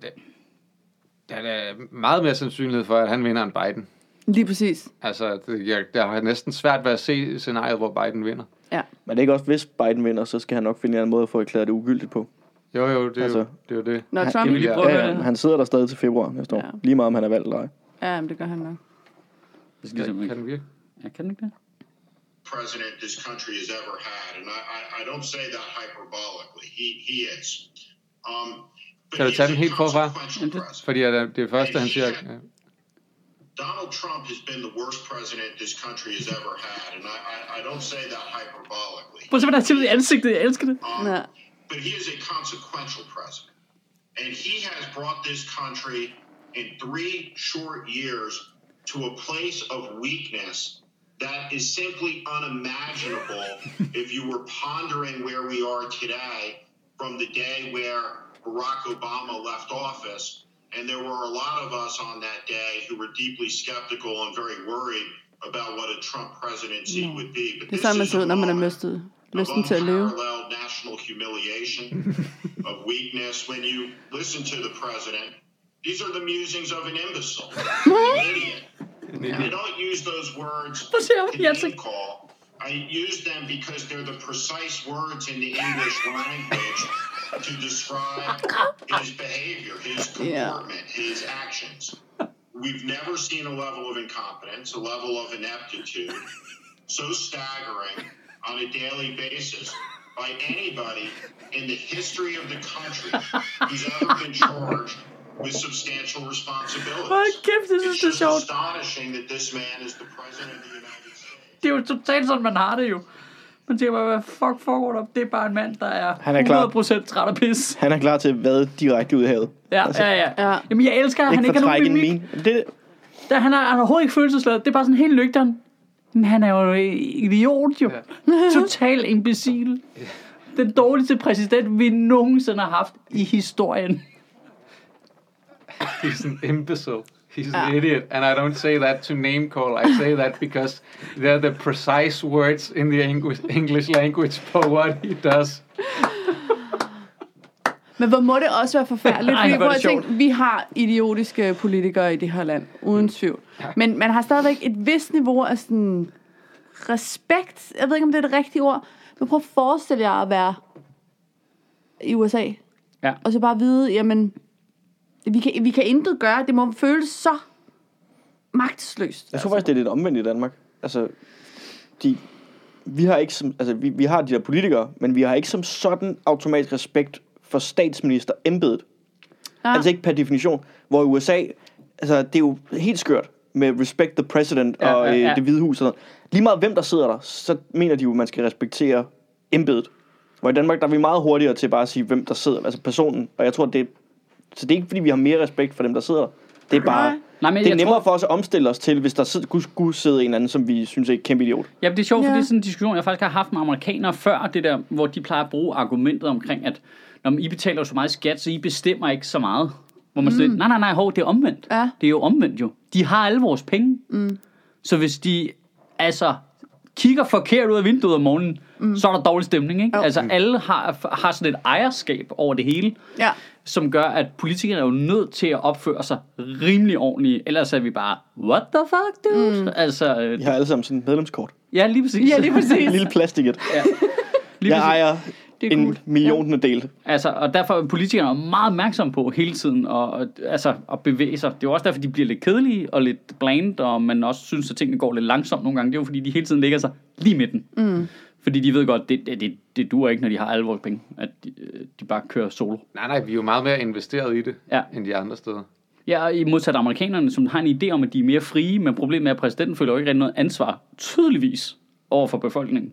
B: Der er meget mere sandsynlighed for, at han vinder end Biden.
D: Lige præcis.
B: Altså, det, jeg, der har næsten svært ved at se scenariet, hvor Biden vinder.
D: Ja.
C: Men det er ikke også, hvis Biden vinder, så skal han nok finde en eller anden måde at få erklæret det ugyldigt på.
B: Jo, jo, det er
C: Altså.
B: jo det. Er jo det.
D: Når
C: Han-
D: Trump...
A: Kan vi lige
B: Ja,
A: prøve at høre
C: men
A: det?
C: han sidder der stadig til februar næste år.
D: Ja.
C: Lige meget om han er valgt eller ej.
D: Ja, men det gør han nok.
A: Jeg skal
B: Kan,
A: ligesom
B: kan
A: ikke.
B: den virke?
A: Jeg kan den ikke det.
E: president this country has ever had, and I, I, I don't say that hyperbolically. He he is. Um, but
B: Kan du
E: he
B: tage
E: is
B: den
E: a
B: helt forfra?
E: consequential president.
B: Fordi at, øh, det første, han siger... Ja.
E: Donald Trump has been the worst president this country has ever had, and I, I, I don't say that hyperbolically.
A: Prøv at se, hvordan han i ansigtet. Jeg elsker det.
E: Um,
D: Ja.
E: But he is a consequential president. And he has brought this country in three short years to a place of weakness that is simply unimaginable if you were pondering where we are today from the day where Barack Obama left office. And there were a lot of us on that day who were deeply skeptical and very worried about what a Trump presidency
D: No.
E: would be. But
D: Det er
E: this
D: sådan, man
E: is a
D: ser ud, når man har
E: moment
D: mistet lysten til at leve.
E: unparalleled national humiliation, of weakness. When you listen to the president, these are the musings of an imbecile, an idiot. I don't use those words
A: Prøv at se, ham
E: to
A: i ansigtet.
E: call. I use them because they're the precise words in the English language to describe his behavior, his
D: Yeah.
E: comportment, his actions. We've never seen a level of incompetence, a level of ineptitude so staggering on a daily basis by anybody in the history of the country who's ever been charged with substantial responsibilities.
A: Hold kæft, jeg synes,
E: It's
A: det er
E: just
A: sjovt.
E: astonishing that this man is the president of the United States.
A: Det er jo totalt sådan, man har det jo. Man tænker bare, hvad fuck foregår der? Det er bare en mand, der er,
C: Han er klar.
A: 100% træt af pis.
C: Han er klar til at vade direkte ud i havet.
A: Ja, ja, ja,
D: Ja.
A: Jamen, jeg elsker, at han
C: Altså, Ikke
A: ikke har
C: fortrække
A: nogen
C: en
A: mimik.
C: min. Det,
A: Der, han, er, han er overhovedet ikke følelsesladet. Det er bare sådan helt nøgteren. Men han er jo en idiot jo. Ja. Total imbecil. Den dårligste præsident, vi nogensinde har haft i historien.
B: He's an imbecile. He's an
D: Ah.
B: idiot. And I don't say that to name call. I say that because they're the precise words in the English, English language for what he does.
D: Men hvor må det også være forfærdeligt,
A: Ej,
D: fordi
A: hvor er
D: prøv
A: det
D: at tænke, vi har idiotiske politikere i det her land,
C: Mm.
D: uden tvivl. Men man har stadigvæk et vist niveau af sådan respekt, jeg ved ikke, om det er det rigtige ord, men prøv at forestille jer at være i USA,
A: Ja.
D: og så bare vide, jamen, vi kan, vi kan intet gøre, det må føles så magtesløst.
C: jeg tror faktisk, det er lidt omvendt i Danmark. Altså, de, vi har ikke som, altså, vi, vi har de der politikere, men vi har ikke som sådan automatisk respekt for statsminister embedet.
D: Ah.
C: Altså ikke per definition. Hvor i USA, altså det er jo helt skørt med respect the president
A: Ja,
C: ja, og
A: ja,
C: ja,
A: ja.
C: det hvide hus og sådan noget. Lige meget hvem der sidder der, så mener de jo, at man skal respektere embedet. Hvor i Danmark, der er vi meget hurtigere til bare at sige, hvem der sidder, altså personen. Og jeg tror, det er, så det er ikke, fordi vi har mere respekt for dem, der sidder der. Det er bare,
A: Nej, men
C: Det er
A: jeg
C: nemmere
A: tror,
C: for os at omstille os til, hvis der sid- skulle- skulle sidde en eller anden, som vi synes er et kæmpe idiot.
A: ja, det er sjovt, ja. for
D: Ja.
A: det er sådan en diskussion, jeg faktisk har haft med amerikanere før, det der, hvor de plejer at bruge argumentet omkring, at når I betaler jo så meget skat, så I bestemmer ikke så meget. Hvor man mm. siger, nej, nej, nej, hov, det er omvendt.
D: Ja.
A: Det er jo omvendt jo. De har alle vores penge. Mm. Så hvis de, altså, kigger forkert ud af vinduet om morgenen, mm. så er der dårlig stemning, ikke?
D: Jo.
A: Altså, alle har, har sådan et ejerskab over det hele.
D: Ja.
A: som gør, at politikerne er jo nødt til at opføre sig rimelig ordentligt. Ellers er vi bare, what the fuck, dude? Mm. Altså, øh,
C: Vi har alle sammen sådan et medlemskort.
A: ja, lige præcis.
D: Ja, lige præcis.
C: En lille plastiket.
A: lige præcis.
C: Jeg ejer
D: Det er
C: en
D: cool.
C: millionende del.
A: Altså, og derfor er politikerne meget opmærksomme på hele tiden og, og, altså, at bevæge sig. Det er jo også derfor, de bliver lidt kedelige og lidt bland, og man også synes, at tingene går lidt langsomt nogle gange. Det er jo fordi, de hele tiden ligger sig lige i midten. Mm. Fordi de ved godt, det, det, det, det duer ikke, når de har alle vores penge, at de, øh, de bare kører solo.
B: Nej, nej, vi er jo meget mere investeret i det,
A: Ja.
B: end de andre steder.
A: Ja, og i modsat amerikanerne, som har en idé om, at de er mere frie, men problemet er, at præsidenten føler jo ikke rigtig noget ansvar, tydeligvis, over for befolkningen.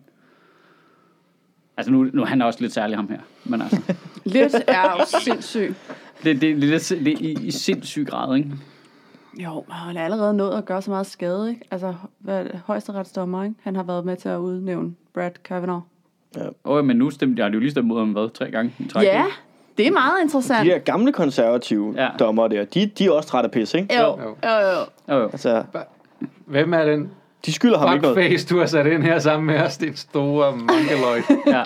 A: Altså, nu, nu er han også lidt særlig, ham her. Men altså,
D: Lidt er jo sindssygt.
A: det, det, det, det, det er i, i sindssyg grad, ikke?
D: Jo, og han er allerede nået at gøre så meget skade, ikke? Altså, hvad, er det? højesteretsdommer, ikke? Han har været med til at udnævne Brad Kavanaugh.
A: Åh, oh, men nu stemte jeg, har de jo lige stemt mod ham, hvad, tre gange? i træk,
D: Ja,
A: ikke?
D: det er meget interessant.
C: De der gamle konservative
A: Ja.
C: ja. dommer der, de, de er også trætte af pis, ikke?
D: Jo,
B: Jo.
D: jo, jo.
A: Jo, jo.
C: Altså,
B: Hvem er den
C: de skylder ham ikke noget.
B: fuckface, du har sat ind her sammen med os? Den store mankeloid.
A: Ja.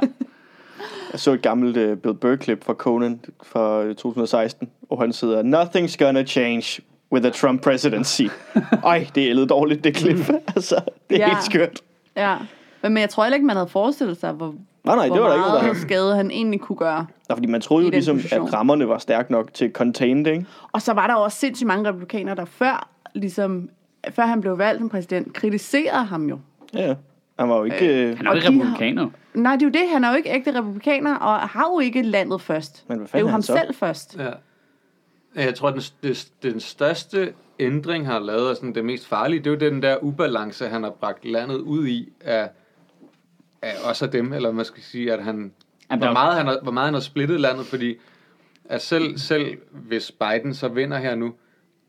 C: Jeg så et gammelt uh, Bill Burr-klip fra Conan fra øh, 2016, hvor han sidder, Nothing's gonna change with a Trump presidency. Ej, det er ældet dårligt, det klip. altså,
D: Mm.
C: det er
D: Ja.
C: helt skørt.
D: Ja. Men, men jeg tror heller ikke, man havde forestillet sig, hvor,
C: Nej, nej, det var
D: hvor
C: der ikke noget, der
D: meget skade han egentlig kunne gøre.
C: Nej, fordi man troede
D: I
C: jo
D: den
C: ligesom,
D: position.
C: at rammerne var stærke nok til contain det, ikke?
D: Og så var der jo også sindssygt mange republikanere, der før, ligesom, før han blev valgt som præsident, kritiserede ham jo.
C: Ja, ja. Han var jo ikke... Øh,
A: Han er jo
D: Og
A: ikke
D: de har- Altså,
A: republikaner.
D: Nej, det er jo det. Han er jo ikke ægte republikaner, og har jo ikke landet først.
C: Men hvad fanden
D: det er jo
C: er
D: ham
C: han så?
D: selv først.
B: Ja. Jeg tror, den, den, den største ændring, han har lavet, og sådan det mest farlige, det er jo den der ubalance, han har bragt landet ud i af, af os og dem, eller man skal sige, at han,
A: Jamen, der-
B: hvor, meget han har, hvor meget han har splittet landet, fordi at selv, selv hvis Biden så vinder her nu,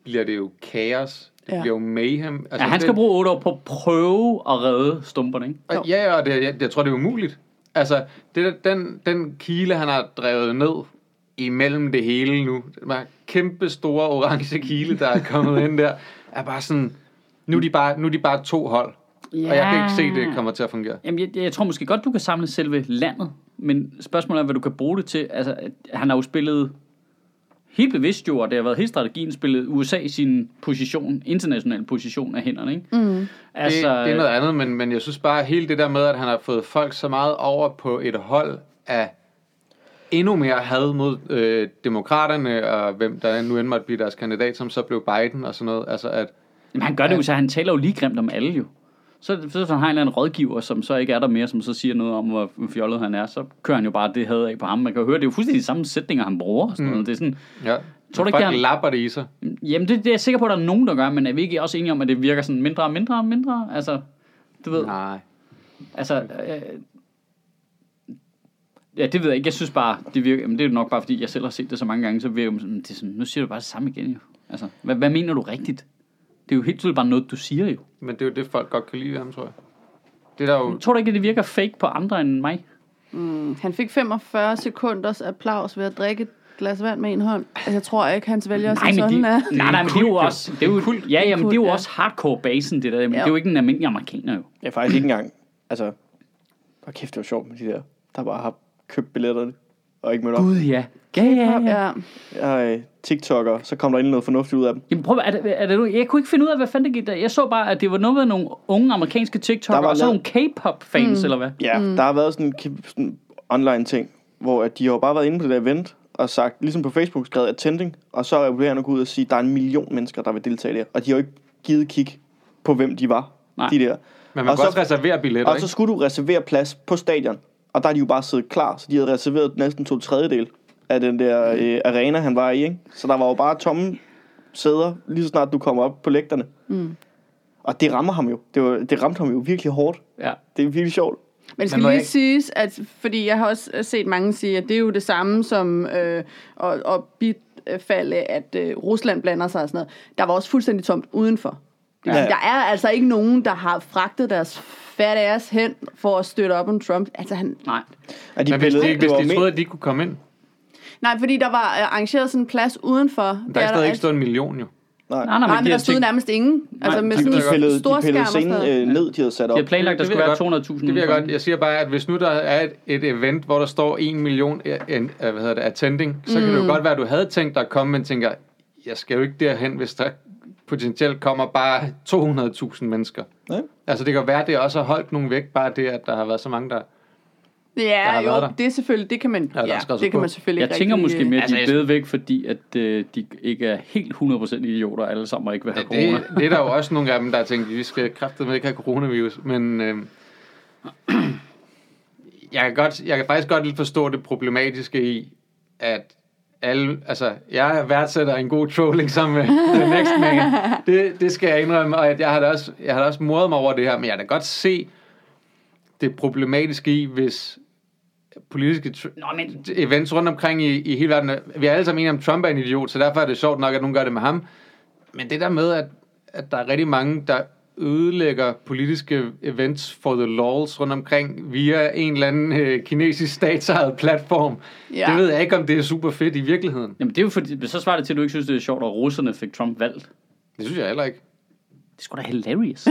B: bliver det jo kaos, det
D: Ja.
B: ja. bliver jo mayhem. Altså,
A: Ja, han skal bruge otte år på at prøve at redde stumperne, ikke?
D: Jo.
B: Og, Øh, ja, ja, og det, jeg, jeg tror, det er umuligt. Altså, det, der- den, den kile, han har drevet ned imellem det hele nu, den var kæmpe store orange kile, der er kommet ind der, er bare sådan, nu er de bare, nu er de bare to hold. Ja. Og jeg kan ikke se, det kommer til at fungere.
A: Jamen, jeg, jeg tror måske godt, du kan samle selve landet, men spørgsmålet er, hvad du kan bruge det til. Altså, at han har jo spillet helt bevidst jo, og det har været hele strategien, spillet USA i sin position, international position af hænderne, ikke? Mm.
B: Det,
A: Altså,
B: altså, det er noget andet, men, men jeg synes bare, hele det der med, at han har fået folk så meget over på et hold af endnu mere had mod øh, demokraterne, og hvem der nu end måtte blive deres kandidat, som så blev Biden og sådan noget. Altså, at,
A: jamen, han gør det jo, så han taler jo lige grimt om alle jo. Så, så, så har han en eller anden rådgiver, som så ikke er der mere, som så siger noget om, hvor fjollet han er, så kører han jo bare det had af på ham. Man kan jo høre, det er jo fuldstændig de samme sætninger, han bruger. Og sådan mm. noget. Det er sådan,
B: ja,
A: Tror du ikke,
B: folk
A: det er-
B: lapper det i sig.
A: Jamen, det, det er jeg sikker på, at der er nogen, der gør, men er vi ikke også enige om, at det virker sådan mindre og mindre og mindre? Altså, du ved,
B: Nej.
A: altså... Øh, ja, det ved jeg ikke. Jeg synes bare, det virker... Men det er jo nok bare, fordi jeg selv har set det så mange gange, så virker det som, det er sådan, nu siger du bare det samme igen, jo. Altså, hvad, hvad mener du rigtigt? Det er jo helt tydeligt bare noget, du siger jo.
B: Men det er jo det, folk godt kan lide ved ham, tror jeg. Det er der jo...
A: Tror du ikke, at det virker fake på andre end mig?
D: Han fik 45 sekunders applaus ved at drikke et glas vand med en hånd. Altså, jeg tror ikke, hans vælgere som
A: men
D: sådan
A: de,
D: er.
A: nej, nej, men det er jo også, det er jo, ja, jamen, det er jo
D: kult, ja.
A: også hardcore basen, det der, men det er jo ikke en almindelig amerikaner jo.
C: jeg er faktisk ikke engang... Altså, hvor kæft, det var sjovt med de der, der bare har købt billetterne og ikke mødt op.
A: Gud, ja. Ja, ja, ja.
D: Ja.
C: Ej, TikToker, så kom der endelig noget fornuftigt ud af dem.
A: Jamen prøv, at- er, det- er det, nu- jeg kunne ikke finde ud af, hvad fanden det gik der. Jeg så bare, at det var noget med nogle unge amerikanske
C: Der
A: TikTokere,
C: var
A: og så nogle
C: lavet-
A: K-pop-fans, mm. eller hvad?
C: Ja, mm. der har været sådan en kæmpe- sådan online ting, hvor at de har jo bare været inde på det der event, og sagt, ligesom på Facebook, skrevet attending, og så er regulerende gået ud og sige, der er en million mennesker, der vil deltage der, og de har jo ikke givet kig på, hvem de var,
A: Nej.
C: de der.
B: Men man og kan
C: og så,
B: også reservere billetter,
C: og
B: ikke?
C: så skulle du reservere plads på stadion, og der er de jo bare siddet klar, så de havde reserveret næsten to tredjedel af den der øh, arena, han var i, ikke? Så der var jo bare tomme sæder, lige så snart du kommer op på lægterne. Mm. Og det rammer ham jo. Det, var, det ramte ham jo virkelig hårdt.
A: Ja.
C: Det er virkelig sjovt.
D: Men det
B: Men
D: skal
B: må
D: lige
B: jeg
D: ikke...
B: ikke-
D: siges, at fordi jeg har også set mange sige, at det er jo det samme som øh, at, at bid, øh, fald, øh, at øh, Rusland blander sig og sådan noget. Der var også fuldstændig tomt udenfor. Ja.
C: Ja.
D: Der er altså ikke nogen, der har fragtet deres fat ass hen for at støtte op om Trump. Altså han,
A: Nej.
C: Er de
B: Men hvis
C: pillede,
B: de, ikke, hvis
C: det var
B: de
C: men-
B: troede, at de kunne komme ind,
D: nej, fordi der var øh, arrangeret sådan en plads udenfor.
B: der er stadig ikke
D: alt-
B: stået en million jo.
A: Mm. Nej, nej,
D: Nej,
A: men
D: men
A: de
D: der
A: har,
D: stod
A: tænkt,
D: nærmest ingen. Altså
A: Nej,
D: med
A: de
D: sådan
C: de pillede,
D: en
C: de
D: stor skærm
C: pillede
D: og sådan
C: scenen
D: noget.
C: øh, ned, de havde sat op.
A: de har planlagt, der
B: Det ved
A: skulle være
B: jeg
A: 200.000.
B: Det vil jeg
A: udenfor.
B: godt. Jeg siger bare, at hvis nu der er et, et event, hvor der står en million a- en, a- hvad hedder det, attending, så kan det
A: Mm.
B: jo godt være, at du havde tænkt dig at komme, men tænker, jeg skal jo ikke derhen, hvis der potentielt kommer bare 200.000 mennesker.
C: Nej.
B: Altså det kan være, at det også har holdt nogen væk, bare det, at der har været så mange, der...
D: Ja,
B: har været
D: jo,
B: der.
D: det er selvfølgelig, det kan man,
B: der er
D: ja,
B: skrevet
D: det kan
B: på.
D: man selvfølgelig
A: Jeg
D: ikke
A: tænker
D: rigtig,
A: måske
D: øh,
A: mere, at
B: altså,
A: de er
B: jeg-
A: blevet væk, fordi at øh, de ikke er helt 100% idioter alle sammen og ikke vil have
B: Det,
A: corona.
B: det, det er der jo også nogle af dem, der har tænkt, vi skal kraftedeme ikke have coronavirus, men... Øh, jeg, kan godt, jeg kan faktisk godt lidt forstå det problematiske i, at alle, altså, jeg værdsætter en god trolling sammen med The Next Man. Det, det skal jeg indrømme, og at jeg har da også, jeg har da også moret mig over det her, men jeg kan da godt se det problematiske i, hvis politiske tr-
A: Nå, men-
B: events rundt omkring i, i hele verden, vi er alle sammen enige om, at Trump er en idiot, så derfor er det sjovt nok, at nogen gør det med ham. Men det der med, at, at der er rigtig mange, der ødelægger politiske events for the lols rundt omkring via en eller anden øh, kinesisk statsejet platform,
D: Ja.
B: ja. det ved jeg ikke, om det er super fedt i virkeligheden.
A: Jamen det er jo fordi, så svarer det til, at du ikke synes, det er sjovt, at russerne fik Trump valgt. Det
B: Det synes jeg heller ikke.
A: er sgu da hilarious.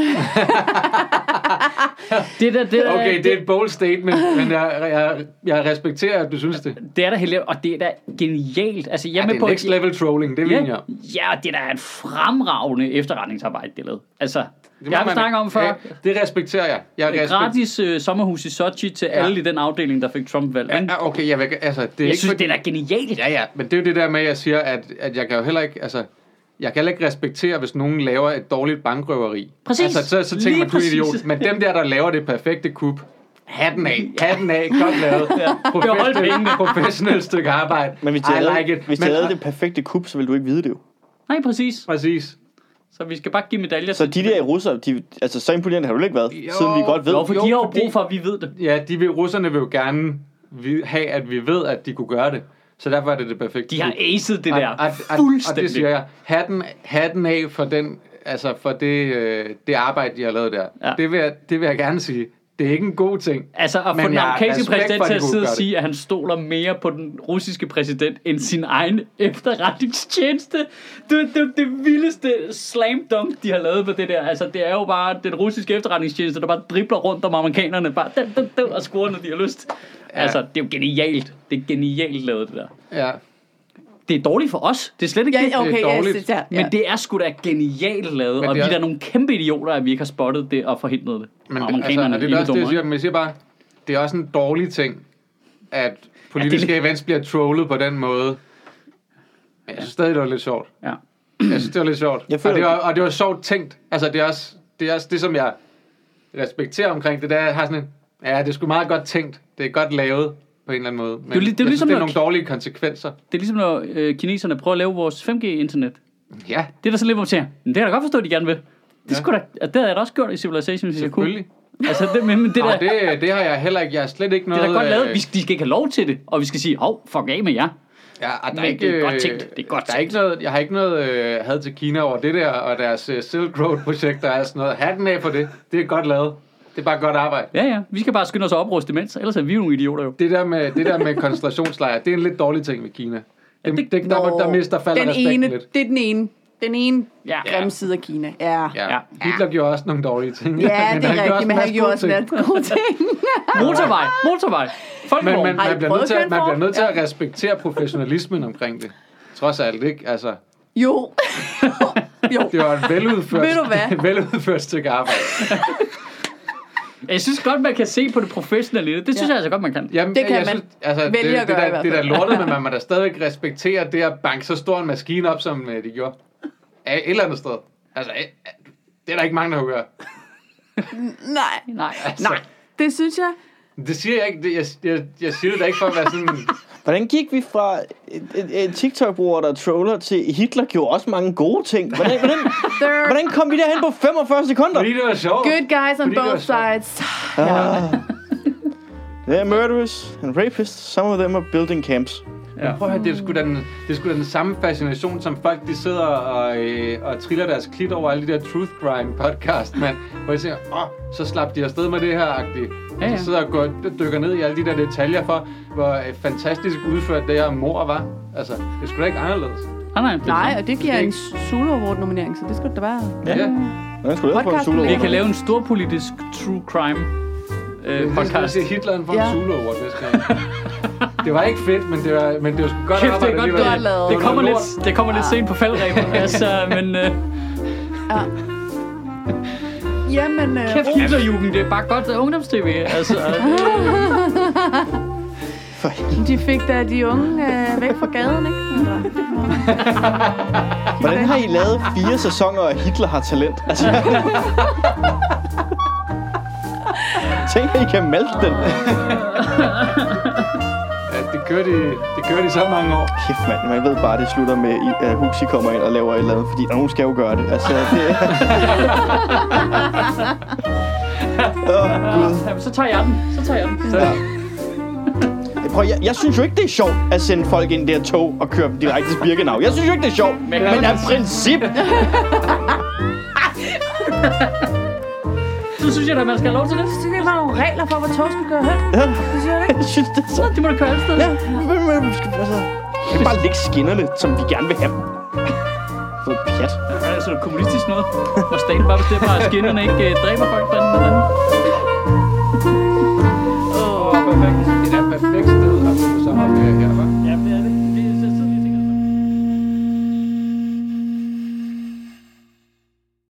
A: det, der, det, der,
B: Okay, det er
A: Øh, det,
B: et bold statement, men jeg, jeg, jeg respekterer, at du synes det.
A: det, er da hilarious, og det er da genialt. Altså, jeg er
B: Ja, det
A: med
B: er
A: på,
B: next level trolling, det vil jeg.
A: ja, ja, det er da et fremragende efterretningsarbejde, det er lavet. Altså,
B: Det må
A: jeg har
B: man-
A: snakket om før.
B: Ja, det respekterer jeg. jeg respekt...
A: Gratis øh, sommerhus i Sochi til alle i den afdeling, der fik Trump valgt. ikke?
B: Ja, okay, jeg, vil, altså, det er
A: Jeg
B: ikke
A: synes,
B: fordi-
A: det er da genialt.
B: Ja, ja, men det er jo det der med, at jeg siger, at, at jeg kan jo heller ikke, altså, jeg kan heller ikke respektere, hvis nogen laver et dårligt bankrøveri.
A: Præcis.
B: Altså, så, så
A: Lige
B: tænker man, du er en
A: præcis.
B: idiot. Men dem der, der laver det perfekte kub, hatten af, hatten af, godt lavet.
A: Behold
B: Professionelt,
A: pengene.
B: professionelt stykke arbejde.
C: Men hvis de
B: I
C: havde,
B: like it.
C: hvis de
B: Men-
C: havde det perfekte kup, så ville du ikke vide det jo.
A: Nej, præcis.
B: Præcis.
A: Så vi skal bare give medaljer.
C: Så de der russere, de, altså så imponerende har du ikke været,
B: Jo.
C: siden vi godt ved.
A: Nå, for
B: Jo,
A: de har jo
B: fordi-
A: brug for, at vi ved det.
B: Ja, de vil, russerne vil jo gerne vi- have, at vi ved, at de kunne gøre det. Så derfor er det det perfekte
A: De har
B: kub.
A: aced det der
B: og, og, og det
A: fuldstændig.
B: siger jeg. Hatten, hatten af for, den, altså for det, øh, det arbejde, de har lavet der.
A: Ja.
B: Ja. Det, vil jeg, det vil jeg gerne sige. Det er ikke en god ting.
A: Altså at
B: Men
A: få den
B: jeg har
A: amerikanske
B: respekt
A: præsident
B: for, at
A: til
B: de
A: at
B: kunne
A: sidde og
B: gøre det.
A: sige, at han stoler mere på den russiske præsident end sin egen efterretningstjeneste. Det er det, det vildeste slam dunk, de har lavet på det der. Altså det er jo bare den russiske efterretningstjeneste, der bare dribler rundt om amerikanerne, bare dum, dum, dum, og scorer, når de har lyst. Altså det er jo genialt. Det er genialt lavet det der.
B: Ja.
A: Det er dårligt for os. Det er slet ikke det. Øh,
D: Ja, okay, ja,
B: dårligt,
D: det, ja,
A: Men det er sgu da genialt lavet,
B: Men
A: og vi
B: det er-
A: er da nogle kæmpe idioter, at vi ikke har spottet det og forhindret det.
B: Men det, altså,
A: Amerikanerne
B: og det er
A: er
B: også det, jeg
A: dumme,
B: siger.
A: ikke?
B: Men jeg siger bare, det er også en dårlig ting, at politiske
A: lidt-
B: events bliver trollet på den måde. Men jeg synes stadig, det var lidt sjovt.
A: Ja.
B: Jeg synes, det var lidt sjovt.
C: Jeg føler-
B: og, det var, og det var sjovt tænkt. Altså, det er også det, er også det som jeg respekterer omkring det. Der jeg har sådan en, ja, det er sgu meget godt tænkt. Det er godt lavet på en eller anden måde. Men det
A: jo
B: er,
A: li-
B: det
A: det er
B: er,
A: jo
B: jeg
A: ligesom,
B: synes, det er
A: når-
B: nogle dårlige konsekvenser.
A: Det er ligesom, når øh, kineserne prøver at lave vores 5G-internet.
B: Ja,
A: Det er der så lidt, hvor man siger, "Men det kan jeg da godt forstå, at de gerne vil. Det, ja. skulle da, at det havde jeg da også gjort i Civilization, hvis jeg kunne.
B: selvfølgelig.
A: Altså, det, men men det,
B: Det,
A: der,
B: der,
A: det,
B: det, det har jeg heller ikke. Jeg har slet ikke
A: det
B: noget...
A: er da godt lavet.
B: øh,
A: Vi, skal- de skal ikke have lov til det, og vi skal sige, hov, fuck af med jer.
B: Ja, og der
A: Men
B: er ikke,
A: det er godt
B: øh,
A: tænkt. Det er godt
B: der er
A: tænkt.
B: ikke noget, jeg har ikke noget øh, had til Kina over det der, og deres øh, Silk Road-projekt, der er sådan noget. Hatten af for det. Det er godt lavet. Det er bare godt arbejde.
A: Ja, ja, vi skal bare skynde os at opruste imens, ellers er vi jo nogle idioter jo.
B: Det der med, det der med koncentrationslejre, det er en lidt dårlig ting ved Kina. Det, det, der, der, der mister falder
D: den
B: respekten
D: ene,
B: lidt.
D: Det er den ene. Den ene
A: Ja.
D: ja. grimme side af Kina. Ja, ja,
B: Ja.
A: Ja.
B: ja. Hitler gjorde også nogle dårlige ting.
D: ja det
B: han
D: er
B: gjorde
D: rigtigt,
B: også
D: men
B: en
D: han
B: masse
D: gjorde
B: gode
D: også en
B: ting.
D: masse gode ting.
A: Motorvej, motorvej. Folk
B: Men, men
D: Ej,
B: man, bliver
D: prøv
B: nødt
D: at
B: til,
D: køre
B: at- man
D: for.
B: bliver nødt til at respektere professionalismen omkring det. Trods alt, ikke? Altså,
D: Jo. jo.
B: det var et veludført,
D: Ved du hvad?
B: veludført stykke arbejde.
A: Jeg synes godt, man kan se på det professionelle. i Det Det synes ja. jeg altså godt, man kan.
B: Jamen,
D: Det kan
B: jeg
D: man
B: altså,
D: vælge
B: det,
D: at gøre
B: det,
D: i
B: der,
D: hvert
B: det der
D: fald.
B: lortet, men man må da stadigvæk respektere det at banke så stor en maskine op, som øh, de gjorde. Af et eller andet sted. Altså, øh, øh, det er der ikke mange, der kan gøre.
D: Nej,
A: Nej, altså.
D: nej. Det synes jeg.
B: Det siger jeg ikke. Det, jeg, jeg, jeg siger det da ikke for at være sådan...
C: Hvordan gik vi fra en- en- en TikTok-bruger, der troller, til Hitler gjorde også mange gode ting? Hvordan, hvordan,
D: They're
C: hvordan kom vi derhen på 45 sekunder?
B: Fordi det var sjovt.
D: good guys on
B: Fordi det var
D: both
B: sjovt.
D: sides.
C: Ah. They're murderers and rapists. Some of them are building camps.
B: Ja. Prøv at høre, det er sgu da den, det er sgu da den samme fascination, som folk de sidder og, øh, og triller deres klit over alle de der Truth Crime podcast, mand. Hvor jeg siger, åh, så slap de afsted med det her, agtigt. Ja,
A: Ja,
B: ja.
A: ja.
B: Så sidder og går, dykker ned i alle de der detaljer for, hvor øh, fantastisk udført det her mor var. Altså, det er sgu da ikke anderledes.
A: Ah, nej, det er
D: Nej,
A: det.
D: og det giver en Zulu Award nominering, så det skulle det da være.
C: Ja. Hvordan skulle du ellers få en
D: Podcasten
C: solo?
A: Vi kan lave en stor politisk true crime øh,
B: Podcast.
A: podcast.
B: Det er Hitleren fra
D: Ja.
B: ja. Zulu Award næste gang. Det var ikke fedt, men det var, men det var sgu godt
A: Kæft, det er
B: arbejde.
A: godt
B: alligevel.
D: Godt lavet.
A: gået. Det Ah. kommer
B: var noget
A: lidt, det kommer lidt sent på faldreben, altså, men øh,
D: Jamen, øh,
A: kæft, Hitlerjugend, det er bare godt uh, ungdomstv, altså.
D: de fik da de unge øh, væk fra gaden, ikke?
C: Hvordan har I lavet fire sæsoner af Hitler har talent? Altså, Tænk, at I kan malte den.
B: lort. Ja, det kørte de, det kørte de så mange år.
C: Kæft, mand. Man ved bare, at det slutter med, at Huxi kommer ind og laver et eller andet, fordi "Nå, nogen skal jo gøre det. Altså, det Åh, Gud.
A: Jamen, så tager jeg den, så tager jeg den. Så,
C: Prøv, jeg, jeg synes jo ikke, det er sjovt at sende folk ind i det her tog og køre dem direkte til Birkenau. Jeg synes jo ikke, det er sjovt, men, men af princip.
A: så synes jeg da, man skal have lov til det.
D: Så der var nogle regler for, hvor tog skal køre hen. Det synes jeg ikke.
C: Jeg synes, det er så...
A: Det må du køre alle steder.
C: Ja, men, men, men, skal- altså, kan vi bare lægge skinnerne, som vi gerne vil have dem? Noget pjat.
A: Altså, kommunistisk noget, hvor staten bare bestemmer, at skinnerne ikke øh, dræber folk. Derinde, derinde.